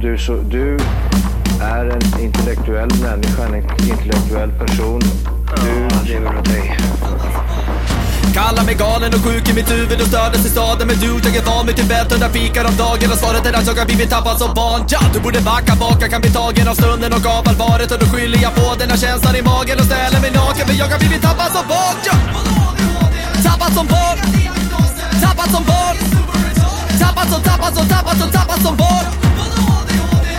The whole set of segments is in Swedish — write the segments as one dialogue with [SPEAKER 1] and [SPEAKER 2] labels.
[SPEAKER 1] du, så, du är en intellektuell människa, en intellektuell person. Du lever av dig.
[SPEAKER 2] Kallar mig galen och sjuk i mitt huvud och stördes i staden Men du, jag är van vid Tibet och där fikar om dagen Och svaret är att jag har blivit tappad som barn ja, Du borde backa bak, jag kan bli tagen av stunden och av allvaret Och då skyller jag på den här känslan i magen och ställer mig naken För jag har blivit tappad som barn ja. Tappad som barn Tappad som barn Tappad som, tappad som, tappad som, tappad som barn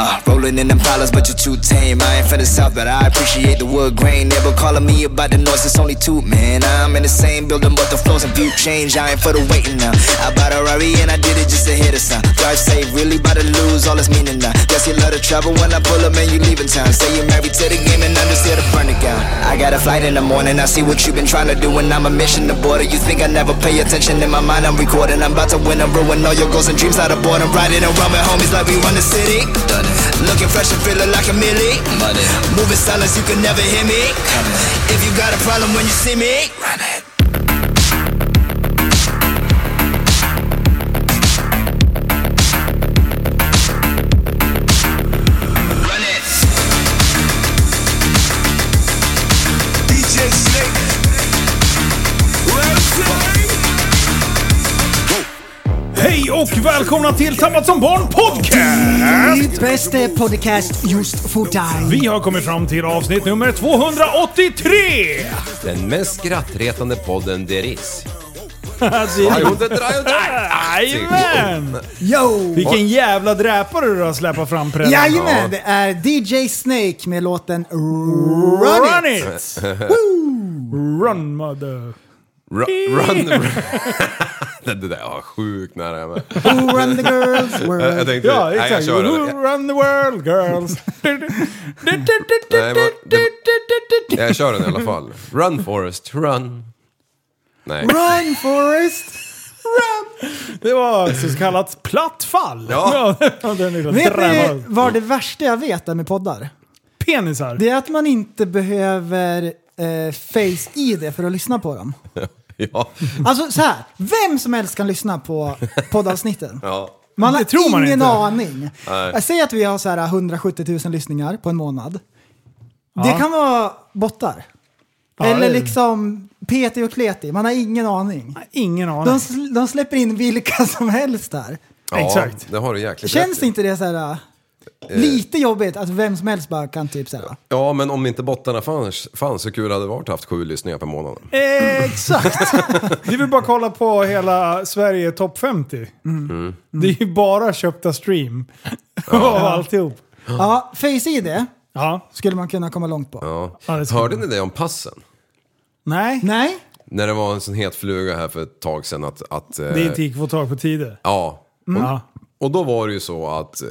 [SPEAKER 3] Uh, rolling in them palace, but you're too tame. I ain't from the south, but I appreciate the wood grain. They were calling me about the noise, it's only two, man. I'm in the same building, but the flows and view change. I ain't for the waiting now. I bought a Rari and I did it just to hit a sign. Drive safe, really about to lose all its meaning now. Guess you love the trouble when I pull up and you leaving town. Say you're married to the game and I'm just here to burn it down. I got a flight in the morning, I see what you've been trying to do, and I'm a mission to border. You think I never pay attention? In my mind, I'm recording. I'm about to win and ruin all your goals and dreams out of boredom. Riding around with homies like we run the city. Looking fresh and feeling like a millie. Moving silence, you can never hear me. If you got a problem when you see me, run it. Run it.
[SPEAKER 4] DJ Snake.
[SPEAKER 5] Hej och välkomna till Tappat som barn podcast!
[SPEAKER 6] Ditt bästa podcast just för dig.
[SPEAKER 5] Vi har kommit fram till avsnitt nummer 283!
[SPEAKER 7] Den mest skrattretande podden där is.
[SPEAKER 5] Det- Alltså, Jajamän!
[SPEAKER 6] Yo!
[SPEAKER 5] Vilken jävla dräpare du har släpat fram prällen.
[SPEAKER 6] Jajamän, det är DJ Snake med låten Run It!
[SPEAKER 5] Run it! Run mother...
[SPEAKER 7] Ru- Run... det det där var sjukt nära jag var.
[SPEAKER 6] Who run the girls
[SPEAKER 7] Jag jag
[SPEAKER 6] world?
[SPEAKER 7] tänkte...
[SPEAKER 5] Ja,
[SPEAKER 7] nej, jag
[SPEAKER 5] exakt.
[SPEAKER 7] kör
[SPEAKER 5] Who
[SPEAKER 7] den. Jag,
[SPEAKER 5] run the world girls?
[SPEAKER 7] nej, men det- jag kör den i alla fall. Run Forrest, run. Nej.
[SPEAKER 6] Run Forrest!
[SPEAKER 5] Det var alltså så kallat platt fall.
[SPEAKER 7] Ja.
[SPEAKER 5] ja liksom den lilla
[SPEAKER 6] Vet ni
[SPEAKER 5] dränaren.
[SPEAKER 6] vad det värsta jag vet är med poddar?
[SPEAKER 5] Penisar.
[SPEAKER 6] Det är att man inte behöver eh, face-id för att lyssna på dem.
[SPEAKER 7] Ja.
[SPEAKER 6] Alltså så här, vem som helst kan lyssna på poddavsnitten.
[SPEAKER 7] ja.
[SPEAKER 6] Man har
[SPEAKER 5] Det tror man
[SPEAKER 6] ingen
[SPEAKER 5] inte.
[SPEAKER 6] aning. Jag säger att vi har så här 170 000 lyssningar på en månad. Det kan vara bottar.
[SPEAKER 5] Ja,
[SPEAKER 6] Eller
[SPEAKER 5] det-
[SPEAKER 6] liksom Peti och Kleti. Man har ingen aning.
[SPEAKER 5] Ingen aning.
[SPEAKER 6] De, sl- de släpper in vilka som helst där.
[SPEAKER 7] ja,
[SPEAKER 5] Exakt.
[SPEAKER 7] det har du jäkligt
[SPEAKER 6] Känns
[SPEAKER 7] rätt i.
[SPEAKER 6] inte det så här äh, lite jobbigt att vem som helst bara kan typ så här?
[SPEAKER 7] Ja, men om inte bottarna fanns, fanns hur kul hade det varit att haft sju lyssningar per månad?
[SPEAKER 5] Exakt! Det är väl bara att kolla på hela Sverige topp 50.
[SPEAKER 7] Mm.
[SPEAKER 5] Det är ju bara köpta stream. Av alltihop.
[SPEAKER 6] Ja, Face-id
[SPEAKER 5] Ja.
[SPEAKER 6] skulle man kunna komma långt på.
[SPEAKER 7] Ja.
[SPEAKER 5] Ja, det ska
[SPEAKER 7] Hörde ni det om passen?
[SPEAKER 5] Nej,
[SPEAKER 6] Nej,
[SPEAKER 7] När det var en sån het fluga här för ett tag sedan att... att eh, Mm.
[SPEAKER 5] det inte gick att få tag på tider.
[SPEAKER 7] Ja.
[SPEAKER 5] Ja,
[SPEAKER 7] Och då var det ju så att... Eh,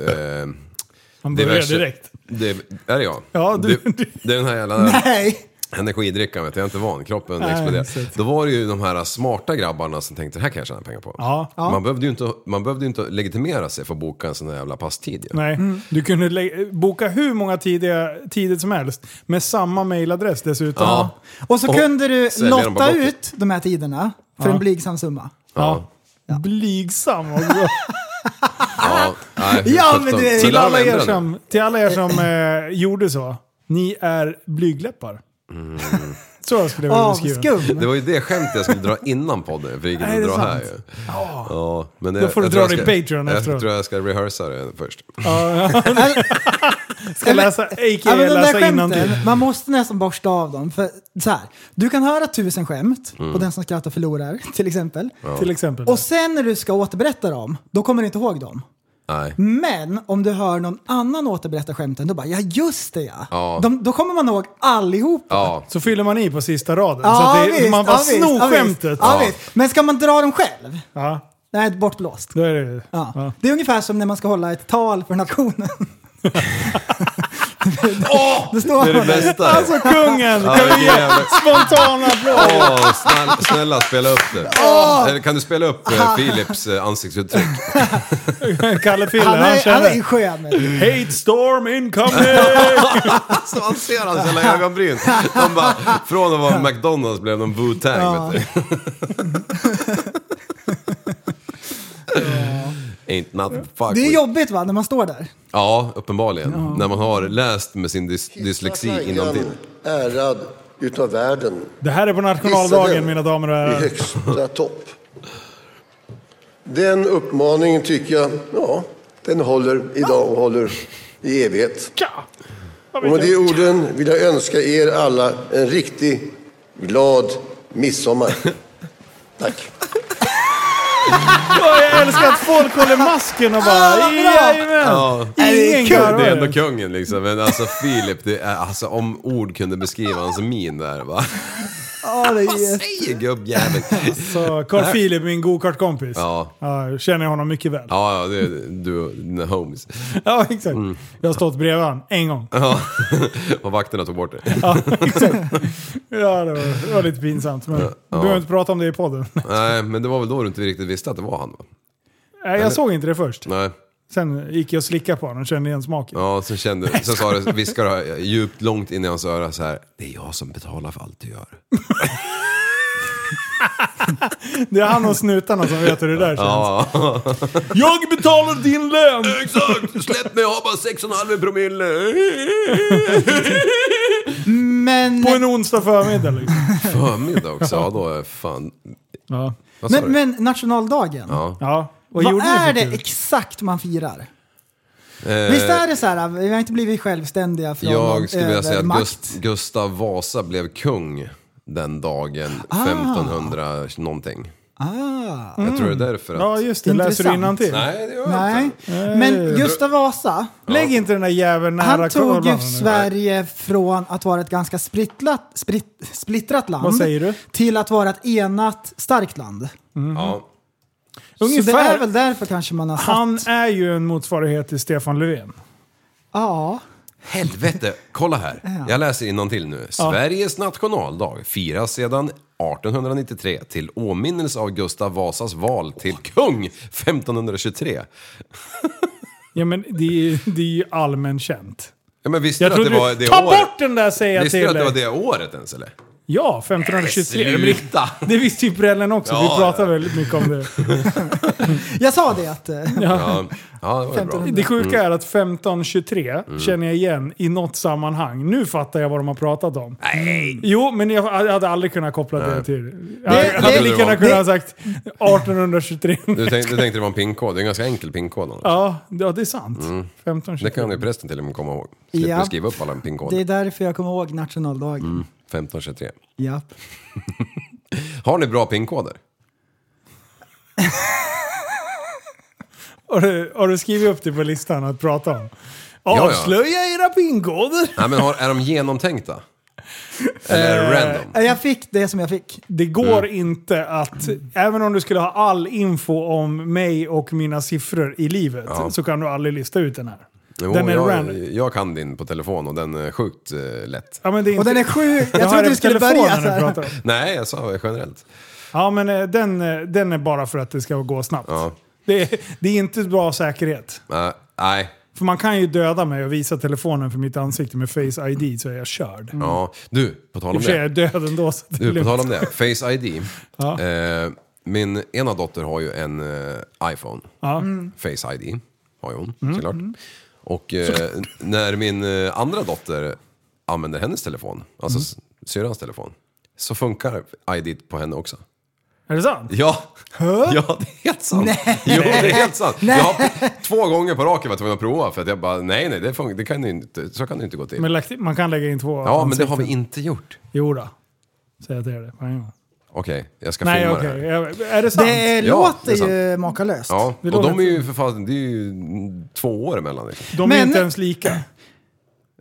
[SPEAKER 5] man börjar
[SPEAKER 7] Diverse-
[SPEAKER 5] direkt.
[SPEAKER 7] Det, är det jag?
[SPEAKER 5] Ja, du-
[SPEAKER 7] det,
[SPEAKER 5] du-
[SPEAKER 7] det är den här jävla
[SPEAKER 6] nej.
[SPEAKER 7] energidrickan, vet du. jag är inte van. Kroppen
[SPEAKER 5] Nej,
[SPEAKER 7] exploderar.
[SPEAKER 5] exakt.
[SPEAKER 7] Då var det ju de här smarta grabbarna som tänkte det här kan jag tjäna pengar på.
[SPEAKER 5] Ja.
[SPEAKER 7] Man, behövde ju inte, man behövde ju inte legitimera sig för att boka en sån där jävla passtid. ju.
[SPEAKER 5] Nej,
[SPEAKER 6] Mm.
[SPEAKER 5] du kunde lä- boka hur många tider, tider som helst med samma mailadress dessutom.
[SPEAKER 7] Ja.
[SPEAKER 6] Och så
[SPEAKER 7] Och
[SPEAKER 6] kunde du
[SPEAKER 7] sälja dem på
[SPEAKER 6] lotta
[SPEAKER 7] Blocket.
[SPEAKER 6] ut de här tiderna för en blygsam summa.
[SPEAKER 5] Ja. Blygsam också.
[SPEAKER 7] Ja, nej,
[SPEAKER 6] Ja, men
[SPEAKER 7] sjutton.
[SPEAKER 6] det är-
[SPEAKER 5] till,
[SPEAKER 7] Gillar de
[SPEAKER 5] alla
[SPEAKER 7] ändra
[SPEAKER 5] er
[SPEAKER 7] nu?
[SPEAKER 5] som, till alla er som eh, gjorde så. Ni är blygläppar. så skulle jag vilja beskriva det.
[SPEAKER 6] Avskum.
[SPEAKER 7] Det var ju det skämtet jag skulle dra innan podden, för det gick inte
[SPEAKER 5] Nej,
[SPEAKER 7] att
[SPEAKER 5] det är
[SPEAKER 7] dra här
[SPEAKER 5] sant.
[SPEAKER 7] ju. Ja, men det,
[SPEAKER 5] Då får du
[SPEAKER 7] jag tror
[SPEAKER 5] dra
[SPEAKER 7] jag
[SPEAKER 5] det i
[SPEAKER 7] ska-
[SPEAKER 5] Patreon
[SPEAKER 7] Jag
[SPEAKER 5] efteråt.
[SPEAKER 7] tror jag ska rehearsa det först.
[SPEAKER 5] Ska läsa, a.k.a.
[SPEAKER 6] Ja, Alltså, men de där
[SPEAKER 5] läsa
[SPEAKER 6] skämten,
[SPEAKER 5] alltså, innantill.
[SPEAKER 6] man måste nästan borsta av dem. För så här, du kan höra tusen skämt och den som skrattar förlorar, till exempel.
[SPEAKER 5] Till exempel.
[SPEAKER 6] Och sen när du ska återberätta dem, då kommer du inte ihåg dem.
[SPEAKER 7] Nej.
[SPEAKER 5] Mm.
[SPEAKER 6] Men om du hör någon annan återberätta skämten, då bara ja just det ja.
[SPEAKER 7] Ja.
[SPEAKER 6] De, då kommer man ihåg allihopa.
[SPEAKER 7] Ja,
[SPEAKER 5] så fyller man i på sista raden.
[SPEAKER 6] Ja,
[SPEAKER 5] så att det, man bara
[SPEAKER 6] visst,
[SPEAKER 5] snor
[SPEAKER 6] ja,
[SPEAKER 5] skämtet.
[SPEAKER 6] visst. Ja, visst. Men ska man dra dem själv?
[SPEAKER 5] Ja,
[SPEAKER 6] Nej, bortblåst.
[SPEAKER 5] då är det
[SPEAKER 6] Ja.
[SPEAKER 5] ja.
[SPEAKER 6] Det är ungefär som när man ska hålla ett tal för nationen.
[SPEAKER 7] Åh!
[SPEAKER 6] Det står
[SPEAKER 7] Det är det bästa.
[SPEAKER 5] Alltså kungen!
[SPEAKER 7] Ja,
[SPEAKER 5] Kan vi ge
[SPEAKER 7] jävlar.
[SPEAKER 5] spontana applåd?
[SPEAKER 7] Åh, snälla, snälla spela upp det. Eller kan du spela upp eh, Philips eh, ansiktsuttryck?
[SPEAKER 5] Kalle Fille,
[SPEAKER 6] Han
[SPEAKER 5] han,
[SPEAKER 6] är, han är
[SPEAKER 5] känner...
[SPEAKER 6] skön. vet du.
[SPEAKER 5] Hate storm incoming!
[SPEAKER 7] Alltså man ser hans jävla ögonbryn. De bara, från att vara McDonalds blev de Wu-Tang. vet du. Ain't nothing to fuck
[SPEAKER 6] Det är
[SPEAKER 7] with.
[SPEAKER 6] jobbigt va, när man står där.
[SPEAKER 7] Ja, uppenbarligen. När man har läst med sin dys dyslexi innantill.
[SPEAKER 4] ärad utav världen
[SPEAKER 5] Det här är på
[SPEAKER 4] Hissa
[SPEAKER 5] nationaldagen
[SPEAKER 4] den.
[SPEAKER 5] mina damer och
[SPEAKER 4] i
[SPEAKER 5] herrar.
[SPEAKER 4] högsta topp. Den uppmaningen tycker jag, ja, den håller idag och håller i evighet. Och med de orden vill jag önska er alla en riktig glad midsommar. Tack.
[SPEAKER 5] Åh, Jag älskar att folk håller masken och bara jajamän! Ingen
[SPEAKER 7] Det är ändå
[SPEAKER 5] garvar.
[SPEAKER 7] kungen liksom. Men alltså Philip, det är, alltså, om ord kunde beskriva hans min där va.
[SPEAKER 6] Ja, det
[SPEAKER 7] Vad
[SPEAKER 6] är...
[SPEAKER 7] säger gubbjäveln?
[SPEAKER 5] Så Carl Philip, min gokartkompis.
[SPEAKER 7] Ja.
[SPEAKER 5] Ja, känner jag honom mycket väl.
[SPEAKER 7] Ja, ja, det är du och dina homies.
[SPEAKER 5] Ja, exakt. Jag har stått bredvid honom en gång.
[SPEAKER 7] Mm. Ja. Och vakterna tog bort det.
[SPEAKER 5] Ja, exakt. Ja, det var, det var lite pinsamt. Men vi behöver inte prata om det i podden.
[SPEAKER 7] Nej, men det var väl då du inte riktigt visste att det var han va?
[SPEAKER 5] Nej, jag såg inte det först.
[SPEAKER 7] Nej.
[SPEAKER 5] Sen gick jag och slickade på honom och kände igen smaken.
[SPEAKER 7] Ja, sen kände sen sa det, viskade det djupt långt in i hans öra så här. Det är jag som betalar för allt du gör.
[SPEAKER 5] Det är han och snutarna som vet hur det där känns.
[SPEAKER 7] Ja,
[SPEAKER 5] Jag betalar din lön!
[SPEAKER 7] exakt! Släpp mig, jag har bara 6,5 promille.
[SPEAKER 6] Men,
[SPEAKER 5] På en onsdag förmiddag liksom.
[SPEAKER 7] Förmiddag också, ja då är fan...
[SPEAKER 5] Ja.
[SPEAKER 7] Vad sa
[SPEAKER 6] men,
[SPEAKER 7] du?
[SPEAKER 6] men nationaldagen.
[SPEAKER 5] ja. Vad,
[SPEAKER 6] Vad
[SPEAKER 5] gjorde du för
[SPEAKER 6] är det
[SPEAKER 5] kul?
[SPEAKER 6] exakt man firar?
[SPEAKER 7] Eh,
[SPEAKER 6] Visst är det så här, vi har inte blivit självständiga från någon
[SPEAKER 7] Jag skulle vilja säga att
[SPEAKER 6] övermakt.
[SPEAKER 7] Gust- Gustav Vasa blev kung den dagen, 1500 någonting.
[SPEAKER 6] Ah,
[SPEAKER 7] Jag tror det är därför att...
[SPEAKER 5] Ja, just det. Läser du
[SPEAKER 6] Intressant.
[SPEAKER 5] innantill?
[SPEAKER 7] Nej, det gör jag
[SPEAKER 6] nej.
[SPEAKER 7] inte.
[SPEAKER 6] Men Gustav Vasa,
[SPEAKER 5] Lägg inte den där jäveln nära
[SPEAKER 6] han tog ju
[SPEAKER 5] korvarna nu.
[SPEAKER 6] Sverige från att vara ett ganska splittrat, spritt, splittrat land
[SPEAKER 5] Vad säger du?
[SPEAKER 6] till att vara ett enat, starkt land.
[SPEAKER 7] Ja.
[SPEAKER 6] Så det är
[SPEAKER 5] Ungefär.
[SPEAKER 6] väl därför kanske man har satt...
[SPEAKER 5] han är ju en motsvarighet till Stefan Löfven.
[SPEAKER 6] Ja.
[SPEAKER 7] Helvete, kolla här. Jag läser till nu. Sveriges nationaldag firas sedan 1893 till åminnelse av Gustav Vasas val till kung 1523.
[SPEAKER 5] Ja, men det är, ju- det är ju allmän känt.
[SPEAKER 7] Ja, men visste
[SPEAKER 5] Jag
[SPEAKER 7] du att det
[SPEAKER 5] trodde
[SPEAKER 7] var
[SPEAKER 5] du...
[SPEAKER 7] det
[SPEAKER 5] Ta
[SPEAKER 7] året?
[SPEAKER 5] bort den där säger jag
[SPEAKER 7] Visste
[SPEAKER 5] till
[SPEAKER 7] du att det var
[SPEAKER 5] dig.
[SPEAKER 7] det året ens eller?
[SPEAKER 5] Ja, 1523. Men det-
[SPEAKER 7] Sluta!
[SPEAKER 5] Det visste ju prällen också. Vi
[SPEAKER 7] Ja,
[SPEAKER 5] pratar väldigt mycket om det.
[SPEAKER 6] Jag sa det att... eh,
[SPEAKER 7] Ja, ja det var ju bra. Mm.
[SPEAKER 5] Det sjuka är att 1523 känner jag igen i något sammanhang. Nu fattar jag vad de har pratat om. Nej. Jo, men jag hade aldrig kunnat koppla det till... Jag
[SPEAKER 6] Det- det-
[SPEAKER 5] hade lika gärna
[SPEAKER 7] det-
[SPEAKER 5] kunnat ha sagt 1823.
[SPEAKER 7] Du tänkte, du tänkte det var en pinkod, det är en ganska enkel pinkod. annars.
[SPEAKER 5] Ja, ja, det är sant.
[SPEAKER 7] Mm.
[SPEAKER 5] 1523.
[SPEAKER 7] Det kan ju prästen till och med komma ihåg. Slipper
[SPEAKER 6] Ja.
[SPEAKER 7] skriva upp alla pinkoder.
[SPEAKER 6] Det är därför jag kommer ihåg nationaldagen.
[SPEAKER 7] Mm. 1523.
[SPEAKER 6] Japp.
[SPEAKER 7] Har ni bra pinkoder?
[SPEAKER 5] Har du, har du skrivit upp det på listan att prata om?
[SPEAKER 7] ja.
[SPEAKER 5] Avslöja era pinkoder!
[SPEAKER 7] Nej men har, är de genomtänkta? Eller är det random?
[SPEAKER 6] Eh, Jag fick det som jag fick.
[SPEAKER 5] Det går
[SPEAKER 7] Mm.
[SPEAKER 5] inte att, även om du skulle ha all info om mig och mina siffror i livet, så kan du aldrig lista ut den här.
[SPEAKER 7] Jo,
[SPEAKER 5] den är
[SPEAKER 7] jag,
[SPEAKER 5] random.
[SPEAKER 7] jag kan din på telefon och den är sjukt eh, lätt.
[SPEAKER 5] Ja, men det är
[SPEAKER 6] Och
[SPEAKER 5] inte-
[SPEAKER 6] den är sjuk.
[SPEAKER 5] Det här
[SPEAKER 6] Jag
[SPEAKER 5] är
[SPEAKER 6] trodde
[SPEAKER 5] på
[SPEAKER 6] du skulle
[SPEAKER 5] telefonen
[SPEAKER 6] börja så
[SPEAKER 5] du
[SPEAKER 6] här.
[SPEAKER 5] pratar om.
[SPEAKER 7] Nej, jag sa generellt.
[SPEAKER 5] Ja, men eh, den, eh, den är bara för att det ska gå snabbt. Det, är, det är inte bra säkerhet.
[SPEAKER 7] Nej, eh, nej.
[SPEAKER 5] För man kan ju döda mig och visa telefonen för mitt ansikte med Face ID så är jag körd. I
[SPEAKER 7] Ja. Du, på tal
[SPEAKER 5] och
[SPEAKER 7] om
[SPEAKER 5] för sig är
[SPEAKER 7] det.
[SPEAKER 5] jag död ändå. Så det är
[SPEAKER 7] Du, på
[SPEAKER 5] lugnt.
[SPEAKER 7] tal om det. Face ID.
[SPEAKER 5] Ja.
[SPEAKER 7] Eh, min ena dotter har ju en eh, iPhone.
[SPEAKER 5] Ja.
[SPEAKER 6] Mm.
[SPEAKER 5] Mm,
[SPEAKER 7] Face ID har ju hon såklart. Och eh, när min eh, andra dotter använder hennes telefon, alltså
[SPEAKER 5] Mm.
[SPEAKER 7] s- syrrans telefon, så funkar ID på henne också.
[SPEAKER 5] Är det sant?
[SPEAKER 7] Ja, ja det är helt sant. Jo, det är helt sant. Jag har två gånger på raken varit tvungen att prova för att jag bara, nej nej, det, funkar, det kan ju inte, så kan det inte gå till.
[SPEAKER 5] Men Alltså, lagt- man kan lägga in två
[SPEAKER 7] ja, men det har
[SPEAKER 5] ansikten.
[SPEAKER 7] vi inte gjort.
[SPEAKER 5] Jo då. Säger jag till er det. på en gång.
[SPEAKER 7] Okej, jag ska
[SPEAKER 5] Nej,
[SPEAKER 7] filma
[SPEAKER 5] okej.
[SPEAKER 7] det här.
[SPEAKER 5] Jag- Är det sant?
[SPEAKER 6] Det
[SPEAKER 7] Ja, det är
[SPEAKER 6] låter
[SPEAKER 7] sant.
[SPEAKER 6] ju makalöst.
[SPEAKER 7] Ja,
[SPEAKER 5] Det
[SPEAKER 7] och de
[SPEAKER 5] låter-
[SPEAKER 7] är ju för fan, det är ju två år emellan. Liksom.
[SPEAKER 5] De är
[SPEAKER 6] Men-
[SPEAKER 5] inte ens lika.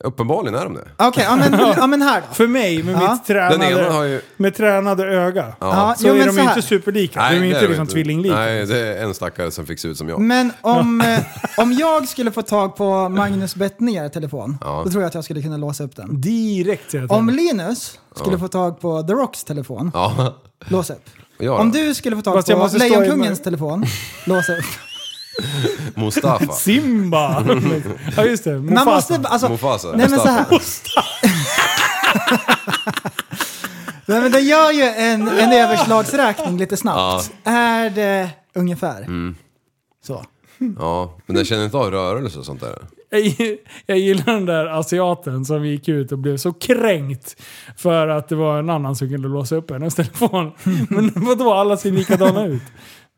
[SPEAKER 7] Uppenbarligen är de det.
[SPEAKER 6] Okej, ja, men, ja, men här då.
[SPEAKER 5] För mig, med
[SPEAKER 6] Ja.
[SPEAKER 5] mitt tränade,
[SPEAKER 7] Den ena har ju-
[SPEAKER 5] med tränade öga,
[SPEAKER 6] Ja,
[SPEAKER 5] så
[SPEAKER 6] jo,
[SPEAKER 5] är
[SPEAKER 6] men
[SPEAKER 5] de
[SPEAKER 6] så
[SPEAKER 5] ju
[SPEAKER 6] här.
[SPEAKER 5] inte superlika. de är ju
[SPEAKER 7] det
[SPEAKER 5] inte liksom Mm.
[SPEAKER 7] inte.
[SPEAKER 5] tvillinglika.
[SPEAKER 7] Nej, det är en stackare som fick se ut som jag.
[SPEAKER 6] Men om, eh, om jag skulle få tag på Magnus Bettner telefon,
[SPEAKER 7] Ja.
[SPEAKER 6] då tror jag att jag skulle kunna låsa upp den.
[SPEAKER 5] Direkt säger jag till
[SPEAKER 6] Om
[SPEAKER 5] dig.
[SPEAKER 6] Linus skulle få tag på The Rocks telefon,
[SPEAKER 7] Ja.
[SPEAKER 6] lås upp.
[SPEAKER 7] Jag då?
[SPEAKER 6] Om du skulle få tag
[SPEAKER 5] Fast jag
[SPEAKER 6] på
[SPEAKER 5] måste stå i
[SPEAKER 6] Lejonkungens
[SPEAKER 5] mör-
[SPEAKER 6] telefon, lås upp.
[SPEAKER 7] Mustafa.
[SPEAKER 5] Simba! ja just det,
[SPEAKER 6] Man
[SPEAKER 5] Mufasa.
[SPEAKER 6] måste, alltså,
[SPEAKER 7] Mufasa.
[SPEAKER 6] Nej men så här.
[SPEAKER 7] Mustafa.
[SPEAKER 6] Nej, men den gör ju en, en överslagsräkning lite snabbt. Är det ungefär? Så.
[SPEAKER 7] Ja, men den känner inte av rörelse och sånt där.
[SPEAKER 5] Jag gi- Jag gillar den där asiaten som gick ut och blev så kränkt för att det var en annan som kunde låsa upp hennes telefon. Men vadå, alla ser likadana ut?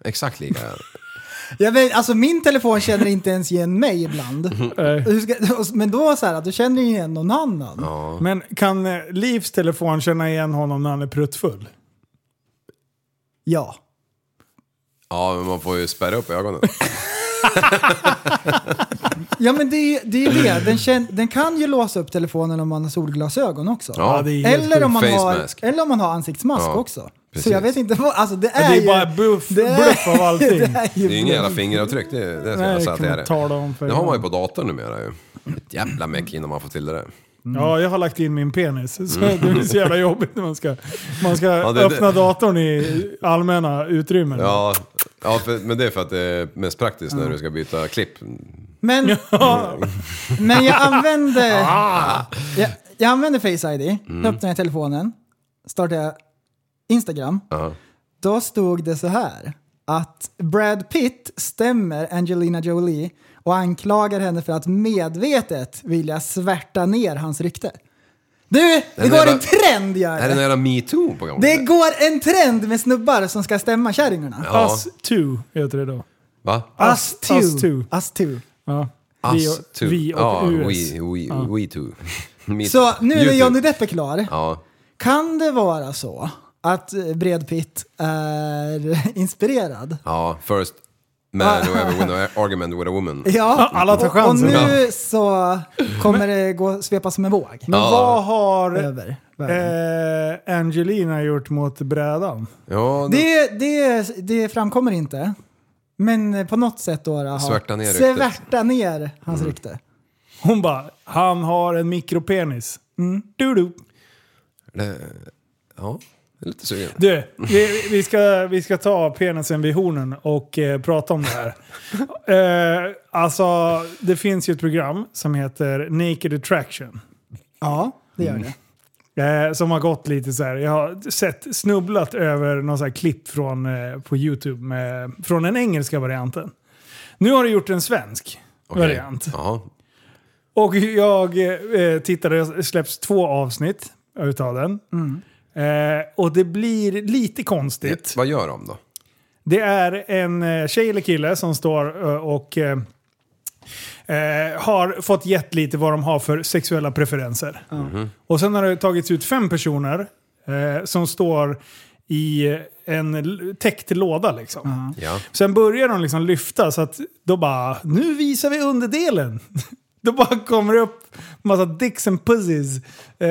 [SPEAKER 7] Exakt lika. är det.
[SPEAKER 6] Jag vet, alltså min telefon känner inte ens igen mig ibland.
[SPEAKER 5] Eh,
[SPEAKER 6] Hur ska- Men då så här, att du känner ju igen någon annan.
[SPEAKER 5] Men kan eh, Livs telefon känna igen honom när han är pruttfull?
[SPEAKER 6] Ja.
[SPEAKER 7] Ja, men man får ju spärra upp ögonen.
[SPEAKER 6] Ja men det är ju det. Är ju det. Den, kän, den kan ju låsa upp telefonen om man har solglasögon också.
[SPEAKER 7] Ja,
[SPEAKER 5] det är helt
[SPEAKER 6] Eller om, man
[SPEAKER 7] Face
[SPEAKER 6] har,
[SPEAKER 7] mask.
[SPEAKER 6] eller om man har ansiktsmask
[SPEAKER 7] Ja,
[SPEAKER 6] också.
[SPEAKER 7] precis.
[SPEAKER 6] Så jag vet inte vad, alltså det är,
[SPEAKER 5] Det är
[SPEAKER 6] ju...
[SPEAKER 5] bara bluff,
[SPEAKER 6] det är-
[SPEAKER 5] bluff av allting.
[SPEAKER 6] det är ju
[SPEAKER 7] Det är ju inga jävla
[SPEAKER 6] bluff.
[SPEAKER 7] fingeravtryck, det, det ska
[SPEAKER 5] Nej,
[SPEAKER 7] jag
[SPEAKER 5] det
[SPEAKER 7] säga att
[SPEAKER 5] kan
[SPEAKER 7] det är.
[SPEAKER 5] man tala om för
[SPEAKER 7] det har man ju
[SPEAKER 5] innan.
[SPEAKER 7] på datorn numera ju. Ett jävla meck innan man får till det där.
[SPEAKER 5] Ja, jag har lagt in min penis. Så Det är så jävla jobbigt när man ska, man ska
[SPEAKER 7] Mm. det-
[SPEAKER 5] öppna datorn i allmänna utrymmen.
[SPEAKER 7] Ja, ja för, men det är för att det är mest praktiskt när du ska byta klipp.
[SPEAKER 6] Men, men jag använde...
[SPEAKER 7] Ah.
[SPEAKER 6] jag, jag använde Face ID, mm. öppnade jag telefonen, startade jag Instagram. Då stod det så här att Brad Pitt stämmer Angelina Jolie och anklagar henne för att medvetet vilja svärta ner hans rykte. Du, det
[SPEAKER 7] Den
[SPEAKER 6] går
[SPEAKER 7] jävla-
[SPEAKER 6] en trend gör
[SPEAKER 7] Är det en
[SPEAKER 6] det!
[SPEAKER 7] jävla metoo på gång?
[SPEAKER 6] Det går en trend med snubbar som ska stämma kärringarna.
[SPEAKER 7] Ja.
[SPEAKER 5] Us 2 heter det då.
[SPEAKER 7] Va?
[SPEAKER 5] Us two. Us two.
[SPEAKER 6] Us two.
[SPEAKER 5] Ja. Vi
[SPEAKER 7] Us
[SPEAKER 5] och,
[SPEAKER 7] too.
[SPEAKER 5] vi och
[SPEAKER 7] ja,
[SPEAKER 5] US.
[SPEAKER 7] We, we, we too. Me
[SPEAKER 6] Så
[SPEAKER 7] too.
[SPEAKER 6] nu
[SPEAKER 7] You
[SPEAKER 6] när
[SPEAKER 7] too.
[SPEAKER 6] Johnny Depp är klar,
[SPEAKER 7] Ja.
[SPEAKER 6] Kan det vara så att Bredpitt är inspirerad?
[SPEAKER 7] Ja, first man who ever win an argument with a woman.
[SPEAKER 6] Ja,
[SPEAKER 5] alla tar
[SPEAKER 6] och-
[SPEAKER 5] chansen.
[SPEAKER 6] Och nu så kommer det gå svepa som en våg.
[SPEAKER 5] Men vad har
[SPEAKER 6] Över världen.
[SPEAKER 5] eh, Angelina gjort mot brädan?
[SPEAKER 7] Ja,
[SPEAKER 6] det, det, det framkommer inte. Men på något sätt då har
[SPEAKER 7] Svärta ner ryktet. Mm.
[SPEAKER 6] svärta ner hans rykte.
[SPEAKER 5] Hon bara, han har en mikropenis. Mm, Du, du.
[SPEAKER 7] det, ja, jag är lite sugen.
[SPEAKER 5] Du, vi, vi, ska, vi ska ta penisen vid hornen och eh, prata om det här. eh, alltså, det finns ju ett program som heter Naked Attraction.
[SPEAKER 6] Ja, det
[SPEAKER 5] Mm.
[SPEAKER 6] gör det.
[SPEAKER 5] Eh, som har gått lite så här. Jag har sett, snubblat över någon så här klipp från, eh, på YouTube med, från den engelska varianten. Nu har du gjort en svensk
[SPEAKER 7] Okej.
[SPEAKER 5] variant.
[SPEAKER 7] Ja.
[SPEAKER 5] Och jag eh, tittade, det släpps två avsnitt utav den. Eh, och det blir lite konstigt.
[SPEAKER 7] Vad gör de då?
[SPEAKER 5] Det är en eh, tjej eller kille som står eh, och eh, eh, har fått gett lite vad de har för sexuella preferenser. Och sen har det tagits ut fem personer eh, som står i en l- täckt låda liksom.
[SPEAKER 7] Ja.
[SPEAKER 5] Sen börjar de liksom lyfta så att då bara, nu visar vi underdelen. Då bara kommer det upp massa dicks and pussies. Eh,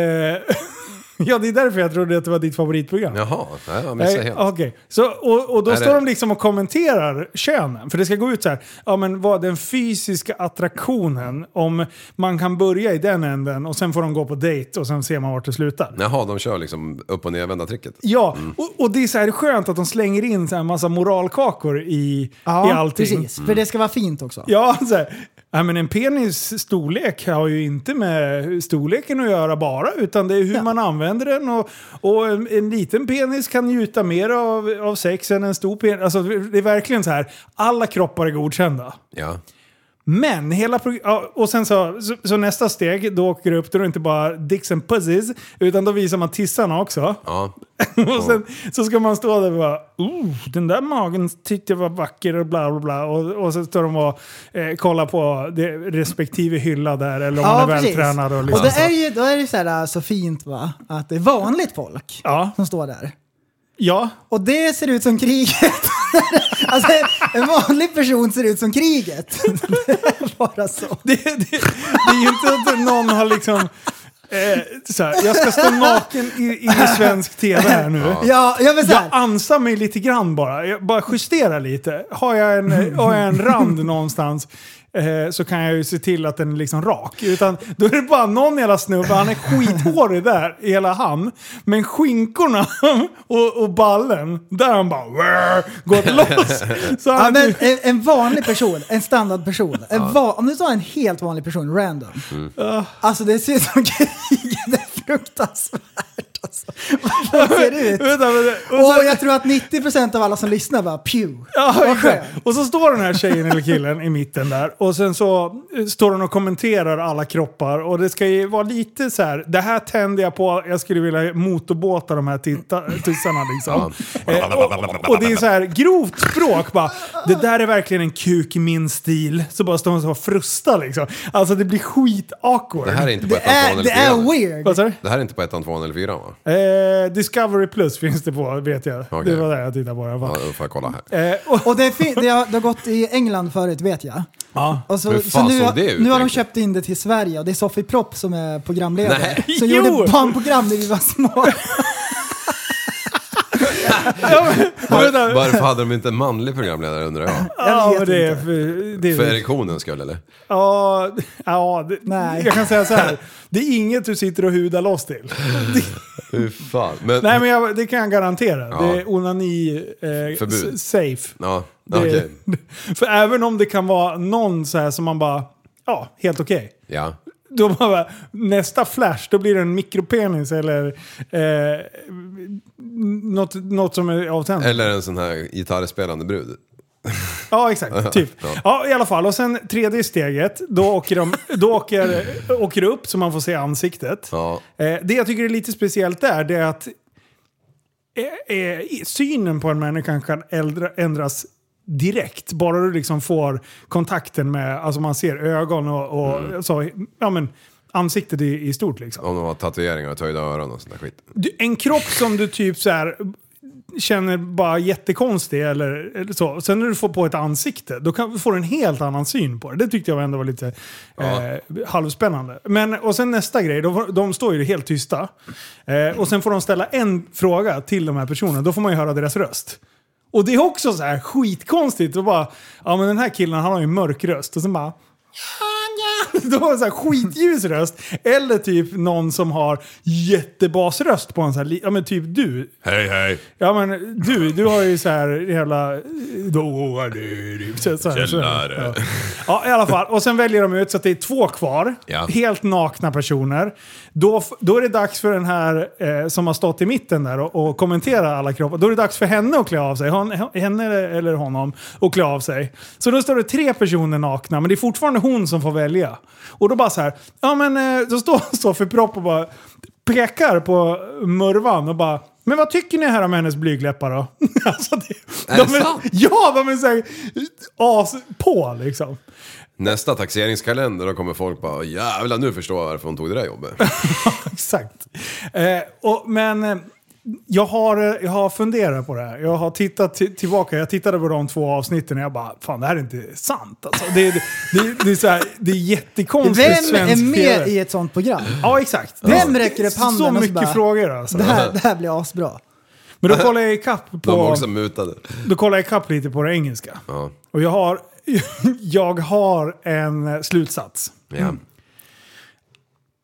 [SPEAKER 5] ja, det är därför jag trodde att det var ditt favoritprogram.
[SPEAKER 7] Jaha, nej, jag missade
[SPEAKER 5] Nej,
[SPEAKER 7] Alltså, helt.
[SPEAKER 5] okej. Så, och, och då
[SPEAKER 7] Nej,
[SPEAKER 5] står
[SPEAKER 7] det-
[SPEAKER 5] de liksom och kommenterar könen. För det ska gå ut så här, ja men vad den fysiska attraktionen, om man kan börja i den änden och sen får de gå på dejt och sen ser man vart det slutar.
[SPEAKER 7] Jaha, de kör liksom upp och nervända tricket.
[SPEAKER 5] Ja,
[SPEAKER 7] Mm.
[SPEAKER 5] och, och det är så här skönt att de slänger in så här massa moralkakor i, i
[SPEAKER 6] Ja,
[SPEAKER 5] allting. Mm.
[SPEAKER 6] precis. För det ska vara fint också.
[SPEAKER 5] Ja, så här. Nej, men en penis storlek har ju inte med storleken att göra bara, utan det är hur
[SPEAKER 6] Ja.
[SPEAKER 5] man använder den. Och, och en, en liten penis kan njuta mer av, av sex än en stor penis. Alltså, det är verkligen så här, alla kroppar är godkända.
[SPEAKER 7] Ja.
[SPEAKER 5] Men hela prog- ja, Och sen så, så, så nästa steg, då åker det upp, då är det inte bara dicks and pussies, utan då visar man tissarna också.
[SPEAKER 7] ja.
[SPEAKER 5] Och sen så ska man stå där och bara oh, den där magen tyckte jag var vacker och bla bla bla. Och, och så står de och eh, kollar på det, respektive hylla där eller om
[SPEAKER 6] Ja,
[SPEAKER 5] man är
[SPEAKER 6] precis.
[SPEAKER 5] vältränad. Och,
[SPEAKER 6] Och
[SPEAKER 5] liksom.
[SPEAKER 6] det är ju, då är det så, här, så fint va, att det är vanligt folk
[SPEAKER 5] Ja,
[SPEAKER 6] som står där.
[SPEAKER 5] ja.
[SPEAKER 6] Och det ser ut som kriget. Alltså, en vanlig person ser ut som kriget. Det är bara så.
[SPEAKER 5] Det, det, det är ju inte att någon har liksom... Eh, så här, jag ska stå naken i, i svensk tv här nu.
[SPEAKER 6] Ja, jag vill
[SPEAKER 5] Jag
[SPEAKER 6] säga.
[SPEAKER 5] ansar mig lite grann bara. Jag bara justerar lite. Har jag en, har jag en rand någonstans eh, så kan jag ju se till att den är liksom rak. Utan då är det bara någon jävla snubbe, han är skithårig där, i hela han. Men skinkorna och, och ballen, där han bara "Wah", gått loss. Så
[SPEAKER 6] Ja,
[SPEAKER 5] han,
[SPEAKER 6] men en, en vanlig person, en standardperson. En va- om du tar en helt vanlig person, random.
[SPEAKER 5] Mm.
[SPEAKER 6] Alltså det ser ut som kriget, det är fruktansvärt. Alltså. Vad ser det ut?
[SPEAKER 5] Vänta, vänta. Och så-
[SPEAKER 6] Och jag tror att 90% av alla som lyssnar bara pew.
[SPEAKER 5] Ja,
[SPEAKER 6] Vad
[SPEAKER 5] exakt.
[SPEAKER 6] skönt.
[SPEAKER 5] Och så står den här tjejen eller killen i mitten där och sen så eh, står den och kommenterar alla kroppar och det ska ju vara lite så här. Det här tänder jag på, jag skulle vilja motorbåta de här titta, tissarna liksom. Eh, och, och det är så här grovt språk bara. Det där är verkligen en kuk i min stil. Så bara står hon så och frustar liksom. Alltså det blir skit awkward.
[SPEAKER 7] Det här är inte på
[SPEAKER 6] Det är,
[SPEAKER 7] ettan,
[SPEAKER 6] Äh, det är
[SPEAKER 7] tvåan eller fyran.
[SPEAKER 6] weird.
[SPEAKER 5] Vad sa du?
[SPEAKER 7] Det här är inte på ettan, tvåan eller fyran va?
[SPEAKER 5] Eh, Discovery Plus finns det på vet jag.
[SPEAKER 7] Okej.
[SPEAKER 5] Det var där jag tittade på det. Jag bara,
[SPEAKER 7] Ja, då får jag kolla här.
[SPEAKER 5] Eh, och,
[SPEAKER 6] Och det, fin- det, har, det har gått i England förut vet jag.
[SPEAKER 5] ja.
[SPEAKER 6] Och så,
[SPEAKER 7] Hur
[SPEAKER 6] så
[SPEAKER 7] fan
[SPEAKER 6] nu,
[SPEAKER 7] såg
[SPEAKER 6] har-
[SPEAKER 7] det ut
[SPEAKER 6] nu har de
[SPEAKER 7] egentligen?
[SPEAKER 6] köpt in det till Sverige och det är Sofie Propp som är programledare.
[SPEAKER 7] Nej.
[SPEAKER 6] Som
[SPEAKER 5] Jo!
[SPEAKER 6] gjorde barnprogram när vi var små.
[SPEAKER 7] Var, varför hade de inte en manlig programledare undrar jag?
[SPEAKER 5] Ja,
[SPEAKER 6] Jag
[SPEAKER 5] men
[SPEAKER 6] vet
[SPEAKER 5] det är
[SPEAKER 6] inte.
[SPEAKER 5] för, det är
[SPEAKER 7] För erektionens skull eller?
[SPEAKER 5] Ja, ja det,
[SPEAKER 6] Nej.
[SPEAKER 5] jag kan säga så här. Det är inget du sitter och hudar loss till.
[SPEAKER 7] Hur fan? Men,
[SPEAKER 5] Nej, men jag, det kan jag garantera. Det är onani eh,
[SPEAKER 7] Förbud.
[SPEAKER 5] s- safe.
[SPEAKER 7] Ja,
[SPEAKER 5] Det,
[SPEAKER 7] okej.
[SPEAKER 5] För även om det kan vara någon så här som man bara, ja, helt okej.
[SPEAKER 7] Ja.
[SPEAKER 5] Då man bara, nästa flash, då blir det en mikropenis eller eh, något, något som är avtänt.
[SPEAKER 7] Eller en sån här gitarrspelande brud.
[SPEAKER 5] Ja, exakt. Typ. Ja, i alla fall. Och sen tredje steget, då åker de då åker, åker det upp så man får se ansiktet.
[SPEAKER 7] Ja.
[SPEAKER 5] Eh, det jag tycker är lite speciellt där, det är att eh, eh, i- synen på en människa kan äldra, ändras direkt. Bara du liksom får kontakten med, alltså man ser ögon och, och så, ja men ansiktet i, i stort liksom.
[SPEAKER 7] Om de har tatueringar och töjda öron och sån där skit.
[SPEAKER 5] Du, en kropp som du typ så här känner bara jättekonstig eller, eller så. Sen när du får på ett ansikte, då kan, får du en helt annan syn på det. Det tyckte jag ändå var lite eh, halvspännande. Men, och sen nästa grej, de, får- de står ju helt tysta. Eh, och sen får de ställa en fråga till de här personerna, då får man ju höra deras röst. Och det är också så här skitkonstigt och bara, ja men den här killen han har ju en mörk röst och sen bara då har han så här skitljus röst. Eller typ någon som har jättebasröst på en sån här, li- ja men typ du.
[SPEAKER 7] Hej hej!
[SPEAKER 5] Ja men du, du har ju så här jävla... Då är det så, så här, så här.
[SPEAKER 7] Källare.
[SPEAKER 5] Ja. ja i alla fall. Och sen väljer de ut så att det är två kvar.
[SPEAKER 7] Ja.
[SPEAKER 5] Helt nakna personer. Då, f- då är det dags för den här eh, som har stått i mitten där och, och kommenterar alla kroppar. Då är det dags för henne att klä av sig. Hon, henne eller honom att klä av sig. Så då står det tre personer nakna men det är fortfarande hon som får välja. Och då bara så här. Ja men eh, då står Sofie Propp och bara pekar på murvan och bara men vad tycker ni här om hennes blygdläppar då? alltså det,
[SPEAKER 7] Är
[SPEAKER 5] de
[SPEAKER 7] det sant?
[SPEAKER 5] Ja, de är såhär as på liksom.
[SPEAKER 7] Nästa taxeringskalender då kommer folk bara jävlar nu förstår jag varför hon tog det där jobbet.
[SPEAKER 5] Exakt. Eh, och, men eh, jag har, eh, jag har funderat på det här. Jag har tittat ti- tillbaka. Jag tittade på de två avsnitten och jag bara, fan det här är inte sant alltså. Det, det, det, det, är, så här, det är jättekonstigt
[SPEAKER 6] Vem
[SPEAKER 5] svensk
[SPEAKER 6] är med
[SPEAKER 5] TV.
[SPEAKER 6] i ett sånt program?
[SPEAKER 7] Alltså,
[SPEAKER 5] Ja, exakt.
[SPEAKER 6] Vem räcker upp handen
[SPEAKER 5] Så
[SPEAKER 6] och så
[SPEAKER 5] mycket
[SPEAKER 6] bara-
[SPEAKER 5] frågor alltså.
[SPEAKER 6] Det här, det här blir asbra.
[SPEAKER 5] Men då kollar jag ikapp på...
[SPEAKER 7] De var också mutade.
[SPEAKER 5] Då kollar jag ikapp lite på det engelska.
[SPEAKER 7] Ja.
[SPEAKER 5] Och jag har, jag har en eh, slutsats.
[SPEAKER 7] Ja.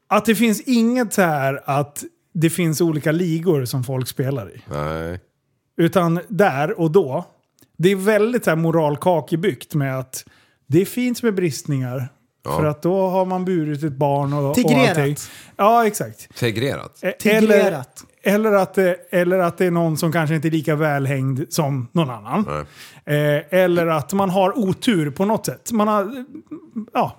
[SPEAKER 5] Att det finns inget så här att det finns olika ligor som folk spelar i.
[SPEAKER 7] Nej.
[SPEAKER 5] Utan där och då. Det är väldigt så här moralkakebyggt med att det är fint med bristningar.
[SPEAKER 7] Ja.
[SPEAKER 5] För att då har man burit ett barn och, och
[SPEAKER 6] Tigrerat.
[SPEAKER 5] allting. Ja, exakt.
[SPEAKER 7] Integrerat.
[SPEAKER 5] E- Eller,
[SPEAKER 6] Tigrerat.
[SPEAKER 5] eller, att det, eller att det är någon som kanske inte är lika välhängd som någon annan.
[SPEAKER 7] Nej.
[SPEAKER 5] Eh, eller att man har otur på något sätt. Man har, ja,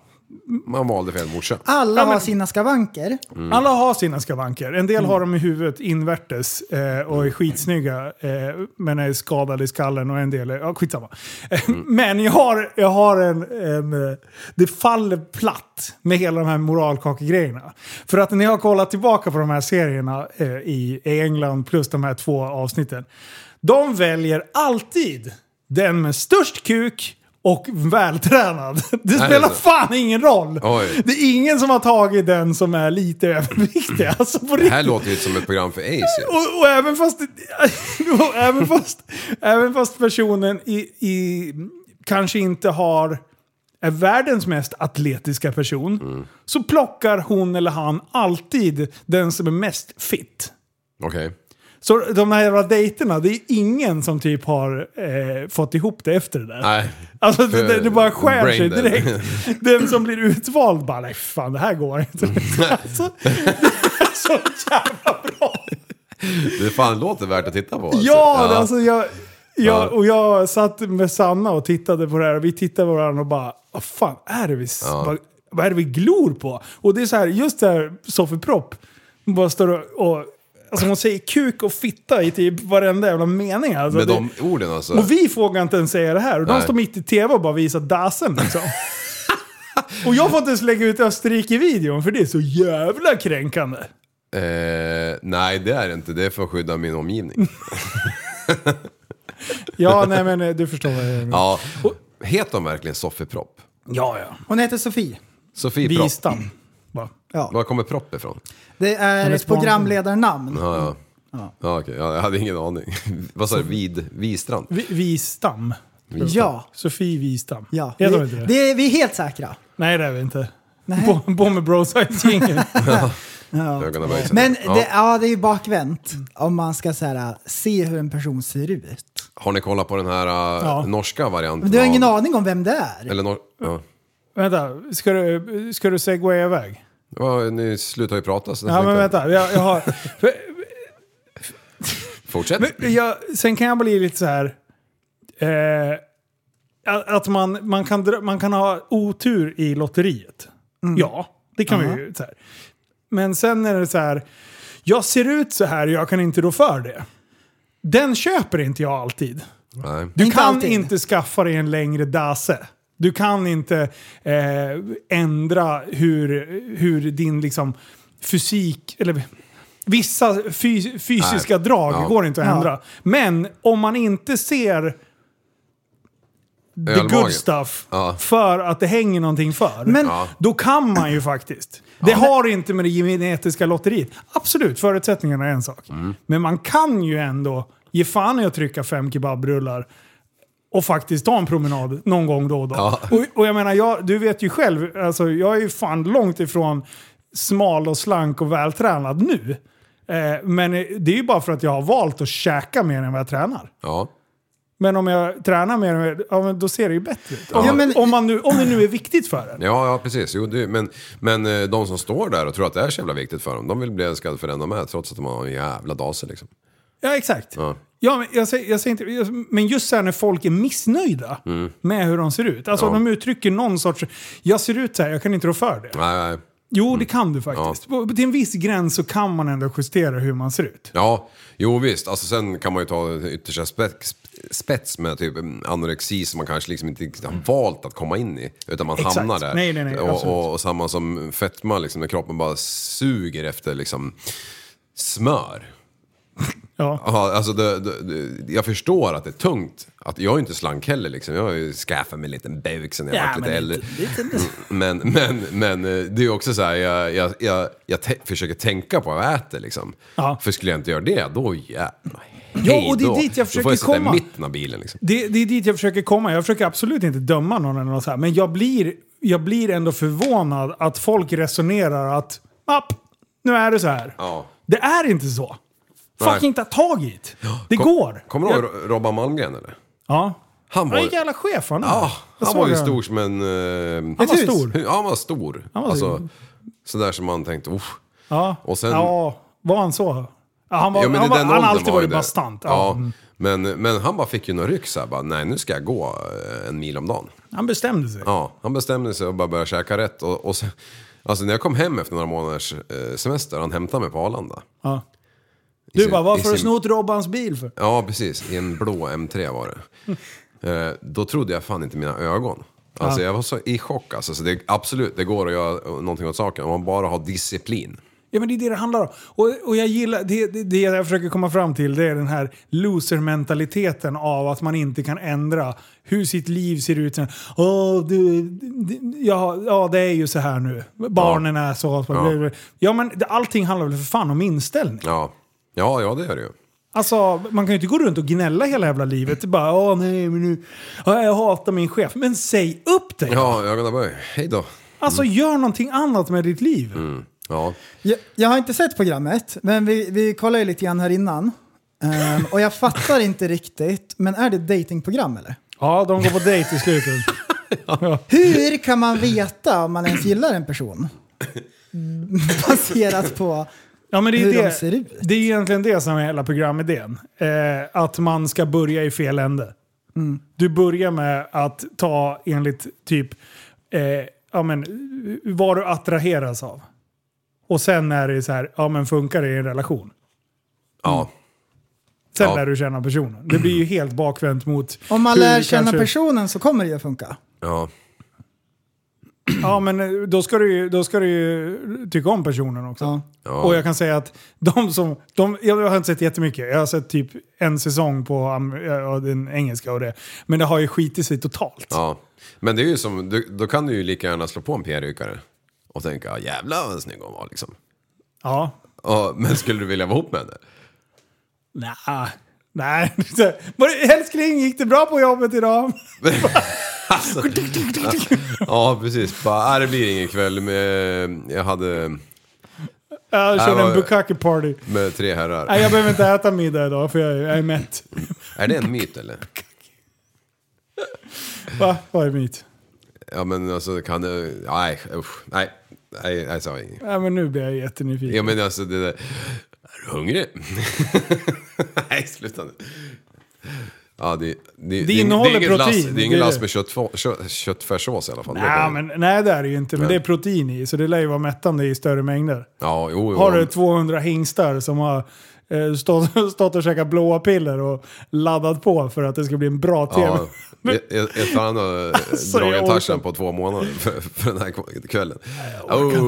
[SPEAKER 7] Man valde fel morsa.
[SPEAKER 6] Alla
[SPEAKER 5] Ja, men-
[SPEAKER 6] har sina skavanker.
[SPEAKER 5] Mm. Alla har sina skavanker. En del har dem i huvudet invärtes eh, och är skitsnygga eh, men är skadade i skallen och en del är... Ja, skitsamma. Eh,
[SPEAKER 7] Mm.
[SPEAKER 5] Men jag har, jag har en, en... eh, Det faller platt med hela de här moralkakegrejerna. För att när jag har kollat tillbaka på de här serierna eh, i i England plus de här två avsnitten. De väljer alltid Den med störst kuk och vältränad. Det
[SPEAKER 7] det
[SPEAKER 5] spelar
[SPEAKER 7] så?
[SPEAKER 5] fan ingen roll.
[SPEAKER 7] Oj.
[SPEAKER 5] Det är ingen som har tagit den som är lite överviktig. Alltså på
[SPEAKER 7] Det
[SPEAKER 5] riktigt.
[SPEAKER 7] här låter ju som ett program för Ace ju.
[SPEAKER 5] Och, och även fast, och även fast, även fast personen i, i, kanske inte har är världens mest atletiska person så plockar hon eller han alltid den som är mest fit.
[SPEAKER 7] Okej.
[SPEAKER 5] Så de här jävla dejterna, det är ingen som typ har eh, fått ihop det efter det där.
[SPEAKER 7] Nej.
[SPEAKER 5] Alltså det,
[SPEAKER 7] För
[SPEAKER 5] det, det bara skär sig
[SPEAKER 7] brain dead.
[SPEAKER 5] direkt. Den som blir utvald bara nej fan det här går inte.
[SPEAKER 7] Mm.
[SPEAKER 5] Alltså, det är så jävla bra.
[SPEAKER 7] Det fan låter värt att titta på. alltså.
[SPEAKER 5] Ja, det- alltså jag,
[SPEAKER 7] Ja.
[SPEAKER 5] jag, och jag satt med Sanna och tittade på det här och vi tittade på varandra och bara vad fan är det vi, s- vad, vad är det vi glor på? Och det är så här, just det här Sofie Propp, hon bara står och, och alltså hon säger kuk och fitta i typ varenda jävla mening. Alltså,
[SPEAKER 7] Med
[SPEAKER 5] det,
[SPEAKER 7] de orden alltså.
[SPEAKER 5] och vi vågar inte ens säga det här. Och de
[SPEAKER 7] Nej.
[SPEAKER 5] står mitt i tv och bara visar dasen liksom. och jag får inte ens lägga ut Österrike-videon för det är så jävla kränkande.
[SPEAKER 7] Eh, nej, det är det inte. Det är för att skydda min omgivning.
[SPEAKER 5] Ja, nej men eh, du förstår vad jag menar.
[SPEAKER 7] Ja. Heter de verkligen Sofie Propp?
[SPEAKER 5] Ja, ja.
[SPEAKER 6] Hon heter Sofie.
[SPEAKER 7] Sofie Propp.
[SPEAKER 5] Bistam. Bara.
[SPEAKER 7] Var kommer Propp ifrån?
[SPEAKER 6] Det är
[SPEAKER 5] är
[SPEAKER 6] ett programledarnamn.
[SPEAKER 7] Ja, ja. Ja. okej. Ja, jag hade ingen aning. Vad sa du? Vid, Vistrand?
[SPEAKER 5] Vi- Vistam.
[SPEAKER 6] Ja.
[SPEAKER 5] Sofie Vistam.
[SPEAKER 6] ja.
[SPEAKER 5] Heter hon
[SPEAKER 6] vi,
[SPEAKER 5] inte det?
[SPEAKER 6] det är, vi är helt säkra.
[SPEAKER 5] Nej, det är vi inte.
[SPEAKER 6] Nej.
[SPEAKER 5] Bo- Bomber Brosite-gänget.
[SPEAKER 7] Ögonen böjs.
[SPEAKER 6] Men
[SPEAKER 7] Ja.
[SPEAKER 6] det, ja, det är ju bakvänt om man ska så här, se hur en person ser ut.
[SPEAKER 7] Har ni kollat på den här eh,
[SPEAKER 5] Ja.
[SPEAKER 7] norska varianten?
[SPEAKER 6] Men du har
[SPEAKER 7] av-
[SPEAKER 6] ingen aning om vem det är.
[SPEAKER 7] Eller nor- ja.
[SPEAKER 5] vänta, ska du, ska du segwaya iväg?
[SPEAKER 7] Ja, ni slutar ju prata så
[SPEAKER 5] Ja,
[SPEAKER 7] tänkte
[SPEAKER 5] men
[SPEAKER 7] jag-
[SPEAKER 5] vänta. Jag, jag har... För,
[SPEAKER 7] Fortsätt.
[SPEAKER 5] Men jag, sen kan jag bli lite så här... Eh, att- att man, man, kan, dra- man kan ha otur i lotteriet. Ja, det kan vi ju. Så här. Men sen är det så här... Jag ser ut så här och jag kan inte rå för det. Den köper inte jag alltid.
[SPEAKER 7] Nej.
[SPEAKER 5] Du
[SPEAKER 6] Inte
[SPEAKER 5] kan
[SPEAKER 6] alltid.
[SPEAKER 5] inte skaffa dig en längre dase. Du kan inte eh, ändra hur, hur din liksom, fysik, eller vissa fys- fysiska drag
[SPEAKER 7] Ja.
[SPEAKER 5] går inte att
[SPEAKER 6] Ja.
[SPEAKER 5] ändra. Men om man inte ser the
[SPEAKER 7] Ölmagen.
[SPEAKER 5] good stuff
[SPEAKER 7] Ja.
[SPEAKER 5] för att det hänger någonting för,
[SPEAKER 6] Men-
[SPEAKER 5] då kan man ju faktiskt. Det har inte med det genetiska lotteriet. Absolut, förutsättningarna är en sak. Men man kan ju ändå ge fan i att trycka fem kebabrullar och faktiskt ta en promenad någon gång då och då.
[SPEAKER 7] Ja.
[SPEAKER 5] Och, och jag menar, jag, du vet ju själv, alltså, jag är ju fan långt ifrån smal och slank och vältränad nu. Eh, men det är ju bara för att jag har valt att käka mer än vad jag tränar.
[SPEAKER 7] Ja.
[SPEAKER 5] Men om jag tränar mer, ja, men då ser det ju bättre ut. Om,
[SPEAKER 6] Ja, men-
[SPEAKER 5] om, man nu, om det nu är viktigt för en.
[SPEAKER 7] Ja, ja precis. Jo, det, men, men eh, de som står där och tror att det är så jävla viktigt för dem, de vill bli älskade för den de är trots att de har en jävla dase liksom.
[SPEAKER 5] Ja, exakt. Ja.
[SPEAKER 7] Ja.
[SPEAKER 5] men, jag säger, jag säger inte, jag, men just så här när folk är missnöjda med hur de ser ut. Alltså
[SPEAKER 7] Ja.
[SPEAKER 5] de uttrycker någon sorts, jag ser ut så här, jag kan inte rå för det.
[SPEAKER 7] Nej, nej.
[SPEAKER 5] Jo,
[SPEAKER 7] Mm.
[SPEAKER 5] det kan du faktiskt. På- Till en viss gräns så kan man ändå justera hur man ser ut.
[SPEAKER 7] Ja, jo visst. Alltså, sen kan man ju ta yttersta spets, spets med typ anorexi som man kanske liksom inte riktigt har valt att komma in i. Utan man
[SPEAKER 5] Exakt.
[SPEAKER 7] hamnar där.
[SPEAKER 5] Nej, nej, nej,
[SPEAKER 7] och,
[SPEAKER 5] absolut.
[SPEAKER 7] och, och samma som fetma, liksom, när kroppen bara suger efter liksom, smör.
[SPEAKER 5] Ja.
[SPEAKER 7] Ja, alltså det, det, det, jag förstår att det är tungt. Att jag är inte slank heller liksom. Jag har ju skaffat mig en liten buk sen jag
[SPEAKER 5] Ja,
[SPEAKER 7] var lite
[SPEAKER 5] men
[SPEAKER 7] äldre. Men, men, men eh, det är ju också så här, jag, jag, jag, jag te- försöker tänka på vad jag äter liksom.
[SPEAKER 5] Ja.
[SPEAKER 7] För skulle jag inte göra det, då jävlar.
[SPEAKER 5] Ja, och det är dit jag
[SPEAKER 7] Då får
[SPEAKER 5] försöker
[SPEAKER 7] jag sitta
[SPEAKER 5] komma.
[SPEAKER 7] i mitten av bilen liksom.
[SPEAKER 5] Det, det är dit jag försöker komma. Jag försöker absolut inte döma någon eller något så här. Men jag blir, jag blir ändå förvånad att folk resonerar att app, nu är det så här.
[SPEAKER 7] Ja.
[SPEAKER 5] Det är inte så.
[SPEAKER 7] Nej.
[SPEAKER 5] Fucking ta tag i det. Det går.
[SPEAKER 7] Kommer du
[SPEAKER 5] Jag-
[SPEAKER 7] ihåg Ro- Robban Malmgren eller?
[SPEAKER 5] Ja.
[SPEAKER 7] Han var,
[SPEAKER 5] Han är en jävla chef han är.
[SPEAKER 7] ja,
[SPEAKER 5] Jag
[SPEAKER 7] han
[SPEAKER 5] såg
[SPEAKER 7] var ju
[SPEAKER 5] det.
[SPEAKER 7] stor som en... eh,
[SPEAKER 5] Han var stor.
[SPEAKER 7] Ja, han var stor.
[SPEAKER 5] Han var
[SPEAKER 7] alltså, sådär som man tänkte, uff.
[SPEAKER 5] Ja.
[SPEAKER 7] Och sen-
[SPEAKER 5] ja, var han så? Ja, han var,
[SPEAKER 7] Ja, men
[SPEAKER 5] han
[SPEAKER 7] i
[SPEAKER 5] var,
[SPEAKER 7] den
[SPEAKER 5] han har
[SPEAKER 7] åldern
[SPEAKER 5] alltid
[SPEAKER 7] var ju
[SPEAKER 5] varit
[SPEAKER 7] det.
[SPEAKER 5] bastant. Ja. Mm.
[SPEAKER 7] Ja, men, men han bara fick ju någon ryck så här, bara, nej nu ska jag gå eh, en mil om dagen.
[SPEAKER 5] Han bestämde sig.
[SPEAKER 7] Ja, han bestämde sig och bara började käka rätt. Och, och sen, alltså när jag kom hem efter några månaders eh, semester, han hämtade mig på Arlanda.
[SPEAKER 5] Ja.
[SPEAKER 7] I
[SPEAKER 5] Du
[SPEAKER 7] sin-
[SPEAKER 5] bara,
[SPEAKER 7] i
[SPEAKER 5] varför har du
[SPEAKER 7] sin-
[SPEAKER 5] snott Robbans bil för?
[SPEAKER 7] Ja, precis. I en blå M3 var det. Eh, då trodde jag fan inte mina ögon. Alltså jag var så i chock alltså. Så det, absolut, det går att göra någonting åt saken om man bara har disciplin.
[SPEAKER 5] Ja, men det är det det handlar om. Och, och jag gillar, det, det, det jag försöker komma fram till det är den här loser-mentaliteten av att man inte kan ändra hur sitt liv ser ut. Åh, du, du, ja, ja, det är ju så här nu. Barnen är så. Ja, men det- allting handlar väl för fan om inställning.
[SPEAKER 7] Ja. Ja, ja, det gör det ju.
[SPEAKER 5] Alltså, man kan ju inte gå runt och gnälla hela jävla livet. Bara, åh nej, men nu, ja, jag hatar min chef. Men säg upp dig!
[SPEAKER 7] Ja, ögonaböj. Hej då.
[SPEAKER 5] Alltså, gör någonting annat med ditt liv.
[SPEAKER 7] Ja.
[SPEAKER 6] Jag, jag har inte sett programmet, men vi, vi kollade ju lite grann här innan. Ehm, och jag fattar inte riktigt, men är det ett datingprogram eller?
[SPEAKER 5] Ja, de går på dejt i slutet.
[SPEAKER 6] Hur kan man veta om man ens gillar en person? Baserat på...
[SPEAKER 5] Ja, men det, är
[SPEAKER 6] Hur de
[SPEAKER 5] det,
[SPEAKER 6] ser ut.
[SPEAKER 5] det är egentligen det som är hela programidén. Eh, att man ska börja i fel ände.
[SPEAKER 6] Mm.
[SPEAKER 5] Du börjar med att ta enligt typ eh, ja, men, vad du attraheras av. Och sen är det så här, ja men funkar det i en relation?
[SPEAKER 7] Ja.
[SPEAKER 5] Sen
[SPEAKER 7] Ja.
[SPEAKER 5] lär du känna personen. Det blir ju helt bakvänt mot...
[SPEAKER 6] Om man
[SPEAKER 5] hur
[SPEAKER 6] lär
[SPEAKER 5] du
[SPEAKER 6] känna
[SPEAKER 5] kanske-
[SPEAKER 6] personen så kommer det ju att funka.
[SPEAKER 7] Ja.
[SPEAKER 5] Ja men eh, då ska, du ju, då ska du ju tycka om personen också.
[SPEAKER 6] Ja.
[SPEAKER 5] Och jag kan säga att de som... De, jag har inte sett jättemycket. Jag har sett typ en säsong på am- ja, den engelska och det. Men det har ju skitit sig totalt.
[SPEAKER 7] ja. Men det är ju som, du, då kan du ju lika gärna slå på en PR-rykare. Och tänka, "Ja, jävlar vad snygg hon var liksom.
[SPEAKER 5] Ja.
[SPEAKER 7] Ja, men skulle du vilja vara ihop med henne?
[SPEAKER 5] Nja. Nej. Var det- Älskling, gick det bra på jobbet idag?
[SPEAKER 7] Alltså, ja, precis. Bara, "Nej, det blir ingen kväll. Med, jag hade
[SPEAKER 5] Ja, Jag körde
[SPEAKER 7] Nej,
[SPEAKER 5] en
[SPEAKER 7] vad-
[SPEAKER 5] bukkake party.
[SPEAKER 7] med tre herrar.
[SPEAKER 5] Nej, jag behöver inte äta middag idag för jag är, jag är mätt.
[SPEAKER 7] Är det en myt eller?
[SPEAKER 5] Va? Vad är mitt?
[SPEAKER 7] Ja, men alltså kan du... Nej, usch. Nej, nej, jag sa inget.
[SPEAKER 5] Nej, men nu blir jag jättenyfiken.
[SPEAKER 7] Ja, men alltså det där... Är du hungrig? nej, sluta nu. Ja, det, det, det, är-
[SPEAKER 5] innehåller
[SPEAKER 7] det är ingen
[SPEAKER 5] protein.
[SPEAKER 7] Lass, det är ingen
[SPEAKER 5] Det är-
[SPEAKER 7] lass med köttfå- kö- köttfärssås i alla fall. Det
[SPEAKER 5] Nej,
[SPEAKER 7] kan-
[SPEAKER 5] men, nej, det är det ju inte. Men det är protein i, så det lär ju vara mättande i större mängder.
[SPEAKER 7] Ja, jo, jo.
[SPEAKER 5] Har du 200 hingstar som har eh, stått, stått och käkat blåa piller och laddat på för att det ska bli en bra tv.
[SPEAKER 7] Ja, ett- ett- ett han har
[SPEAKER 5] Alltså, jag
[SPEAKER 7] dragit
[SPEAKER 5] orkar
[SPEAKER 7] taschen på två månader för, för den här k- kvällen. Oh,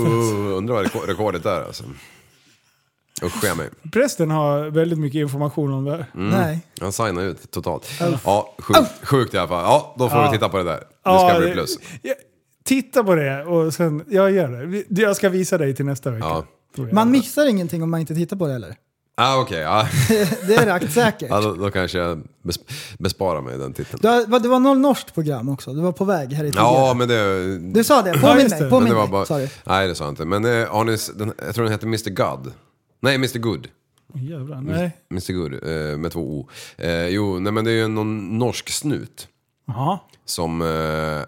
[SPEAKER 7] undrar vad rekor- rekordet är alltså. Usch, jag mig.
[SPEAKER 5] Prästen har väldigt mycket information om det här.
[SPEAKER 7] Mm,
[SPEAKER 6] Nej.
[SPEAKER 7] Han signar ut totalt. Ja, sjukt, sjukt i alla fall. Ja, då får vi titta på det där. Det
[SPEAKER 5] Ja,
[SPEAKER 7] ska bli plus.
[SPEAKER 5] ja, Titta på det och sen, jag gör det. Vi- Jag ska visa dig till nästa vecka.
[SPEAKER 7] Ja,
[SPEAKER 5] tror jag.
[SPEAKER 6] Man missar ingenting om man inte tittar på det heller.
[SPEAKER 7] ah, okej. ja.
[SPEAKER 6] Det är rakt säkert.
[SPEAKER 7] ja, då, då kanske jag bes- besparar mig den titeln.
[SPEAKER 6] Du, har- va- det var något norskt program också, du var på väg här i tidigare.
[SPEAKER 7] Ja, men det...
[SPEAKER 6] Du sa det,
[SPEAKER 5] Ja,
[SPEAKER 6] påminn
[SPEAKER 5] just det.
[SPEAKER 6] mig, påminn
[SPEAKER 7] det var
[SPEAKER 6] mig.
[SPEAKER 7] bara,
[SPEAKER 6] sa du.
[SPEAKER 7] Nej, det sa jag inte. Men eh, har ni, s- den, jag tror den heter Mr. God. Nej, Mr. Good.
[SPEAKER 5] Jävlar,
[SPEAKER 7] Mm.
[SPEAKER 5] nej.
[SPEAKER 7] Mr Good, eh, med två O. Eh, jo, nej men det är ju någon norsk snut
[SPEAKER 5] Jaha.
[SPEAKER 7] som eh,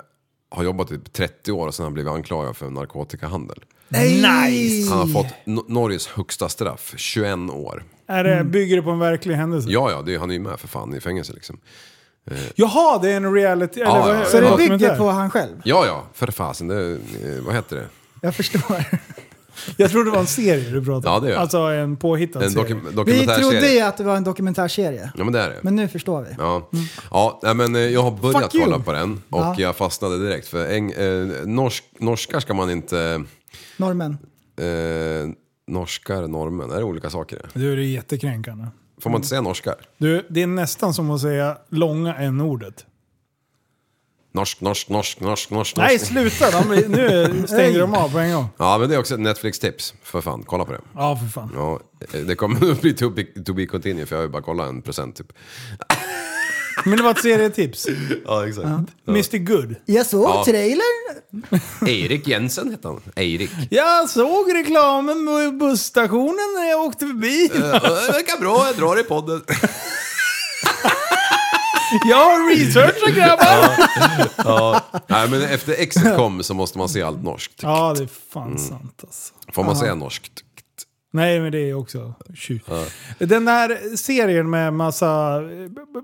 [SPEAKER 7] har jobbat i typ 30 år och sen har blivit anklagad för narkotikahandel.
[SPEAKER 5] Nice!
[SPEAKER 7] Han har fått no Norges högsta straff, 21 år.
[SPEAKER 5] Är det,
[SPEAKER 6] Mm.
[SPEAKER 5] bygger det på en verklig händelse?
[SPEAKER 7] Ja, ja, det, han är ju med för fan i fängelse liksom.
[SPEAKER 5] Jaha, det är en reality... eller
[SPEAKER 7] Ja,
[SPEAKER 5] vad-
[SPEAKER 7] ja.
[SPEAKER 6] Så det
[SPEAKER 5] vad-
[SPEAKER 6] bygger
[SPEAKER 5] dokumentär.
[SPEAKER 6] på han själv?
[SPEAKER 7] Ja, ja, för fasen, det, eh, vad heter det?
[SPEAKER 6] Jag förstår.
[SPEAKER 5] Jag trodde det var en serie du pratade om.
[SPEAKER 7] Ja, det gör jag.
[SPEAKER 5] Alltså en påhittad
[SPEAKER 7] En
[SPEAKER 5] serie.
[SPEAKER 7] dokum
[SPEAKER 6] Vi
[SPEAKER 7] dokumentärserie.
[SPEAKER 6] trodde ju att det var en dokumentärserie,
[SPEAKER 7] Ja, men det är det.
[SPEAKER 6] men nu förstår vi.
[SPEAKER 7] Ja, ja nej, men eh, jag har börjat
[SPEAKER 6] Fuck you.
[SPEAKER 7] kolla på den och
[SPEAKER 6] Ja.
[SPEAKER 7] jag fastnade direkt. För eng, eh, norsk, norskar ska man inte...
[SPEAKER 6] Normen.
[SPEAKER 7] Eh, norskar, normen, är det olika saker?
[SPEAKER 5] Du, det är jättekränkande.
[SPEAKER 7] Får man inte säga norskar?
[SPEAKER 5] Du, det är nästan som att säga långa n-ordet.
[SPEAKER 7] Norsk, norsk, norsk, norsk, norsk.
[SPEAKER 5] Nej,
[SPEAKER 7] norsk.
[SPEAKER 5] sluta! De, nu stängde de av på en gång.
[SPEAKER 7] Ja, men det är också ett Netflix-tips. För fan, kolla på det.
[SPEAKER 5] Ja, för fan.
[SPEAKER 7] Ja, eh, det kommer att bli to be, to be continue, för jag har ju bara kollat en procent typ.
[SPEAKER 5] Men det var ett serietips.
[SPEAKER 7] Ja, exakt.
[SPEAKER 5] Mr Good.
[SPEAKER 6] Jag såg
[SPEAKER 7] Ja.
[SPEAKER 6] trailern.
[SPEAKER 7] Erik Jensen hette han. Erik.
[SPEAKER 5] Jag såg reklamen på busstationen när jag åkte förbi.
[SPEAKER 7] Det verkar bra, jag drar i podden.
[SPEAKER 5] Jag har researchat grabbar!
[SPEAKER 7] Nej, men efter Exit kom så måste man se allt norskt.
[SPEAKER 5] Ja, det är fan sant alltså.
[SPEAKER 7] Får man säga norskt?
[SPEAKER 5] Nej, men det är också tjut. Den där serien med massa... eh,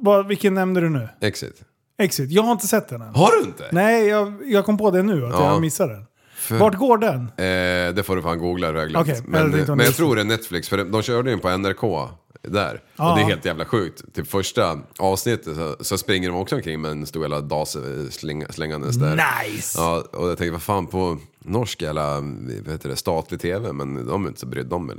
[SPEAKER 5] vad- Vilken nämnde du nu?
[SPEAKER 7] Exit?
[SPEAKER 5] Exit. Jag har inte sett den än.
[SPEAKER 7] Har du inte?
[SPEAKER 5] Nej, jag, jag kom på det nu att
[SPEAKER 7] Ja.
[SPEAKER 5] jag missade den. Vart går den?
[SPEAKER 7] Eh, det får du fan googla, det har jag glömt.
[SPEAKER 5] Okej, jag
[SPEAKER 7] men,
[SPEAKER 5] tänkte om
[SPEAKER 7] men jag
[SPEAKER 5] det-
[SPEAKER 7] tror det är Netflix, för de, de körde ju den på NRK där.
[SPEAKER 5] Ja.
[SPEAKER 7] Och det är helt jävla sjukt. Till första avsnittet så, så springer de också omkring med en stor jävla dase släng, slängandes där.
[SPEAKER 5] Nice!
[SPEAKER 7] Ja, och jag tänkte, vad fan på norsk jävla, vad heter det, statlig tv, men de är inte så brydda om det.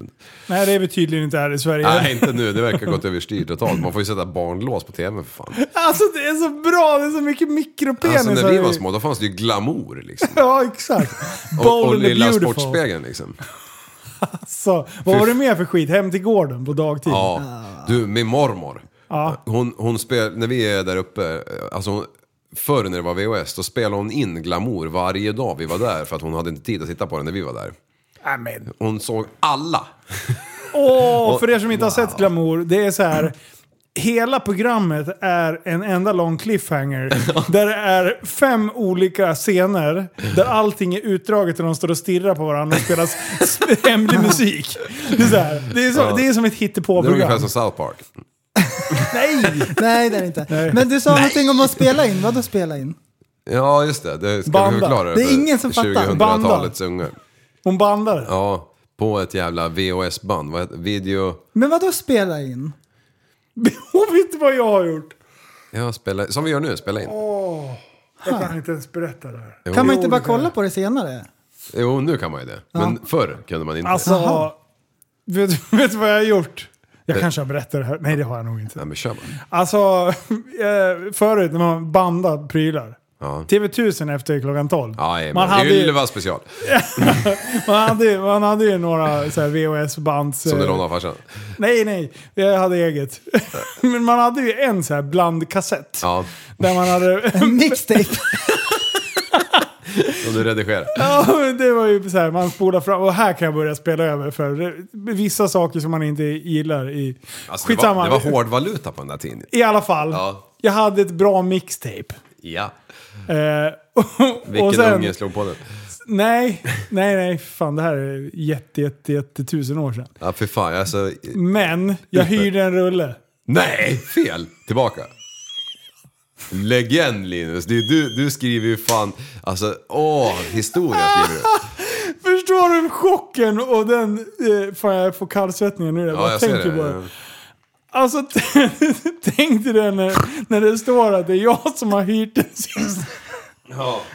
[SPEAKER 5] Nej, det är vi tydligen inte här i Sverige.
[SPEAKER 7] Nej, inte nu. Det verkar gått överstyr totalt. Man får ju sätta barnlås på tvn för fan.
[SPEAKER 5] Alltså det är så bra, det är så mycket mikropenisar.
[SPEAKER 7] Alltså när vi var
[SPEAKER 5] i-
[SPEAKER 7] små, då fanns det ju glamour liksom.
[SPEAKER 5] Ja, exakt.
[SPEAKER 7] Och, och
[SPEAKER 5] Bold and
[SPEAKER 7] lilla
[SPEAKER 5] beautiful.
[SPEAKER 7] Sportspegeln liksom.
[SPEAKER 5] Så, vad var det mer för skit? Hem till gården på dagtid?
[SPEAKER 7] Ja. Du, min mormor.
[SPEAKER 5] Ja.
[SPEAKER 7] Hon, hon spel, när vi är där uppe, alltså hon, förr när det var VHS, då spelade hon in glamour varje dag vi var där för att hon hade inte tid att titta på den när vi var där.
[SPEAKER 5] Amen.
[SPEAKER 7] Hon såg alla.
[SPEAKER 5] Åh, för er som inte har sett Glamour, det är så här. Hela programmet är en enda lång cliffhanger. där det är fem olika scener. Där allting är utdraget och de står och stirrar på varandra och spelar s- s- hemlig musik. Det är, så här, det är, så, det är som ett
[SPEAKER 7] Det är ungefär
[SPEAKER 5] hittepåprogram.
[SPEAKER 7] som South Park.
[SPEAKER 5] Nej!
[SPEAKER 6] Nej, det är det inte. Men du sa någonting om att spela in. Vadå spela in?
[SPEAKER 7] Ja, just det. Det ska
[SPEAKER 5] Banda.
[SPEAKER 7] vi förklara.
[SPEAKER 6] Det är
[SPEAKER 7] för
[SPEAKER 6] ingen som fattar.
[SPEAKER 7] 2000-talets unga.
[SPEAKER 5] Hon bandade.
[SPEAKER 7] Ja, på ett jävla VHS-band. Vad heter Video...
[SPEAKER 6] Men vadå spela in?
[SPEAKER 5] Hon vet inte vad jag har gjort.
[SPEAKER 7] Ja, spela, som vi gör nu, spela in.
[SPEAKER 5] Jag kan inte ens berätta det här.
[SPEAKER 6] Kan man
[SPEAKER 5] Jo,
[SPEAKER 6] inte bara
[SPEAKER 5] det kan jag.
[SPEAKER 6] kolla på det senare?
[SPEAKER 7] Jo, nu kan man ju det. Men förr kunde man inte.
[SPEAKER 5] Alltså, vet, du- vet du vad jag har gjort? Jag
[SPEAKER 7] Det-
[SPEAKER 5] kanske har berättat det här. Nej, det har jag nog inte.
[SPEAKER 7] Nej, men kör bara.
[SPEAKER 5] Alltså, eh, förut när man bandade prylar.
[SPEAKER 7] Ja.
[SPEAKER 5] TV1000 efter klockan 12.
[SPEAKER 7] Ja, jajamän.
[SPEAKER 5] man, hade ju,
[SPEAKER 7] Ylva special.
[SPEAKER 5] man, hade, ju- man hade ju några så här VHS-bands...
[SPEAKER 7] Som du
[SPEAKER 5] eh,
[SPEAKER 7] lånade av farsan.
[SPEAKER 5] Nej, nej. Jag hade eget. Men man hade ju en så här blandkassett.
[SPEAKER 7] Ja,
[SPEAKER 5] Där man hade...
[SPEAKER 6] Mixtape.
[SPEAKER 7] som du redigerar. Alltså,
[SPEAKER 5] Ja, men det var ju så här, man spolar fram och här kan jag börja spela över för det- vissa saker som man inte gillar i...
[SPEAKER 7] Alltså, det, var, det var hård valuta på den där tiden.
[SPEAKER 5] I alla fall,
[SPEAKER 7] Ja.
[SPEAKER 5] jag hade ett bra mixtape.
[SPEAKER 7] Ja.
[SPEAKER 5] Eh, och,
[SPEAKER 7] Vilken
[SPEAKER 5] och sen,
[SPEAKER 7] unge slog på den?
[SPEAKER 5] Nej, nej, nej. Fan, det här är jätte, jätte, jätte tusen år sedan.
[SPEAKER 7] Ja, för fan. Alltså,
[SPEAKER 5] Men jag hyrde en rulle.
[SPEAKER 7] nej! Fel! Tillbaka. Legend Linus, du, du, du skriver ju fan, alltså åh, historia skriver du.
[SPEAKER 5] Förstår du chocken och den... Eh, fan, jag får kallsvettningar nu. Jag bara
[SPEAKER 7] Ja, jag ser
[SPEAKER 5] tänker på
[SPEAKER 7] det.
[SPEAKER 5] det. Alltså, t- tänk dig det när, när det står att det är jag som har hyrt den sista.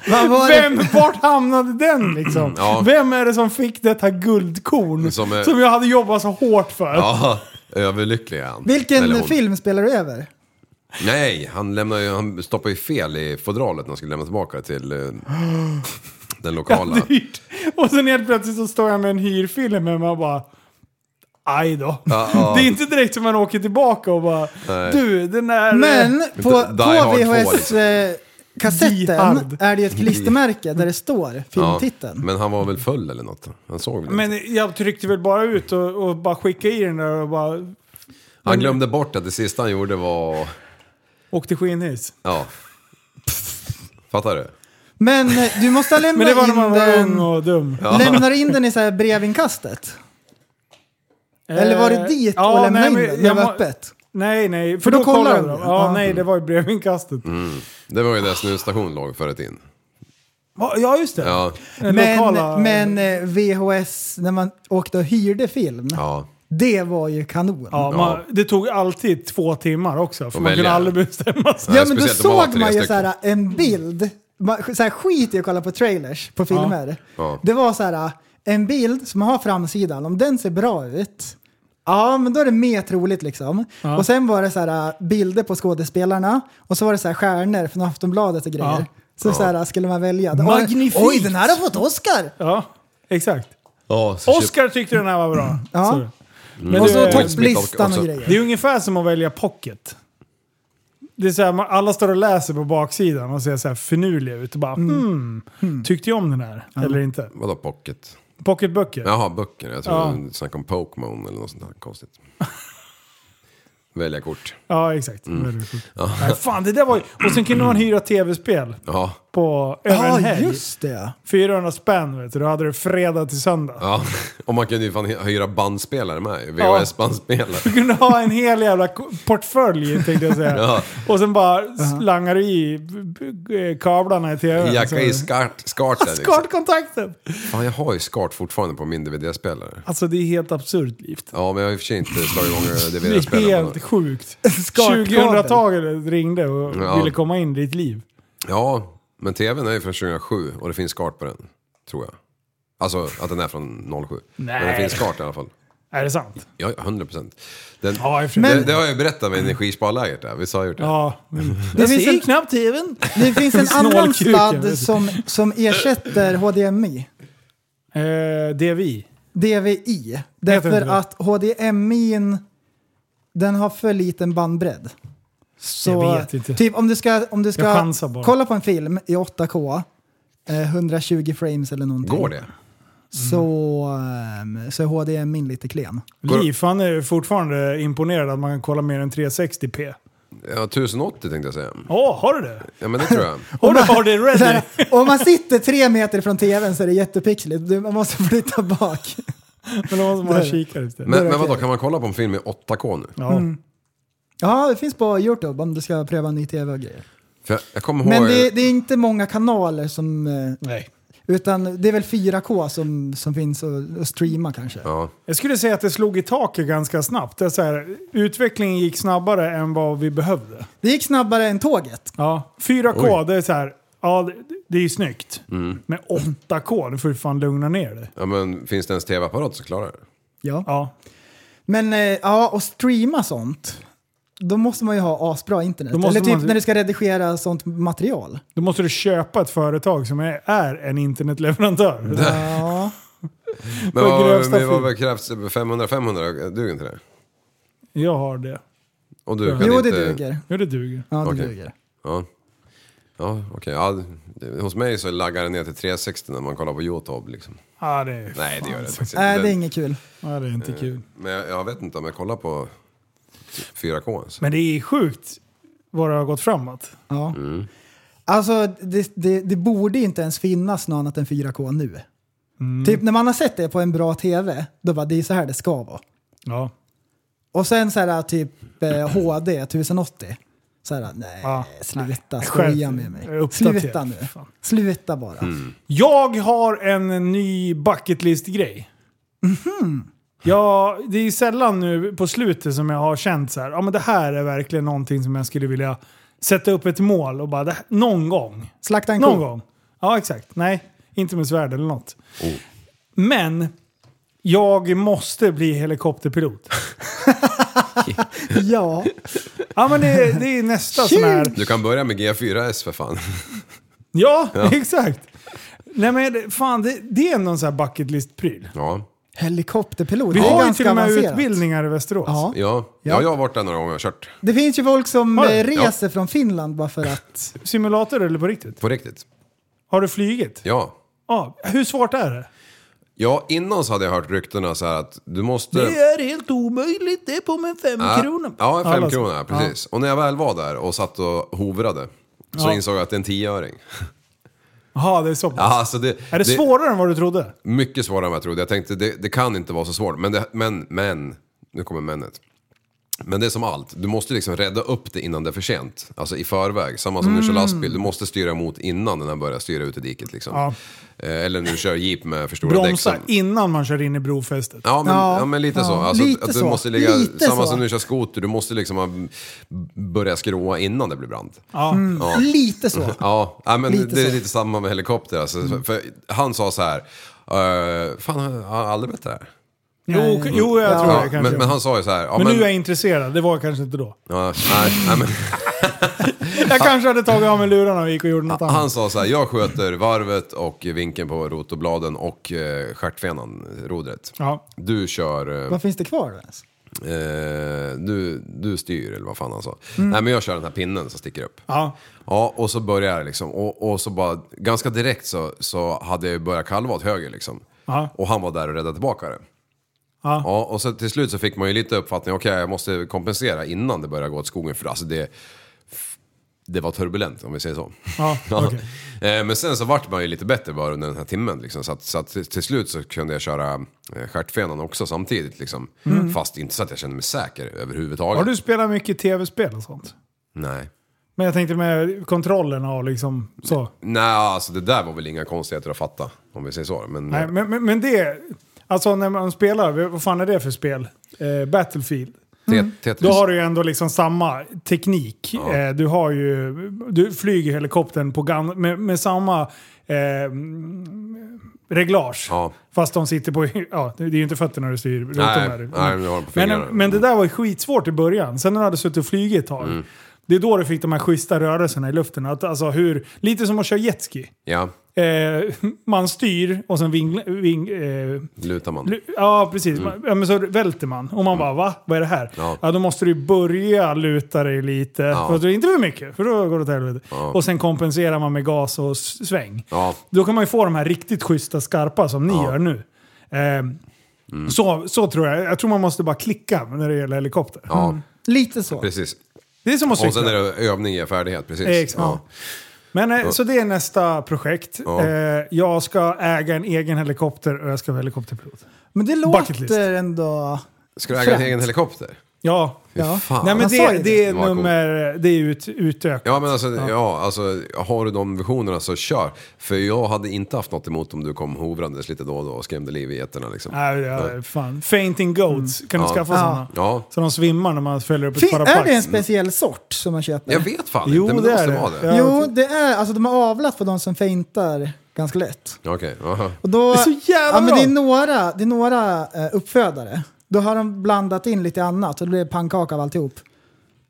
[SPEAKER 6] Vad var
[SPEAKER 5] Vem,
[SPEAKER 6] det?
[SPEAKER 5] vart hamnade den liksom?
[SPEAKER 7] Ja.
[SPEAKER 5] Vem är det som fick detta guldkorn som,
[SPEAKER 7] Som är-
[SPEAKER 5] jag hade jobbat så hårt för?
[SPEAKER 7] Ja, överlycklig är han. Eller
[SPEAKER 6] Vilken
[SPEAKER 7] hon.
[SPEAKER 6] film spelar du över?
[SPEAKER 7] Nej, han, lämnar ju, han stoppar ju fel i fodralet när han skulle lämna tillbaka det till eh, den lokala.
[SPEAKER 5] dyrt. Och sen helt plötsligt så står jag med en hyrfilm hemma och bara... Aj då.
[SPEAKER 7] ja.
[SPEAKER 5] Det är inte direkt som man åker tillbaka och bara... Du, den där... eh."
[SPEAKER 6] Men på,
[SPEAKER 7] Die
[SPEAKER 6] på
[SPEAKER 7] Hard 2, liksom.
[SPEAKER 5] Die
[SPEAKER 6] VHS-kassetten
[SPEAKER 5] Hard.
[SPEAKER 6] eh, är det ju ett klistermärke där det står
[SPEAKER 7] Ja,
[SPEAKER 6] filmtiteln.
[SPEAKER 7] men han var väl full eller något? Han såg väl inte.
[SPEAKER 5] Men jag tryckte väl bara ut och, och bara skickade i den där och bara
[SPEAKER 7] Han glömde bort att det sista han gjorde var...
[SPEAKER 5] åkte skinnhiss.
[SPEAKER 7] Ja. Fattar du?
[SPEAKER 6] Men eh, du måste ha
[SPEAKER 5] Men det var när
[SPEAKER 6] lämnat
[SPEAKER 5] man
[SPEAKER 6] in
[SPEAKER 5] var ung
[SPEAKER 6] den,
[SPEAKER 5] och dum.
[SPEAKER 6] lämnar in den i så här brevinkastet. Eller var det dit
[SPEAKER 5] Eh, ja,
[SPEAKER 6] och
[SPEAKER 5] nej,
[SPEAKER 6] lämnade in
[SPEAKER 5] men
[SPEAKER 6] den? Det
[SPEAKER 5] jag
[SPEAKER 6] var
[SPEAKER 5] må-
[SPEAKER 6] öppet.
[SPEAKER 5] Nej, nej. För,
[SPEAKER 6] För
[SPEAKER 5] då,
[SPEAKER 6] då
[SPEAKER 5] kollade
[SPEAKER 6] kollar
[SPEAKER 5] de.
[SPEAKER 6] de det.
[SPEAKER 5] Ja,
[SPEAKER 6] Ja.
[SPEAKER 5] nej, det var i brevinkastet.
[SPEAKER 7] Mm. Det var ju där snusstationen låg förut in.
[SPEAKER 5] Ja, just det.
[SPEAKER 7] Ja.
[SPEAKER 5] Den Eh, lokala-
[SPEAKER 6] Men, men eh, VHS, när man åkte och hyrde film,
[SPEAKER 7] ja.
[SPEAKER 6] det var ju kanon.
[SPEAKER 5] Ja, man, det tog alltid två timmar också, för
[SPEAKER 7] Och
[SPEAKER 5] man kunde
[SPEAKER 7] välja.
[SPEAKER 5] aldrig bestämma sig.
[SPEAKER 6] Ja men då
[SPEAKER 7] speciellt om man har
[SPEAKER 6] såg
[SPEAKER 7] tre
[SPEAKER 6] man ju
[SPEAKER 7] stycken.
[SPEAKER 6] såhär en bild, man, såhär, skit i att kolla på trailers på filmer.
[SPEAKER 7] Ja.
[SPEAKER 6] Det var såhär en bild som har framsidan, om den ser bra ut, ja men då är det mer troligt liksom. Och sen var det såhär bilder på skådespelarna och så var det såhär stjärnor från Aftonbladet och grejer.
[SPEAKER 5] Ja.
[SPEAKER 6] Så såhär skulle man välja. Oj,
[SPEAKER 5] Magnifikt!
[SPEAKER 6] Oj, den här har fått Oscar!
[SPEAKER 5] Ja, exakt.
[SPEAKER 7] ja så köpte-
[SPEAKER 5] Oscar tyckte den här var
[SPEAKER 7] Mm.
[SPEAKER 5] bra.
[SPEAKER 6] Ja.
[SPEAKER 5] Så. Men
[SPEAKER 6] Och
[SPEAKER 5] det,
[SPEAKER 6] så
[SPEAKER 5] är,
[SPEAKER 6] topplistan och
[SPEAKER 7] också.
[SPEAKER 6] grejer.
[SPEAKER 5] det är ungefär som att välja pocket. Det är så här, man, alla står och läser på baksidan och ser så här finurliga ut och bara
[SPEAKER 6] Mm.
[SPEAKER 5] hmm, tyckte jag om den här eller inte?
[SPEAKER 7] Vadå pocket?
[SPEAKER 5] Pocketböcker.
[SPEAKER 7] Jaha, böcker. Jag tror
[SPEAKER 5] Ja.
[SPEAKER 7] du snackade om Pokémon eller något sånt där konstigt. Välja kort. Mm.
[SPEAKER 5] Mm. Ja, exakt. Väldigt sjukt. Nej, fan, det där var ju... Och sen kunde man hyra tv-spel.
[SPEAKER 7] Ja.
[SPEAKER 5] på över
[SPEAKER 6] Ja,
[SPEAKER 5] en helg.
[SPEAKER 6] just det.
[SPEAKER 5] 400 spänn vet du, då hade du fredag till söndag.
[SPEAKER 7] Ja, och man kunde ju fan hyra bandspelare med. VHS-bandspelare.
[SPEAKER 5] Du kunde ha en hel jävla ko- portfölj tänkte jag säga.
[SPEAKER 7] Ja.
[SPEAKER 5] Och sen bara slangar du i b- b- kablarna i Alltså, tvn.
[SPEAKER 7] Jacka i skart, skarten. Liksom.
[SPEAKER 5] Skartkontakten!
[SPEAKER 7] Fan, jag har ju skart fortfarande på min DVD-spelare.
[SPEAKER 5] Alltså det är helt absurt livet.
[SPEAKER 7] Ja, men jag har i och för sig inte slagit igång
[SPEAKER 5] Det är
[SPEAKER 7] DVD-spelaren.
[SPEAKER 5] helt
[SPEAKER 7] på den.
[SPEAKER 5] sjukt.
[SPEAKER 6] Skartkabel.
[SPEAKER 5] 2000-talet ringde och
[SPEAKER 7] Ja.
[SPEAKER 5] ville komma in i ditt liv.
[SPEAKER 7] Ja, men tvn är ju från 2007 och det finns skart på den. Tror jag. Alltså att den är från 07. Men det
[SPEAKER 5] Nej.
[SPEAKER 7] finns skart i alla fall.
[SPEAKER 5] Är det sant?
[SPEAKER 7] Ja, 100 procent. Den,
[SPEAKER 5] Ja, i och för sig.
[SPEAKER 7] det,
[SPEAKER 5] Men-
[SPEAKER 7] det har jag ju berättat med energisparlägret där. Visst har jag gjort det?
[SPEAKER 5] Ja.
[SPEAKER 6] Det finns en,
[SPEAKER 5] knappt tvn.
[SPEAKER 6] det finns en
[SPEAKER 5] Snålkuken,
[SPEAKER 6] annan
[SPEAKER 5] vet du.
[SPEAKER 6] sladd som, som ersätter HDMI.
[SPEAKER 5] Eh, det är vi.
[SPEAKER 6] DVI.
[SPEAKER 5] Heter
[SPEAKER 6] Därför
[SPEAKER 5] inte det?
[SPEAKER 6] att HDMI n, den har för liten bandbredd. Så,
[SPEAKER 5] Jag vet inte.
[SPEAKER 6] Typ om du ska, om du
[SPEAKER 5] Jag
[SPEAKER 6] ska
[SPEAKER 5] chansar bara.
[SPEAKER 6] kolla på en film i 8K, eh, 120 frames eller någonting.
[SPEAKER 7] Går det?
[SPEAKER 6] Så, ehm, så är HDMI n lite klen.
[SPEAKER 5] Liv, han är fortfarande imponerad att man kan kolla mer än 360p.
[SPEAKER 7] Ja, 1080 tänkte jag säga.
[SPEAKER 5] Åh, har du det?
[SPEAKER 7] Ja, men det tror jag.
[SPEAKER 5] Har du har det
[SPEAKER 6] Så
[SPEAKER 5] ready?
[SPEAKER 6] här, om man sitter tre meter från tvn så är det jättepixligt. Du, man måste flytta bak.
[SPEAKER 5] Men då måste man kika lite.
[SPEAKER 7] Men, men vadå, kan man kolla på en film i 8K nu?
[SPEAKER 5] Ja.
[SPEAKER 6] Ja, det finns på Youtube om du ska pröva en ny tv och grejer.
[SPEAKER 7] För jag, jag kommer ihåg...
[SPEAKER 6] Men det, det är inte många kanaler som... eh,
[SPEAKER 5] Nej.
[SPEAKER 6] Utan det är väl 4K som, som finns att, att streama kanske.
[SPEAKER 7] Ja.
[SPEAKER 5] Jag skulle säga att det slog i taket ganska snabbt. Det är så här, utvecklingen gick snabbare än vad vi behövde.
[SPEAKER 6] Det gick snabbare än tåget.
[SPEAKER 5] Ja. 4K,
[SPEAKER 7] Oj.
[SPEAKER 5] det är så här, ja, det, det är ju snyggt. Men 8K, då får du fan lugna ner det.
[SPEAKER 7] ja, men finns det ens tv-apparat så klarar det.
[SPEAKER 6] Ja.
[SPEAKER 5] Ja.
[SPEAKER 6] Men eh, ja, och streama sånt. Då måste man ju ha asbra internet.
[SPEAKER 5] Då måste
[SPEAKER 6] Eller typ
[SPEAKER 5] man-
[SPEAKER 6] när du ska redigera sånt material.
[SPEAKER 5] Då måste du köpa ett företag som är, är en internetleverantör.
[SPEAKER 6] Ja.
[SPEAKER 7] Men
[SPEAKER 5] För
[SPEAKER 7] vad,
[SPEAKER 5] grövsta
[SPEAKER 7] men vad
[SPEAKER 5] film.
[SPEAKER 7] krävs 500-500? Duger inte det?
[SPEAKER 5] Jag har det.
[SPEAKER 7] Och du kan
[SPEAKER 6] Jo,
[SPEAKER 7] inte...
[SPEAKER 6] det duger.
[SPEAKER 5] Ja, det duger.
[SPEAKER 6] Ja, det
[SPEAKER 7] Okej.
[SPEAKER 6] duger.
[SPEAKER 7] Ja, ja okej. Ja, det- hos mig så laggar det ner till 360 när man kollar på Youtube. Liksom.
[SPEAKER 5] Ja, det är,
[SPEAKER 7] Nej, det gör det faktiskt
[SPEAKER 6] Nej, det är
[SPEAKER 7] Den-
[SPEAKER 6] inget kul.
[SPEAKER 5] ja, det är inte kul.
[SPEAKER 7] Men jag, jag vet inte om jag kollar på 4K ens.
[SPEAKER 5] Men det är sjukt vad det har gått framåt.
[SPEAKER 6] Ja.
[SPEAKER 7] Mm.
[SPEAKER 6] Alltså, det, det, det borde ju inte ens finnas något annat än 4K nu.
[SPEAKER 5] Mm.
[SPEAKER 6] Typ när man har sett det på en bra tv, då bara det är så här det ska vara.
[SPEAKER 5] Ja.
[SPEAKER 6] Och sen så här typ eh, HD 1080. Så här, nej,
[SPEAKER 5] Ja,
[SPEAKER 6] sluta
[SPEAKER 5] nej.
[SPEAKER 6] skoja
[SPEAKER 5] Skärp-
[SPEAKER 6] med mig.
[SPEAKER 5] uppdatera,
[SPEAKER 6] Sluta nu.
[SPEAKER 5] fan.
[SPEAKER 6] Sluta bara.
[SPEAKER 5] Jag har en ny bucketlist-grej.
[SPEAKER 6] Mhm.
[SPEAKER 5] Ja, det är sällan nu på slutet som jag har känt så här, ja men det här är verkligen någonting som jag skulle vilja sätta upp ett mål och bara, det här, någon gång.
[SPEAKER 6] Slakta en
[SPEAKER 5] Någon
[SPEAKER 6] ko.
[SPEAKER 5] gång. Ja, exakt. Nej, inte med svärd eller något.
[SPEAKER 6] Oh.
[SPEAKER 5] Men, jag måste bli helikopterpilot.
[SPEAKER 6] Ja,
[SPEAKER 5] Ja, men det, det är nästa sån här...
[SPEAKER 7] Du kan börja med G4S för fan.
[SPEAKER 5] Ja, exakt. Nej men det- fan, det, det är ändå en sån här bucket list-pryl.
[SPEAKER 7] Ja.
[SPEAKER 6] helikopterpilot.
[SPEAKER 5] Vi
[SPEAKER 6] det är
[SPEAKER 5] har ju
[SPEAKER 6] ganska
[SPEAKER 5] till och med
[SPEAKER 6] avancerat.
[SPEAKER 5] utbildningar i Västerås.
[SPEAKER 6] Ja.
[SPEAKER 7] Ja. ja, jag har varit där några gånger och kört.
[SPEAKER 6] Det finns ju folk som
[SPEAKER 5] Har du?
[SPEAKER 6] eh, reser från Finland bara för att...
[SPEAKER 5] Simulator eller på riktigt?
[SPEAKER 7] På riktigt.
[SPEAKER 5] Har du flugit?
[SPEAKER 7] Ja.
[SPEAKER 5] Ja. Hur svårt är det?
[SPEAKER 7] Ja, innan så hade jag hört ryktena så här att du måste...
[SPEAKER 5] är helt omöjligt. Det är på med fem
[SPEAKER 7] Ja, Ja, en
[SPEAKER 5] Alla-
[SPEAKER 7] femkrona, precis. Och när jag väl var där och satt och hovrade så insåg jag att det är en tioöring.
[SPEAKER 5] Jaha, det är så pass.
[SPEAKER 7] Ja, alltså det,
[SPEAKER 5] Är det, svårare än vad du trodde?
[SPEAKER 7] Mycket svårare än vad jag trodde. Jag tänkte det, det kan inte vara så svårt. Men, det, men, men, nu kommer männet. Men det är som allt, du måste liksom rädda upp det innan det är för sent. Alltså i förväg, samma som när du
[SPEAKER 6] Mm.
[SPEAKER 7] kör lastbil. Du måste styra mot innan den här börjar styra ut i diket liksom.
[SPEAKER 5] Ja.
[SPEAKER 7] Eh, Eller när du kör jeep med för stora däck.
[SPEAKER 5] Bromsa
[SPEAKER 7] som-
[SPEAKER 5] innan man kör in i brofästet.
[SPEAKER 7] Ja men, ja.
[SPEAKER 6] Ja.
[SPEAKER 7] men lite
[SPEAKER 6] Ja.
[SPEAKER 7] så. Alltså,
[SPEAKER 6] Lite
[SPEAKER 7] att du
[SPEAKER 6] så.
[SPEAKER 7] måste ligga,
[SPEAKER 6] Lite
[SPEAKER 7] samma
[SPEAKER 6] så.
[SPEAKER 7] som när du kör skoter, du måste liksom ha- börja skråa innan det blir brant.
[SPEAKER 5] Ja.
[SPEAKER 6] Lite så.
[SPEAKER 7] Ja, ja, men
[SPEAKER 6] Lite
[SPEAKER 7] det är
[SPEAKER 6] så. Mm.
[SPEAKER 7] lite samma med helikopter. Alltså, för han sa så här, eh, fan jag har aldrig bett det här.
[SPEAKER 5] Jo, k- jo, jag tror
[SPEAKER 7] Ja,
[SPEAKER 5] det kanske.
[SPEAKER 7] men, men han sa ju så här, ja,
[SPEAKER 5] men
[SPEAKER 7] men,
[SPEAKER 5] nu är jag intresserad. Det var jag kanske inte då.
[SPEAKER 7] ja, nej, nej, men,
[SPEAKER 5] Jag kanske hade tagit av mig lurarna och gick och gjorde något annat.
[SPEAKER 7] Han sa så här, jag sköter varvet och vinkeln på rotorbladen och eh, stjärtfenan, rodret.
[SPEAKER 5] Ja.
[SPEAKER 7] Du kör... eh,
[SPEAKER 6] Vad finns det kvar då ens?
[SPEAKER 7] Eh, du, du styr eller vad fan han sa. Nej men jag kör den här pinnen som sticker upp.
[SPEAKER 5] Mm. Ja.
[SPEAKER 7] Ja, och så börjar jag liksom. Och, och så bara, ganska direkt så, så hade jag börjat kalva åt höger liksom.
[SPEAKER 5] Ja.
[SPEAKER 7] Och han var där och räddade tillbaka det.
[SPEAKER 5] Ja.
[SPEAKER 7] Ja, och så till slut så fick man ju lite uppfattning, okej jag måste kompensera innan det börjar gå åt skogen. För alltså det... f- det var turbulent om vi säger så.
[SPEAKER 5] Ja,
[SPEAKER 7] Ja.
[SPEAKER 5] okej.
[SPEAKER 7] Eh, Men sen så vart man ju lite bättre bara under den här timmen. Liksom. Så, att, så att till- till slut så kunde jag köra eh, stjärtfenan också samtidigt. Liksom. Fast inte så att jag kände mig säker överhuvudtaget.
[SPEAKER 5] Mm. Har du spelat mycket tv-spel och sånt?
[SPEAKER 7] Nej.
[SPEAKER 5] Men jag tänkte med kontrollerna och liksom så.
[SPEAKER 7] Nej, alltså det där var väl inga konstigheter att fatta. Om vi säger så. Men, eh,
[SPEAKER 5] Nej, men, men, men det... Alltså när man spelar, vad fan är det för spel? Eh, Battlefield.
[SPEAKER 7] te- Tetris.
[SPEAKER 5] Då har du ju ändå liksom samma teknik. Eh, du har ju... Du flyger helikoptern på gan, med, med samma... Eh, mm, reglage.
[SPEAKER 7] Ja.
[SPEAKER 5] Fast de sitter på... Ja, det är ju inte fötterna du styr. utan
[SPEAKER 7] Nej,
[SPEAKER 5] där.
[SPEAKER 7] nej, du har dem på
[SPEAKER 5] men,
[SPEAKER 7] fingrarna.
[SPEAKER 5] men det där var ju skitsvårt i början. Sen när du hade suttit och flugit ett tag.
[SPEAKER 7] Mm.
[SPEAKER 5] Det är då du fick de här schyssta rörelserna i luften. Att, alltså hur, lite som att köra jetski.
[SPEAKER 7] Ja,
[SPEAKER 5] Eh, man styr och sen vingla, ving, eh,
[SPEAKER 7] lutar man.
[SPEAKER 5] lu- Ja, precis. Ja, men så välter man. Och man bara va? Vad är det här?
[SPEAKER 7] Mm. Ja.
[SPEAKER 5] Ja. då måste du ju börja luta dig lite. För att det är inte för mycket, för då går det åt helvete. Och sen kompenserar man med gas och s- sväng.
[SPEAKER 7] Ja.
[SPEAKER 5] Då kan man ju få de här riktigt schyssta skarpa som ni gör nu. Ehm,
[SPEAKER 7] Mm.
[SPEAKER 5] Så, så tror jag. Jag tror man måste bara klicka när det gäller helikopter. Mm.
[SPEAKER 7] ja,
[SPEAKER 6] Lite så.
[SPEAKER 7] precis.
[SPEAKER 5] Det är som att
[SPEAKER 7] Och
[SPEAKER 5] cykla.
[SPEAKER 7] sen är det övning ger färdighet, precis.
[SPEAKER 5] Exakt.
[SPEAKER 7] Ja.
[SPEAKER 5] Men eh, så det är nästa projekt.
[SPEAKER 7] Ja.
[SPEAKER 5] Eh, jag ska äga en egen helikopter och jag ska vara helikopterpilot.
[SPEAKER 6] Men det
[SPEAKER 5] Bucket list.
[SPEAKER 6] låter ändå...
[SPEAKER 7] Ska du äga en egen helikopter?
[SPEAKER 5] Ja.
[SPEAKER 6] Ja.
[SPEAKER 7] Fan.
[SPEAKER 5] Nej men
[SPEAKER 6] han sa
[SPEAKER 5] det,
[SPEAKER 6] ju
[SPEAKER 5] det,
[SPEAKER 6] det.
[SPEAKER 5] är
[SPEAKER 7] Vad coolt.
[SPEAKER 5] nummer... Det är ut, utökat.
[SPEAKER 7] Ja men alltså, ja. alltså, har du de visionerna så kör. För jag hade inte haft något emot om du kom hovrandes lite då och då och skrämde liv i getterna liksom.
[SPEAKER 5] Nej, ja, fan. Fainting goats. Kan du skaffa
[SPEAKER 6] Ja.
[SPEAKER 5] sådana?
[SPEAKER 7] Mm. Ja,
[SPEAKER 5] Så de svimmar när man fäller upp ett
[SPEAKER 6] Fin- är
[SPEAKER 5] paraply.
[SPEAKER 6] det en speciell sort som man köper?
[SPEAKER 7] jag vet fan
[SPEAKER 5] Jo,
[SPEAKER 7] inte men
[SPEAKER 5] det
[SPEAKER 7] Mm. det måste
[SPEAKER 5] är det.
[SPEAKER 7] vara det.
[SPEAKER 5] Ja. typ.
[SPEAKER 6] Jo, det är... Alltså de har avlat för de som feintar ganska lätt.
[SPEAKER 7] Ja. Okej, aha.
[SPEAKER 6] Och då,
[SPEAKER 5] Det är så jävla
[SPEAKER 6] ja, men
[SPEAKER 5] bra.
[SPEAKER 6] Det är några, det är några eh, uppfödare. Då har de blandat in lite annat och det blir pannkaka av alltihop.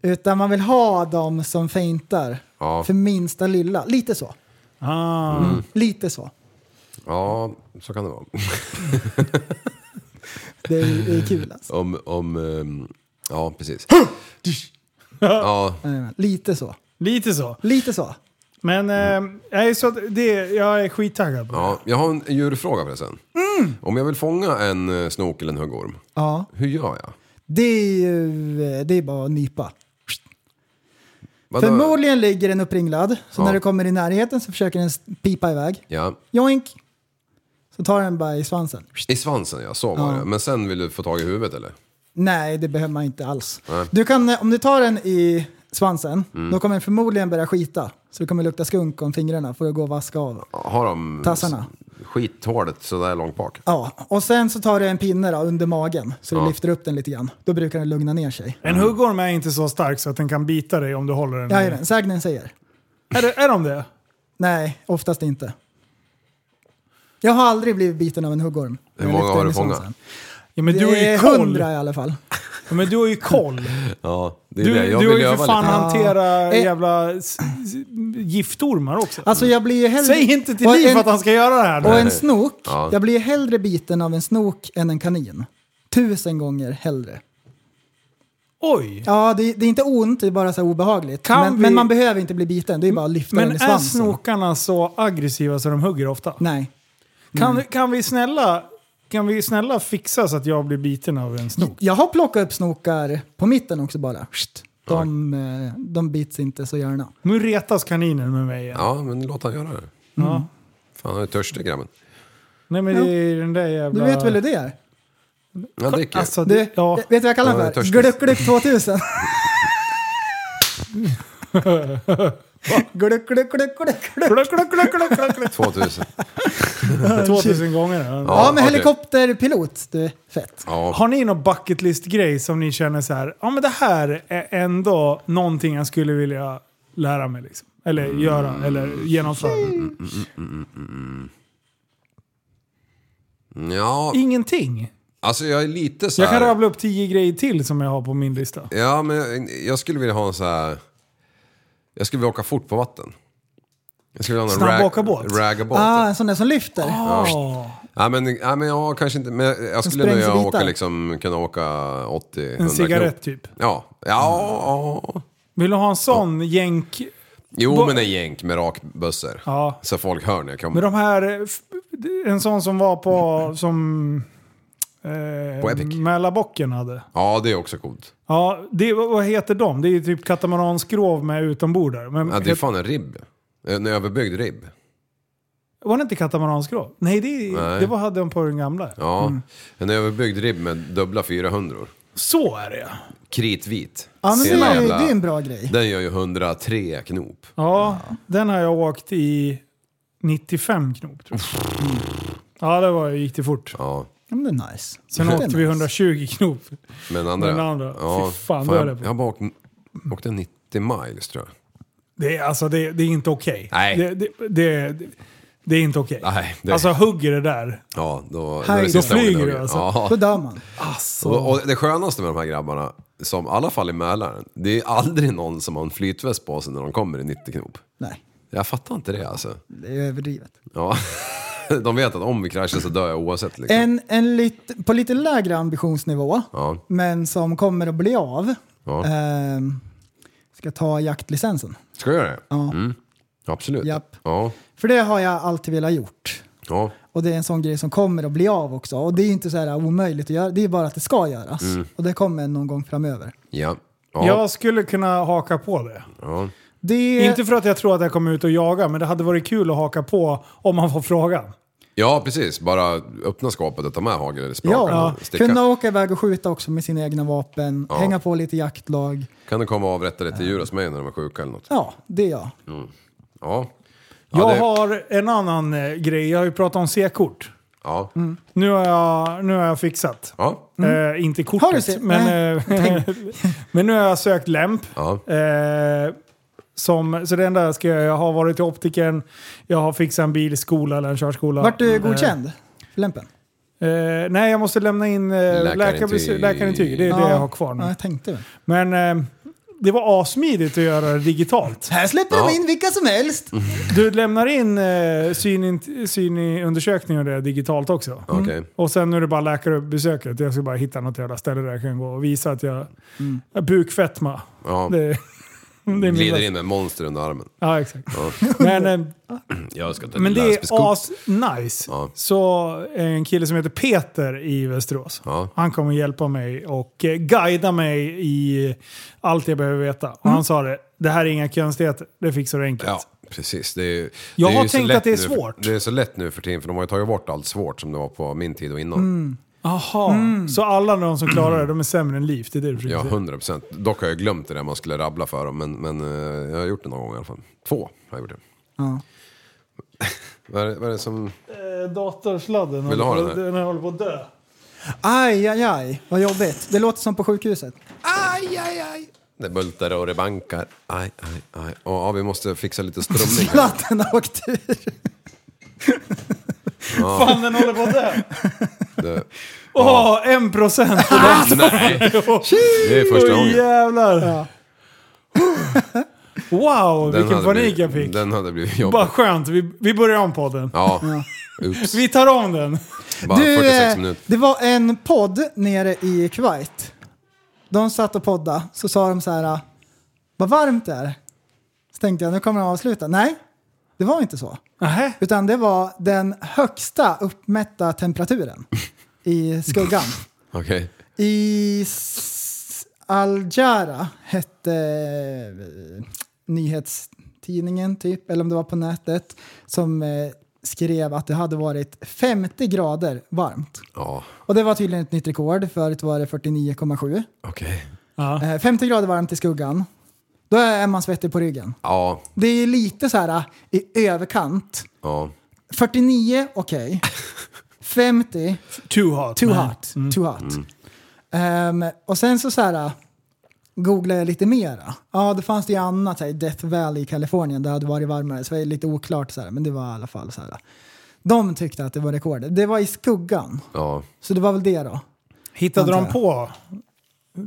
[SPEAKER 6] Utan man vill ha dem som feintar
[SPEAKER 7] Ja.
[SPEAKER 6] för minsta lilla. Lite så.
[SPEAKER 5] Ah.
[SPEAKER 7] Mm.
[SPEAKER 6] Lite så.
[SPEAKER 7] ja, så kan det vara.
[SPEAKER 6] Det är, det är kul alltså.
[SPEAKER 7] Om, om, ehm, ja precis. Ja,
[SPEAKER 6] Jajamän. Lite så.
[SPEAKER 5] Lite så.
[SPEAKER 6] Lite så.
[SPEAKER 5] Men eh, nej, så att det, jag är skittaggad på det.
[SPEAKER 7] Mm. ja, jag har en djurfråga förresten.
[SPEAKER 5] Mm!
[SPEAKER 7] Om jag vill fånga en eh, snok eller en huggorm,
[SPEAKER 6] Ja.
[SPEAKER 7] hur gör jag?
[SPEAKER 6] Det är ju eh, det är bara att nypa.
[SPEAKER 7] Vadå?
[SPEAKER 6] Förmodligen ligger den uppringlad. Så
[SPEAKER 7] Ja.
[SPEAKER 6] när du kommer i närheten så försöker den s- pipa iväg.
[SPEAKER 7] Ja.
[SPEAKER 6] Joink! Så tar den bara i svansen.
[SPEAKER 7] I svansen ja, så var
[SPEAKER 6] Ja.
[SPEAKER 7] det. Men sen vill du få tag i huvudet eller?
[SPEAKER 6] Nej, det behöver man inte alls.
[SPEAKER 7] Nej.
[SPEAKER 6] Du kan, eh, om du tar den i svansen,
[SPEAKER 5] Mm.
[SPEAKER 6] då kommer den förmodligen börja skita. Så det kommer lukta skunk om fingrarna för att gå och vaska av.
[SPEAKER 7] Har de
[SPEAKER 6] Tassarna.
[SPEAKER 7] skithålet sådär långt bak?
[SPEAKER 6] Ja, och sen så tar du en pinne då, under magen så du
[SPEAKER 7] Ja.
[SPEAKER 6] lyfter upp den lite grann. Då brukar den lugna ner sig.
[SPEAKER 5] En
[SPEAKER 7] Mm.
[SPEAKER 5] huggorm är inte så stark så att den kan bita dig om du håller den. i-
[SPEAKER 6] Jajamän, sägnen säger.
[SPEAKER 5] är, det, är de det?
[SPEAKER 6] Nej, oftast inte. Jag har aldrig blivit biten av en huggorm.
[SPEAKER 7] Hur många har du fångat?
[SPEAKER 5] Ja, men
[SPEAKER 6] Du
[SPEAKER 5] du har
[SPEAKER 6] är
[SPEAKER 5] ju koll.
[SPEAKER 6] hundra i alla fall.
[SPEAKER 5] Ja, men du har ju koll.
[SPEAKER 7] Ja, det är
[SPEAKER 5] Du,
[SPEAKER 7] det. Jag
[SPEAKER 5] du har
[SPEAKER 7] vill
[SPEAKER 5] ju för
[SPEAKER 7] öva
[SPEAKER 5] fan
[SPEAKER 7] lite.
[SPEAKER 5] hantera
[SPEAKER 6] Ja.
[SPEAKER 5] jävla s- s- giftormar också.
[SPEAKER 6] Alltså jag blir ju hellre...
[SPEAKER 5] Säg inte till
[SPEAKER 6] och
[SPEAKER 5] Liv
[SPEAKER 6] en-
[SPEAKER 5] att han ska göra det här nu.
[SPEAKER 6] Och en snok,
[SPEAKER 7] Ja.
[SPEAKER 6] jag blir ju hellre biten av en snok än en kanin. Tusen gånger hellre.
[SPEAKER 5] Oj!
[SPEAKER 6] Ja, det, det är inte ont, det är bara så här obehagligt.
[SPEAKER 5] Kan
[SPEAKER 6] Men,
[SPEAKER 5] vi-
[SPEAKER 6] men man behöver inte bli biten, det är bara att lyfta
[SPEAKER 5] Men
[SPEAKER 6] den i
[SPEAKER 5] är
[SPEAKER 6] svansen.
[SPEAKER 5] snokarna så aggressiva så de hugger ofta?
[SPEAKER 6] Nej. Mm.
[SPEAKER 5] Kan, kan, vi snälla, kan vi snälla fixa så att jag blir biten av en snok?
[SPEAKER 6] Jag har plockat upp snokar på mitten också bara. Sht. De, eh, de bits inte så gärna.
[SPEAKER 5] Nu retas kaninen med mig igen.
[SPEAKER 7] Ja, men låt han göra det.
[SPEAKER 5] Ja.
[SPEAKER 7] Fan, han är törstig grabben.
[SPEAKER 5] Nej men det är den där jävla...
[SPEAKER 6] Du vet väl hur det är?
[SPEAKER 7] Han dricker.
[SPEAKER 5] Alltså,
[SPEAKER 6] Du,
[SPEAKER 5] det, ja.
[SPEAKER 6] Vet du vad jag kallar
[SPEAKER 7] Ja, jag
[SPEAKER 6] den
[SPEAKER 7] är
[SPEAKER 6] för? Gluck
[SPEAKER 7] törstig.
[SPEAKER 6] gluck 2000. gluck gluck gluck gluck gluck.
[SPEAKER 5] Kluck, kluck, kluck, kluck, kluck, kluck.
[SPEAKER 7] 2000.
[SPEAKER 5] 2000 gånger. Ja.
[SPEAKER 6] Ja, men
[SPEAKER 7] okej.
[SPEAKER 6] helikopterpilot, du fett.
[SPEAKER 7] Ja.
[SPEAKER 5] Har ni någon bucket list grej som ni känner så här, ja men det här är ändå någonting jag skulle vilja lära mig liksom. Eller
[SPEAKER 7] Mm.
[SPEAKER 5] göra, eller genomföra.
[SPEAKER 7] ja,
[SPEAKER 5] Ingenting.
[SPEAKER 7] alltså jag är lite så
[SPEAKER 5] Jag kan
[SPEAKER 7] här...
[SPEAKER 5] rabbla upp tio grejer till som jag har på min lista.
[SPEAKER 7] Ja, men jag, jag skulle vilja ha en så här... Jag skulle vilja åka fort på vatten. Jag skulle vilja ha en
[SPEAKER 5] Snabb
[SPEAKER 7] rag-
[SPEAKER 5] åkabåt.
[SPEAKER 7] ragabåt.
[SPEAKER 6] Ah, en sån där som lyfter.
[SPEAKER 5] Åh,
[SPEAKER 7] Ja, men, ja, men jag kanske inte... Men jag- jag skulle
[SPEAKER 6] sprängs i
[SPEAKER 7] vilja åka,
[SPEAKER 6] bitar.
[SPEAKER 7] liksom, kunna åka 80-100
[SPEAKER 5] en cigarett
[SPEAKER 7] knop.
[SPEAKER 5] typ.
[SPEAKER 7] Ja, ja, ja.
[SPEAKER 5] Vill du ha en sån jänk?
[SPEAKER 7] Jo,
[SPEAKER 5] Bo-
[SPEAKER 7] men en jänk med rakbössor.
[SPEAKER 5] Ja.
[SPEAKER 7] Så folk hör när jag kommer.
[SPEAKER 5] Men de här, eh, f- en sån som var på, som
[SPEAKER 7] På Epic.
[SPEAKER 5] Mälarbocken hade.
[SPEAKER 7] Ja, det är också coolt.
[SPEAKER 5] Ja, det, vad vad heter de? Det är ju typ katamaransskrov med utombordare. Men
[SPEAKER 7] Ja, det är fan en ribb. En överbyggd ribb.
[SPEAKER 5] Var det inte katamaransskrov? Nej, det,
[SPEAKER 7] Nej.
[SPEAKER 5] det var, hade de på den gamla.
[SPEAKER 7] Ja,
[SPEAKER 6] Mm.
[SPEAKER 7] en överbyggd ribb med dubbla 400
[SPEAKER 5] Så är det
[SPEAKER 7] Kritvit.
[SPEAKER 6] Ja, men det
[SPEAKER 7] Ser
[SPEAKER 6] är, ju-
[SPEAKER 7] jävla-
[SPEAKER 6] det är en bra grej.
[SPEAKER 7] Den gör ju 103 knop.
[SPEAKER 5] Ja, den har jag åkt i 95 knop tror jag. Ja, det var, gick det fort.
[SPEAKER 7] Ja,
[SPEAKER 6] Ja, men det är nice.
[SPEAKER 5] Sen
[SPEAKER 6] Det är
[SPEAKER 5] åkte vi
[SPEAKER 6] nice.
[SPEAKER 5] 120 knop.
[SPEAKER 7] men andra...
[SPEAKER 5] Den andra.
[SPEAKER 7] Ja,
[SPEAKER 5] Fy fan, då är det
[SPEAKER 7] jag,
[SPEAKER 5] på.
[SPEAKER 7] jag har bara åkt, åkt en 90 miles tror jag.
[SPEAKER 5] Det är, alltså, det, det är inte okej.
[SPEAKER 7] Nej.
[SPEAKER 5] Det, det, det, det, det är inte okej.
[SPEAKER 7] Nej, det-
[SPEAKER 5] Alltså hugger det där.
[SPEAKER 7] Ja, då, då är
[SPEAKER 6] Herregud.
[SPEAKER 7] det sista
[SPEAKER 5] Då flyger
[SPEAKER 7] gången jag
[SPEAKER 5] du
[SPEAKER 7] åker.
[SPEAKER 5] alltså.
[SPEAKER 7] Ja,
[SPEAKER 6] Då dör man.
[SPEAKER 7] Och, och det skönaste med de här grabbarna, som i alla fall i Mälaren, det är aldrig någon som har en flytväst på sig när de kommer i 90 knop.
[SPEAKER 6] Nej,
[SPEAKER 7] Jag fattar inte det alltså.
[SPEAKER 6] det är överdrivet.
[SPEAKER 7] Ja. De vet att om vi kraschar så dör jag oavsett. Liksom.
[SPEAKER 6] En, en lit, på lite lägre ambitionsnivå,
[SPEAKER 7] Ja.
[SPEAKER 6] men som kommer att bli av,
[SPEAKER 7] Ja.
[SPEAKER 6] ehm, ska ta jaktlicensen.
[SPEAKER 7] Ska jag göra det? Mm.
[SPEAKER 6] Ja.
[SPEAKER 7] Absolut.
[SPEAKER 6] Japp.
[SPEAKER 7] Ja.
[SPEAKER 6] För det har jag alltid velat gjort.
[SPEAKER 7] ja.
[SPEAKER 6] Och det är en sån grej som kommer att bli av också. Och det är inte så här omöjligt att göra, det är bara att det ska göras. Och det kommer någon gång framöver.
[SPEAKER 7] Ja. Ja.
[SPEAKER 5] Jag skulle kunna haka på det.
[SPEAKER 7] Ja.
[SPEAKER 6] Det,
[SPEAKER 5] Inte för att jag tror att jag kommer ut och jaga, men det hade varit kul att haka på om man får frågan.
[SPEAKER 7] ja, precis. Bara öppna skåpet och ta med hagel eller sprakar.
[SPEAKER 6] ja,
[SPEAKER 7] och sticka.
[SPEAKER 6] kunna åka iväg och skjuta också med sina egna vapen,
[SPEAKER 7] Ja.
[SPEAKER 6] hänga på lite jaktlag.
[SPEAKER 7] Kan du komma och avrätta lite djur hos mig när de är sjuka eller något?
[SPEAKER 6] Ja, det är jag.
[SPEAKER 7] Ja. Ja,
[SPEAKER 5] Jag
[SPEAKER 7] det-
[SPEAKER 5] har en annan eh, grej. Jag har ju pratat om C-kort.
[SPEAKER 7] Ja.
[SPEAKER 5] Nu har jag, nu har jag fixat.
[SPEAKER 7] Ja.
[SPEAKER 5] Eh, inte
[SPEAKER 6] Mm. Har du
[SPEAKER 5] kortet,
[SPEAKER 6] sett?
[SPEAKER 5] men, eh, men nu har jag sökt lämp.
[SPEAKER 7] Ja.
[SPEAKER 5] Eh, som, så det enda jag ska göra, jag har varit till optiken, jag har fixat en bilskola eller en körskola.
[SPEAKER 6] Vart du godkänd? Lämpen?
[SPEAKER 5] Eh, eh, nej, jag måste lämna in eh, läkarintyg.
[SPEAKER 7] Läkarintyg.
[SPEAKER 5] läkarintyg. Det är det jag har kvar
[SPEAKER 6] Ja,
[SPEAKER 5] nu.
[SPEAKER 6] jag tänkte väl.
[SPEAKER 5] Men eh, det var assmidigt att göra det digitalt.
[SPEAKER 6] Här släpper
[SPEAKER 7] Ja.
[SPEAKER 6] de in vilka som helst!
[SPEAKER 5] Du lämnar in eh, synint- synundersökning och det digitalt också.
[SPEAKER 7] Okej.
[SPEAKER 5] Och sen nu är det bara läkarbesöket. Jag ska bara hitta något jävla ställe där jag kan gå och visa att jag har bukfetma.
[SPEAKER 7] Ja.
[SPEAKER 5] Det, det är min
[SPEAKER 7] Glider
[SPEAKER 5] bästa-
[SPEAKER 7] in med monster under armen.
[SPEAKER 5] Ja, exakt.
[SPEAKER 7] Ja.
[SPEAKER 5] Men, eh,
[SPEAKER 7] Jag ska ta
[SPEAKER 5] men det är
[SPEAKER 7] läsbesko.
[SPEAKER 5] as-nice.
[SPEAKER 7] Ja.
[SPEAKER 5] Så en kille som heter Peter i Västerås,
[SPEAKER 7] Ja.
[SPEAKER 5] han kommer hjälpa mig och eh, guida mig i allt jag behöver veta. Och han sa det, det här är inga konstigheter, det fixar du enkelt.
[SPEAKER 7] Ja, precis. Det är, ju-
[SPEAKER 5] Jag
[SPEAKER 7] det är
[SPEAKER 5] har
[SPEAKER 7] ju så
[SPEAKER 5] tänkt
[SPEAKER 7] lätt
[SPEAKER 5] att det är
[SPEAKER 7] nu
[SPEAKER 5] svårt.
[SPEAKER 7] För, det är så lätt nu för tiden, för de har ju tagit bort allt svårt som det var på min tid och innan.
[SPEAKER 5] Mm, Jaha, Mm. så alla de som klarar det, de är sämre än liv. Det är det du försöker
[SPEAKER 7] Ja,
[SPEAKER 5] säga.
[SPEAKER 7] 100 procent. Dock har jag glömt det där man skulle rabbla för dem, men, men eh, jag har gjort det någon gång i alla fall. Två har jag gjort det.
[SPEAKER 6] Ja.
[SPEAKER 7] vad, är, det- vad är det som...
[SPEAKER 5] Eh, Datorsladden
[SPEAKER 7] Vill du ha
[SPEAKER 5] håller
[SPEAKER 7] den
[SPEAKER 5] på-
[SPEAKER 7] här?
[SPEAKER 5] den håller på att dö.
[SPEAKER 6] Aj, aj, aj. Vad jobbigt. Det låter som på sjukhuset.
[SPEAKER 7] Aj, aj, aj! Det bultar och det bankar. Aj, aj, aj. Och, ja, vi måste fixa lite strömming här.
[SPEAKER 6] Sladden har åkt ur.
[SPEAKER 5] Fan, den håller på att dö!
[SPEAKER 7] Det,
[SPEAKER 5] Åh, en procent! på den.
[SPEAKER 7] nej! Det är första
[SPEAKER 5] Åh
[SPEAKER 7] gången.
[SPEAKER 5] jävlar! wow, vilken
[SPEAKER 7] hade
[SPEAKER 5] panik
[SPEAKER 7] blivit-
[SPEAKER 5] jag fick.
[SPEAKER 7] Den hade blivit jobbig.
[SPEAKER 5] Bara skönt, vi, vi börjar om podden.
[SPEAKER 7] Ja, ups.
[SPEAKER 5] Vi tar om den.
[SPEAKER 7] Bara
[SPEAKER 6] Du,
[SPEAKER 7] 46
[SPEAKER 6] eh,
[SPEAKER 7] minuter.
[SPEAKER 6] det var en podd nere i Kuwait. De satt och podda så sa de så här, vad varmt det är. Så tänkte jag, nu kommer de avsluta. Nej, det var inte så.
[SPEAKER 5] Nähä?
[SPEAKER 6] Utan det var den högsta uppmätta temperaturen i skuggan.
[SPEAKER 7] Okej.
[SPEAKER 6] I S- Al Jazeera hette eh, nyhetstidningen typ, eller om det var på nätet, som eh, skrev att det hade varit 50 grader varmt.
[SPEAKER 7] Ja,
[SPEAKER 6] Och det var tydligen ett nytt rekord. Förut var det 49,7.
[SPEAKER 7] okej.
[SPEAKER 6] Eh, 50 grader varmt i skuggan. Då är man svettig på ryggen.
[SPEAKER 7] Ja,
[SPEAKER 6] Det är lite så här eh, i överkant.
[SPEAKER 7] ja.
[SPEAKER 6] 49, okej. 50,
[SPEAKER 5] Too hot.
[SPEAKER 6] too
[SPEAKER 5] man.
[SPEAKER 6] hot. Too hot. Ehm, och sen så, så här, googlade jag lite mera. Ja, det fanns det ju annat här, i Death Valley i Kalifornien där det hade varit varmare. Så det är lite oklart, så här, men det var i alla fall så här. De tyckte att det var rekordet. Det var i skuggan.
[SPEAKER 7] ja.
[SPEAKER 6] Så det var väl det då.
[SPEAKER 5] Hittade de
[SPEAKER 6] Antar
[SPEAKER 5] på?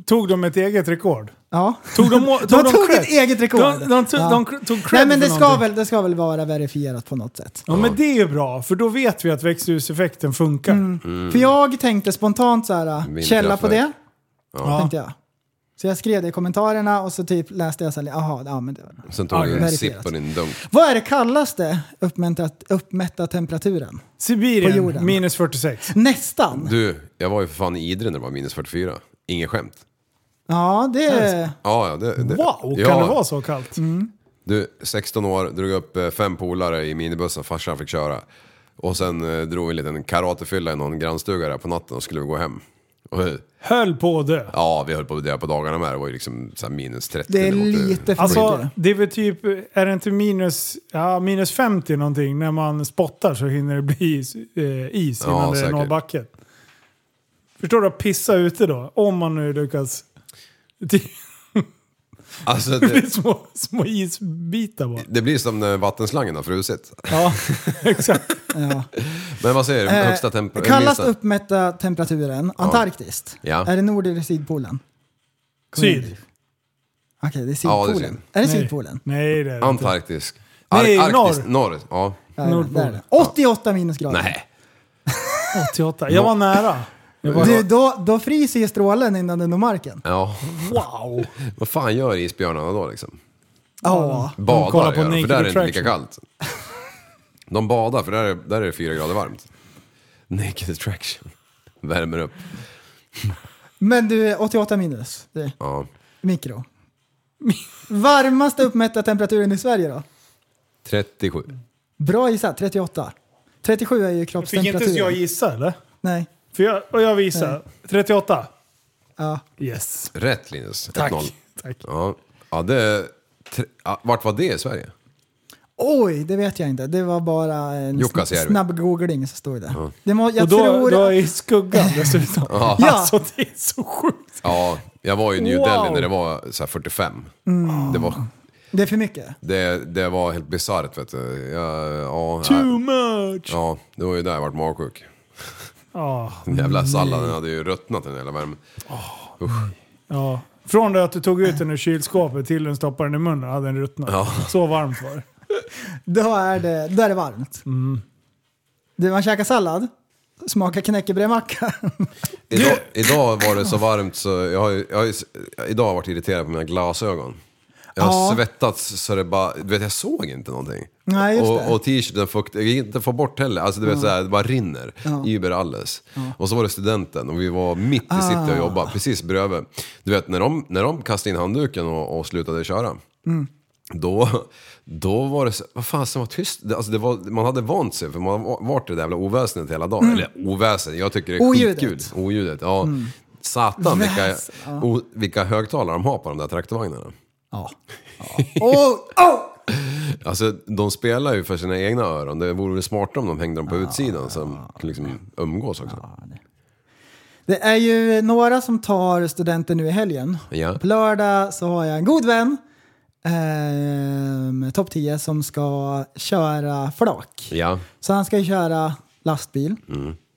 [SPEAKER 5] Tog de ett eget rekord?
[SPEAKER 6] Ja.
[SPEAKER 5] Tog de, tog
[SPEAKER 6] De tog
[SPEAKER 5] cred?
[SPEAKER 6] ett eget rekord.
[SPEAKER 5] De, de, tog,
[SPEAKER 6] Ja.
[SPEAKER 5] de cr- tog cred
[SPEAKER 6] Nej men det
[SPEAKER 5] för
[SPEAKER 6] ska,
[SPEAKER 5] någonting.
[SPEAKER 6] väl, det ska väl vara verifierat på något sätt.
[SPEAKER 5] Ja, men det är ju bra, för då vet vi att växthuseffekten
[SPEAKER 6] Mm.
[SPEAKER 5] funkar.
[SPEAKER 7] Mm.
[SPEAKER 6] För jag tänkte spontant så här, källa på det,
[SPEAKER 7] Ja.
[SPEAKER 6] tänkte jag. Så jag skrev det i kommentarerna och så typ läste jag så här, jaha, ja men det var
[SPEAKER 7] Sen tog du en
[SPEAKER 6] verifierat.
[SPEAKER 7] sipp på din dunk.
[SPEAKER 6] Vad är det kallaste uppmätta, uppmätta temperaturen? På
[SPEAKER 5] Sibirien,
[SPEAKER 6] jorden.
[SPEAKER 5] minus 46.
[SPEAKER 6] Nästan.
[SPEAKER 7] Du, jag var ju för fan i Idre när det var minus 44. Inget skämt.
[SPEAKER 6] Ja, det är...
[SPEAKER 7] Ja, ja, det, det.
[SPEAKER 5] Wow,
[SPEAKER 7] ja,
[SPEAKER 5] kan det vara så kallt?
[SPEAKER 6] Mm.
[SPEAKER 7] Du, 16 år, drog upp eh, fem polare i minibussen, farsan fick köra. Och sen eh, drog vi en liten karatefylla i någon grannstuga där på natten och skulle gå hem. Och, eh,
[SPEAKER 5] Höll på att dö.
[SPEAKER 7] ja, vi höll på att dö på dagarna med. Det var ju liksom så här minus 30.
[SPEAKER 6] Det är
[SPEAKER 7] låter ju-
[SPEAKER 6] lite för
[SPEAKER 5] Alltså,
[SPEAKER 6] mycket.
[SPEAKER 5] det är väl typ, är det inte minus, ja, minus 50 någonting? När man spottar så hinner det bli is, eh, is
[SPEAKER 7] Ja,
[SPEAKER 5] innan det
[SPEAKER 7] säkert.
[SPEAKER 5] når backen. Förstår du att pissa ute då? Om man nu lyckas... Det
[SPEAKER 7] Alltså, det,
[SPEAKER 5] är små, små isbitar bara.
[SPEAKER 7] det blir som när vattenslangen har frusit.
[SPEAKER 5] Ja, exakt.
[SPEAKER 7] Men vad säger du?
[SPEAKER 6] Eh,
[SPEAKER 7] Högsta tempo?
[SPEAKER 6] Kallast
[SPEAKER 7] minsta-
[SPEAKER 6] uppmätta temperaturen, Antarktis.
[SPEAKER 7] Ja.
[SPEAKER 6] Är det nord eller sydpolen?
[SPEAKER 5] Syd.
[SPEAKER 6] Okej, det är
[SPEAKER 7] Ja, det är
[SPEAKER 6] sydpolen.
[SPEAKER 7] syd.
[SPEAKER 6] är,
[SPEAKER 5] Nej.
[SPEAKER 6] det sydpolen?
[SPEAKER 5] Nej, det är det inte.
[SPEAKER 7] Antarktisk. Ar-
[SPEAKER 5] Nej,
[SPEAKER 7] Arktis, norr. Ja.
[SPEAKER 6] Ja, det är det.
[SPEAKER 5] Nordpolen.
[SPEAKER 6] Där är det. 88 minusgrader.
[SPEAKER 7] Nej.
[SPEAKER 5] 88. Jag var nära. Jag var,
[SPEAKER 6] Du, då, då fryser ju strålen innan den når marken.
[SPEAKER 7] Ja.
[SPEAKER 5] wow!
[SPEAKER 7] Vad fan gör isbjörnarna då liksom?
[SPEAKER 6] Ja.
[SPEAKER 7] Badar
[SPEAKER 5] kollar på
[SPEAKER 7] gör de, för
[SPEAKER 5] Naked
[SPEAKER 7] där är det inte lika
[SPEAKER 5] Attraction.
[SPEAKER 7] kallt. De badar, för där är, där är det fyra grader varmt. Naked attraction. Värmer upp.
[SPEAKER 6] Men du, 88 minus. Det är
[SPEAKER 7] Ja.
[SPEAKER 6] mikro. Varmaste uppmätta temperaturen i Sverige då?
[SPEAKER 7] 37.
[SPEAKER 6] Bra gissat, 38. 37 är ju
[SPEAKER 5] Fick inte ens jag
[SPEAKER 6] kroppstemperaturen.
[SPEAKER 5] gissa eller?
[SPEAKER 6] Nej.
[SPEAKER 5] För jag, och jag visar. 38.
[SPEAKER 6] Ja.
[SPEAKER 5] Yes.
[SPEAKER 7] Rätt Linus. 1-0.
[SPEAKER 5] Tack. Tack.
[SPEAKER 7] Ja. ja, det... är Tre, ja, vart var det i Sverige?
[SPEAKER 6] Oj, det vet jag inte. Det var bara en
[SPEAKER 7] Jukkasjärvi.
[SPEAKER 6] snabb googling så stod det. det må, jag
[SPEAKER 5] och då,
[SPEAKER 6] tror...
[SPEAKER 5] då i skuggan dessutom. ja. Alltså det är så sjukt.
[SPEAKER 7] Ja, jag var i New
[SPEAKER 5] Wow. Mm.
[SPEAKER 7] Delhi när det var så här 45. Det, var,
[SPEAKER 6] Det är för mycket.
[SPEAKER 7] det, det var helt bisarrt vet du. Jag, ja,
[SPEAKER 5] Too much! Ja.
[SPEAKER 7] ja, det var ju där jag vart magsjuk. Den
[SPEAKER 6] Mm.
[SPEAKER 7] jävla salladen hade ju ruttnat den hela värmen.
[SPEAKER 5] ja. Från det att du tog ut den ur kylskåpet till den stoppade den i munnen hade den ruttnat. Så varmt var det.
[SPEAKER 6] Då är det, då är det varmt.
[SPEAKER 5] Mm.
[SPEAKER 6] Du, man käkar sallad, smakar knäckebrödmacka.
[SPEAKER 7] Idag, idag var det så varmt så jag har, ju- jag har, ju- idag har jag varit irriterad på mina glasögon. Jag har
[SPEAKER 6] Ja.
[SPEAKER 7] svettats så det bara, du vet jag såg inte någonting.
[SPEAKER 6] Nej, just det.
[SPEAKER 7] och och t-shirten fukt, jag gick inte få bort heller, alltså du vet såhär, det bara rinner. Über alles. Och så var det studenten och vi var mitt i city
[SPEAKER 6] Ah.
[SPEAKER 7] och jobbade, precis bredvid. Du vet när de, när de kastade in handduken och, och slutade köra. Då, då var det så, vad fan som var tyst, Det- alltså det var, man hade vant sig för man har varit i det där jävla oväsendet hela dagen. Eller oväsen, jag tycker det är
[SPEAKER 6] Oljudet.
[SPEAKER 7] skitkul. Oljudet, ja. Satan vilka, o, vilka högtalare de har på de där traktorvagnarna.
[SPEAKER 6] Ja. Oh, oh!
[SPEAKER 7] Alltså de spelar ju för sina egna öron, det vore väl smartare om de hängde dem på utsidan så de kan liksom umgås också.
[SPEAKER 6] Det är ju några som tar studenten nu i helgen.
[SPEAKER 7] Ja.
[SPEAKER 6] På lördag så har jag en god vän, ehm, topp 10, som ska köra flak.
[SPEAKER 7] Ja,
[SPEAKER 6] Så han ska ju köra lastbil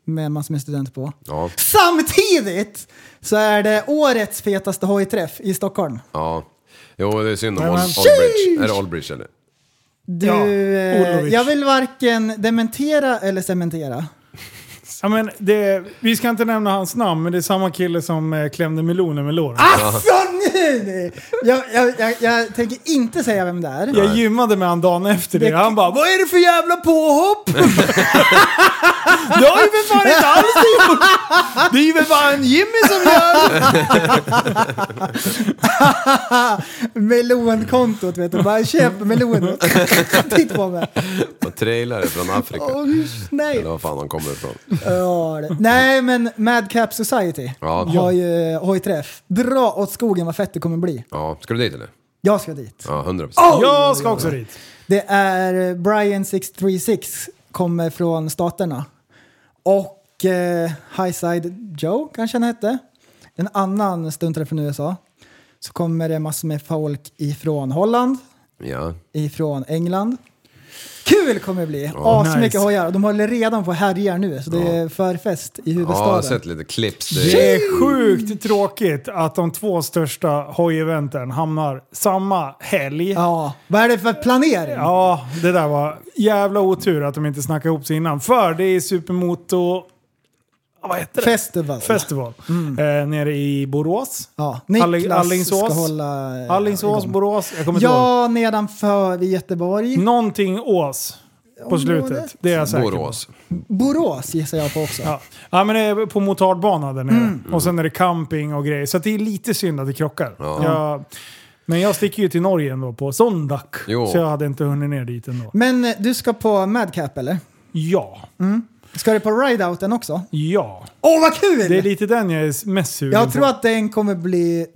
[SPEAKER 6] med massor med studenter på.
[SPEAKER 7] ja,
[SPEAKER 6] Samtidigt så är det årets fetaste hojträff i Stockholm.
[SPEAKER 7] ja. Jo det är synd om All-
[SPEAKER 5] men-
[SPEAKER 7] Allbridge, är det Allbridge eller?
[SPEAKER 6] Du,
[SPEAKER 5] Ja,
[SPEAKER 6] eh,
[SPEAKER 5] Olovic.
[SPEAKER 6] jag vill varken dementera eller cementera.
[SPEAKER 5] Ja, men det, vi ska inte nämna hans namn, men det är samma kille som eh, klämde meloner med låren.
[SPEAKER 6] Alltså nu! nu. Jag, jag, jag, jag tänker inte säga vem det är.
[SPEAKER 5] Jag gymmade med han dagen efter det. Han bara Vad är det för jävla påhopp? det har ju för fan inte alls gjort! Det är ju för fan Jimmy som gör det!
[SPEAKER 6] Melonkontot vet du, bara köp meloner. Titta på mig.
[SPEAKER 7] Och trailare från Afrika.
[SPEAKER 6] Åh, nej.
[SPEAKER 7] Eller var fan de kommer ifrån.
[SPEAKER 6] Ja, det- nej men Madcap Society
[SPEAKER 7] Ja.
[SPEAKER 6] har ju hojträff. Dra åt skogen vad fett det kommer bli.
[SPEAKER 7] Ja, ska du dit eller?
[SPEAKER 6] Jag ska dit.
[SPEAKER 7] Ja, 100%.
[SPEAKER 5] Jag ska också dit.
[SPEAKER 6] Det är Brian 636 kommer från Staterna. Och eh, Highside Joe kanske han hette. En annan stuntare från USA. Så kommer det massor med folk ifrån Holland,
[SPEAKER 7] Ja.
[SPEAKER 6] ifrån England. Kul kommer det bli! Asmycket
[SPEAKER 5] Nice.
[SPEAKER 6] hojar och de håller redan på och härjar nu så det är förfest i
[SPEAKER 7] ja, jag har
[SPEAKER 6] huvudstaden.
[SPEAKER 7] sett lite clips. Det är-
[SPEAKER 5] Det är sjukt tråkigt att de två största hojeventen hamnar samma helg.
[SPEAKER 6] ja, vad är det för planering?
[SPEAKER 5] Ja, det där var jävla otur att de inte snackade ihop sig innan. För det är supermoto... vad heter det?
[SPEAKER 6] Festival.
[SPEAKER 5] Festival. Eh, nere i Borås.
[SPEAKER 6] alltså. Mm. Ja,
[SPEAKER 5] Alling-
[SPEAKER 6] Niklas
[SPEAKER 5] Allingsås.
[SPEAKER 6] ska hålla... eh,
[SPEAKER 5] Alingsås,
[SPEAKER 6] igång.
[SPEAKER 5] Borås. Jag kommer inte ihåg.
[SPEAKER 6] Ja, nedanför i Göteborg.
[SPEAKER 5] Någonting Ås på
[SPEAKER 6] Området.
[SPEAKER 5] slutet. Det är jag säker på.
[SPEAKER 7] Borås.
[SPEAKER 6] Borås gissar jag på också.
[SPEAKER 5] Ja. ja, men det är på motardbanan där nere.
[SPEAKER 6] Mm.
[SPEAKER 5] Och sen är det camping och grejer. Så att det är lite synd att det krockar. Jag, men jag sticker ju till Norge ändå på söndag.
[SPEAKER 7] Jo.
[SPEAKER 5] Så jag hade inte hunnit ner dit ändå.
[SPEAKER 6] Men eh, du ska på Madcap eller?
[SPEAKER 5] Ja,
[SPEAKER 6] Ska du på Rideouten också?
[SPEAKER 5] ja.
[SPEAKER 6] Åh, vad kul!
[SPEAKER 5] Det är lite den jag är mest sugen
[SPEAKER 6] jag tror
[SPEAKER 5] på.
[SPEAKER 6] att den kommer bli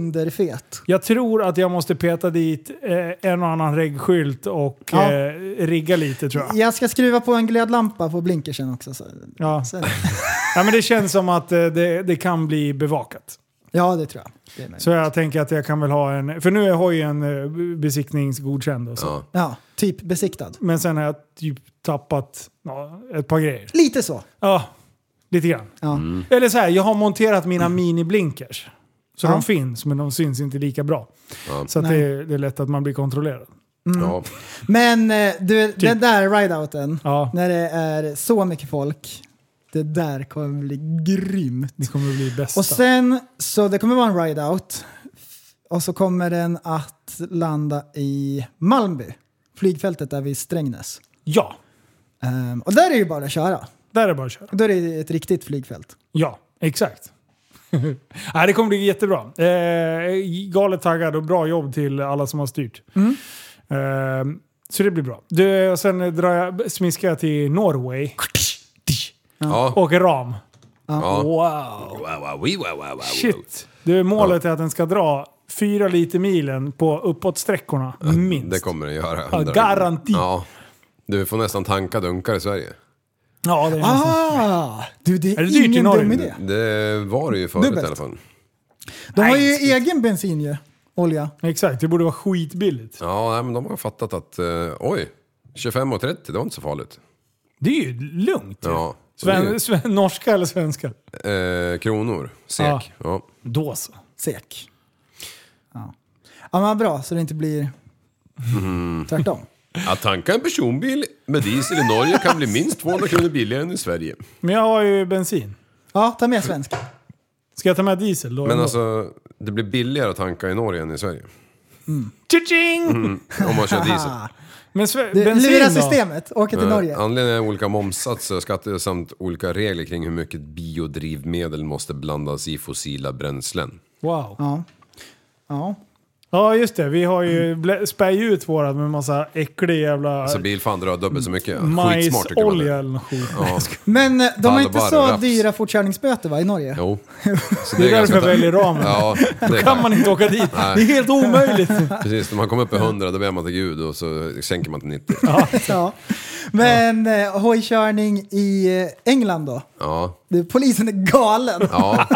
[SPEAKER 6] dunderfet.
[SPEAKER 5] Jag tror att jag måste peta dit eh, en och annan reggskylt och
[SPEAKER 6] Ja.
[SPEAKER 5] eh, rigga lite tror jag.
[SPEAKER 6] Jag ska skruva på en glödlampa på blinkersen också. Så.
[SPEAKER 5] Ja.
[SPEAKER 6] Så.
[SPEAKER 5] Ja, men det känns som att eh, det, det kan bli bevakat.
[SPEAKER 6] Ja, det tror jag. Det är möjligt.
[SPEAKER 5] Så jag tänker att jag kan väl ha en... För nu har jag ju en eh, besiktningsgodkänd och så.
[SPEAKER 7] Ja.
[SPEAKER 6] Ja, typ besiktad.
[SPEAKER 5] Men sen har jag typ tappat ja, ett par grejer.
[SPEAKER 6] Lite så.
[SPEAKER 5] Ja, lite grann.
[SPEAKER 6] Ja.
[SPEAKER 5] Eller så här, jag har monterat mina mini-blinkers. Så
[SPEAKER 6] Ja.
[SPEAKER 5] de finns, men de syns inte lika bra. Så att
[SPEAKER 6] Nej.
[SPEAKER 5] det, det är lätt att man blir kontrollerad. Mm.
[SPEAKER 7] Ja.
[SPEAKER 6] Men eh, du,
[SPEAKER 5] Typ.
[SPEAKER 6] den där rideouten,
[SPEAKER 5] Ja.
[SPEAKER 6] när det är så mycket folk, det där kommer bli grymt.
[SPEAKER 5] Det kommer att bli bästa.
[SPEAKER 6] Och sen, så det kommer vara en rideout. Och så kommer den att landa i Malmby, flygfältet där vid Strängnäs.
[SPEAKER 5] Ja,
[SPEAKER 6] Ehm, och där är det ju bara att köra.
[SPEAKER 5] där är det bara att köra.
[SPEAKER 6] Då är det ett riktigt flygfält.
[SPEAKER 5] Ja, exakt. Nej, det kommer bli jättebra. Eh, galet taggad och bra jobb till alla som har styrt.
[SPEAKER 6] Mm.
[SPEAKER 5] Eh, så det blir bra. Du, och sen drar jag, smiskar jag till Norway
[SPEAKER 6] Oh.
[SPEAKER 7] Ja.
[SPEAKER 5] och Ram.
[SPEAKER 7] Ja.
[SPEAKER 5] Wow!
[SPEAKER 7] Wow, wow, wee, wow, wow, wow, wow.
[SPEAKER 5] Shit! Du, målet är att den ska dra fyra liter milen på uppåtsträckorna, minst.
[SPEAKER 7] Det kommer det göra.
[SPEAKER 5] Ja,
[SPEAKER 7] undrar du.
[SPEAKER 5] garanti.
[SPEAKER 7] Ja. Du får nästan tanka dunkar i Sverige.
[SPEAKER 5] Ja, det är nästan-
[SPEAKER 6] Ah! Du, det är,
[SPEAKER 5] Är det dyrt i
[SPEAKER 6] ingen
[SPEAKER 5] Norge?
[SPEAKER 6] dum idé.
[SPEAKER 7] Det var det ju förut
[SPEAKER 6] Dubbelt.
[SPEAKER 7] i alla fall.
[SPEAKER 6] De har ju
[SPEAKER 5] Nej, shit.
[SPEAKER 6] egen bensin ju. Olja.
[SPEAKER 5] Exakt, det borde vara skitbilligt.
[SPEAKER 7] Ja, nej, men de har fattat att eh, oj, 25 och 30, det var inte så farligt.
[SPEAKER 5] Det är ju lugnt.
[SPEAKER 7] Ja. Så
[SPEAKER 5] Sven,
[SPEAKER 7] det
[SPEAKER 5] sven, norska eller svenska?
[SPEAKER 7] är ju, eh, kronor, sek. Ja.
[SPEAKER 5] Då så.
[SPEAKER 6] Sek. Ja. ja, men bra så det inte blir
[SPEAKER 5] Mm.
[SPEAKER 6] tvärtom.
[SPEAKER 7] Att tanka en personbil med diesel i Norge kan bli minst 200 kronor billigare än i Sverige.
[SPEAKER 5] Men jag har ju bensin.
[SPEAKER 6] Ja, ta med svensk.
[SPEAKER 5] Ska jag ta med diesel då?
[SPEAKER 7] Men
[SPEAKER 5] ändå?
[SPEAKER 7] alltså, det blir billigare att tanka i Norge än i Sverige.
[SPEAKER 5] Tjing!
[SPEAKER 7] Om man kör diesel.
[SPEAKER 5] Men sve-
[SPEAKER 6] Du,
[SPEAKER 5] bensin
[SPEAKER 6] lura
[SPEAKER 5] då?
[SPEAKER 6] systemet, åka till
[SPEAKER 7] Eh,
[SPEAKER 6] Norge.
[SPEAKER 7] Anledningen är olika momssatser och skatter samt olika regler kring hur mycket biodrivmedel måste blandas i fossila bränslen.
[SPEAKER 5] Wow. Ja.
[SPEAKER 6] Ja. ja.
[SPEAKER 5] just det. Vi har ju
[SPEAKER 6] Mm.
[SPEAKER 5] blä- spär ju ut vårat med massa äcklig jävla
[SPEAKER 7] Så bilfan drar dubbelt
[SPEAKER 5] Mm.
[SPEAKER 7] så mycket. Alltså, Skitsmart tycker man.
[SPEAKER 5] majsolja
[SPEAKER 7] det.
[SPEAKER 5] eller något skit.
[SPEAKER 7] Ja.
[SPEAKER 6] Men eh, de har inte
[SPEAKER 7] Balbar och
[SPEAKER 6] så
[SPEAKER 7] raps.
[SPEAKER 6] dyra fortkörningsböter va, i Norge?
[SPEAKER 7] Jo. Så
[SPEAKER 5] Det är därför jag
[SPEAKER 7] ganska-
[SPEAKER 5] väljer ramen.
[SPEAKER 7] Ja, det
[SPEAKER 5] kan man inte åka dit.
[SPEAKER 7] Nej.
[SPEAKER 5] Det är helt omöjligt.
[SPEAKER 7] Precis, när man kommer upp i 100 då ber man till Gud och så sänker man till 90.
[SPEAKER 6] Ja. Men eh, hojkörning i eh, England då?
[SPEAKER 7] Ja,
[SPEAKER 6] Du, polisen är galen.
[SPEAKER 7] ja.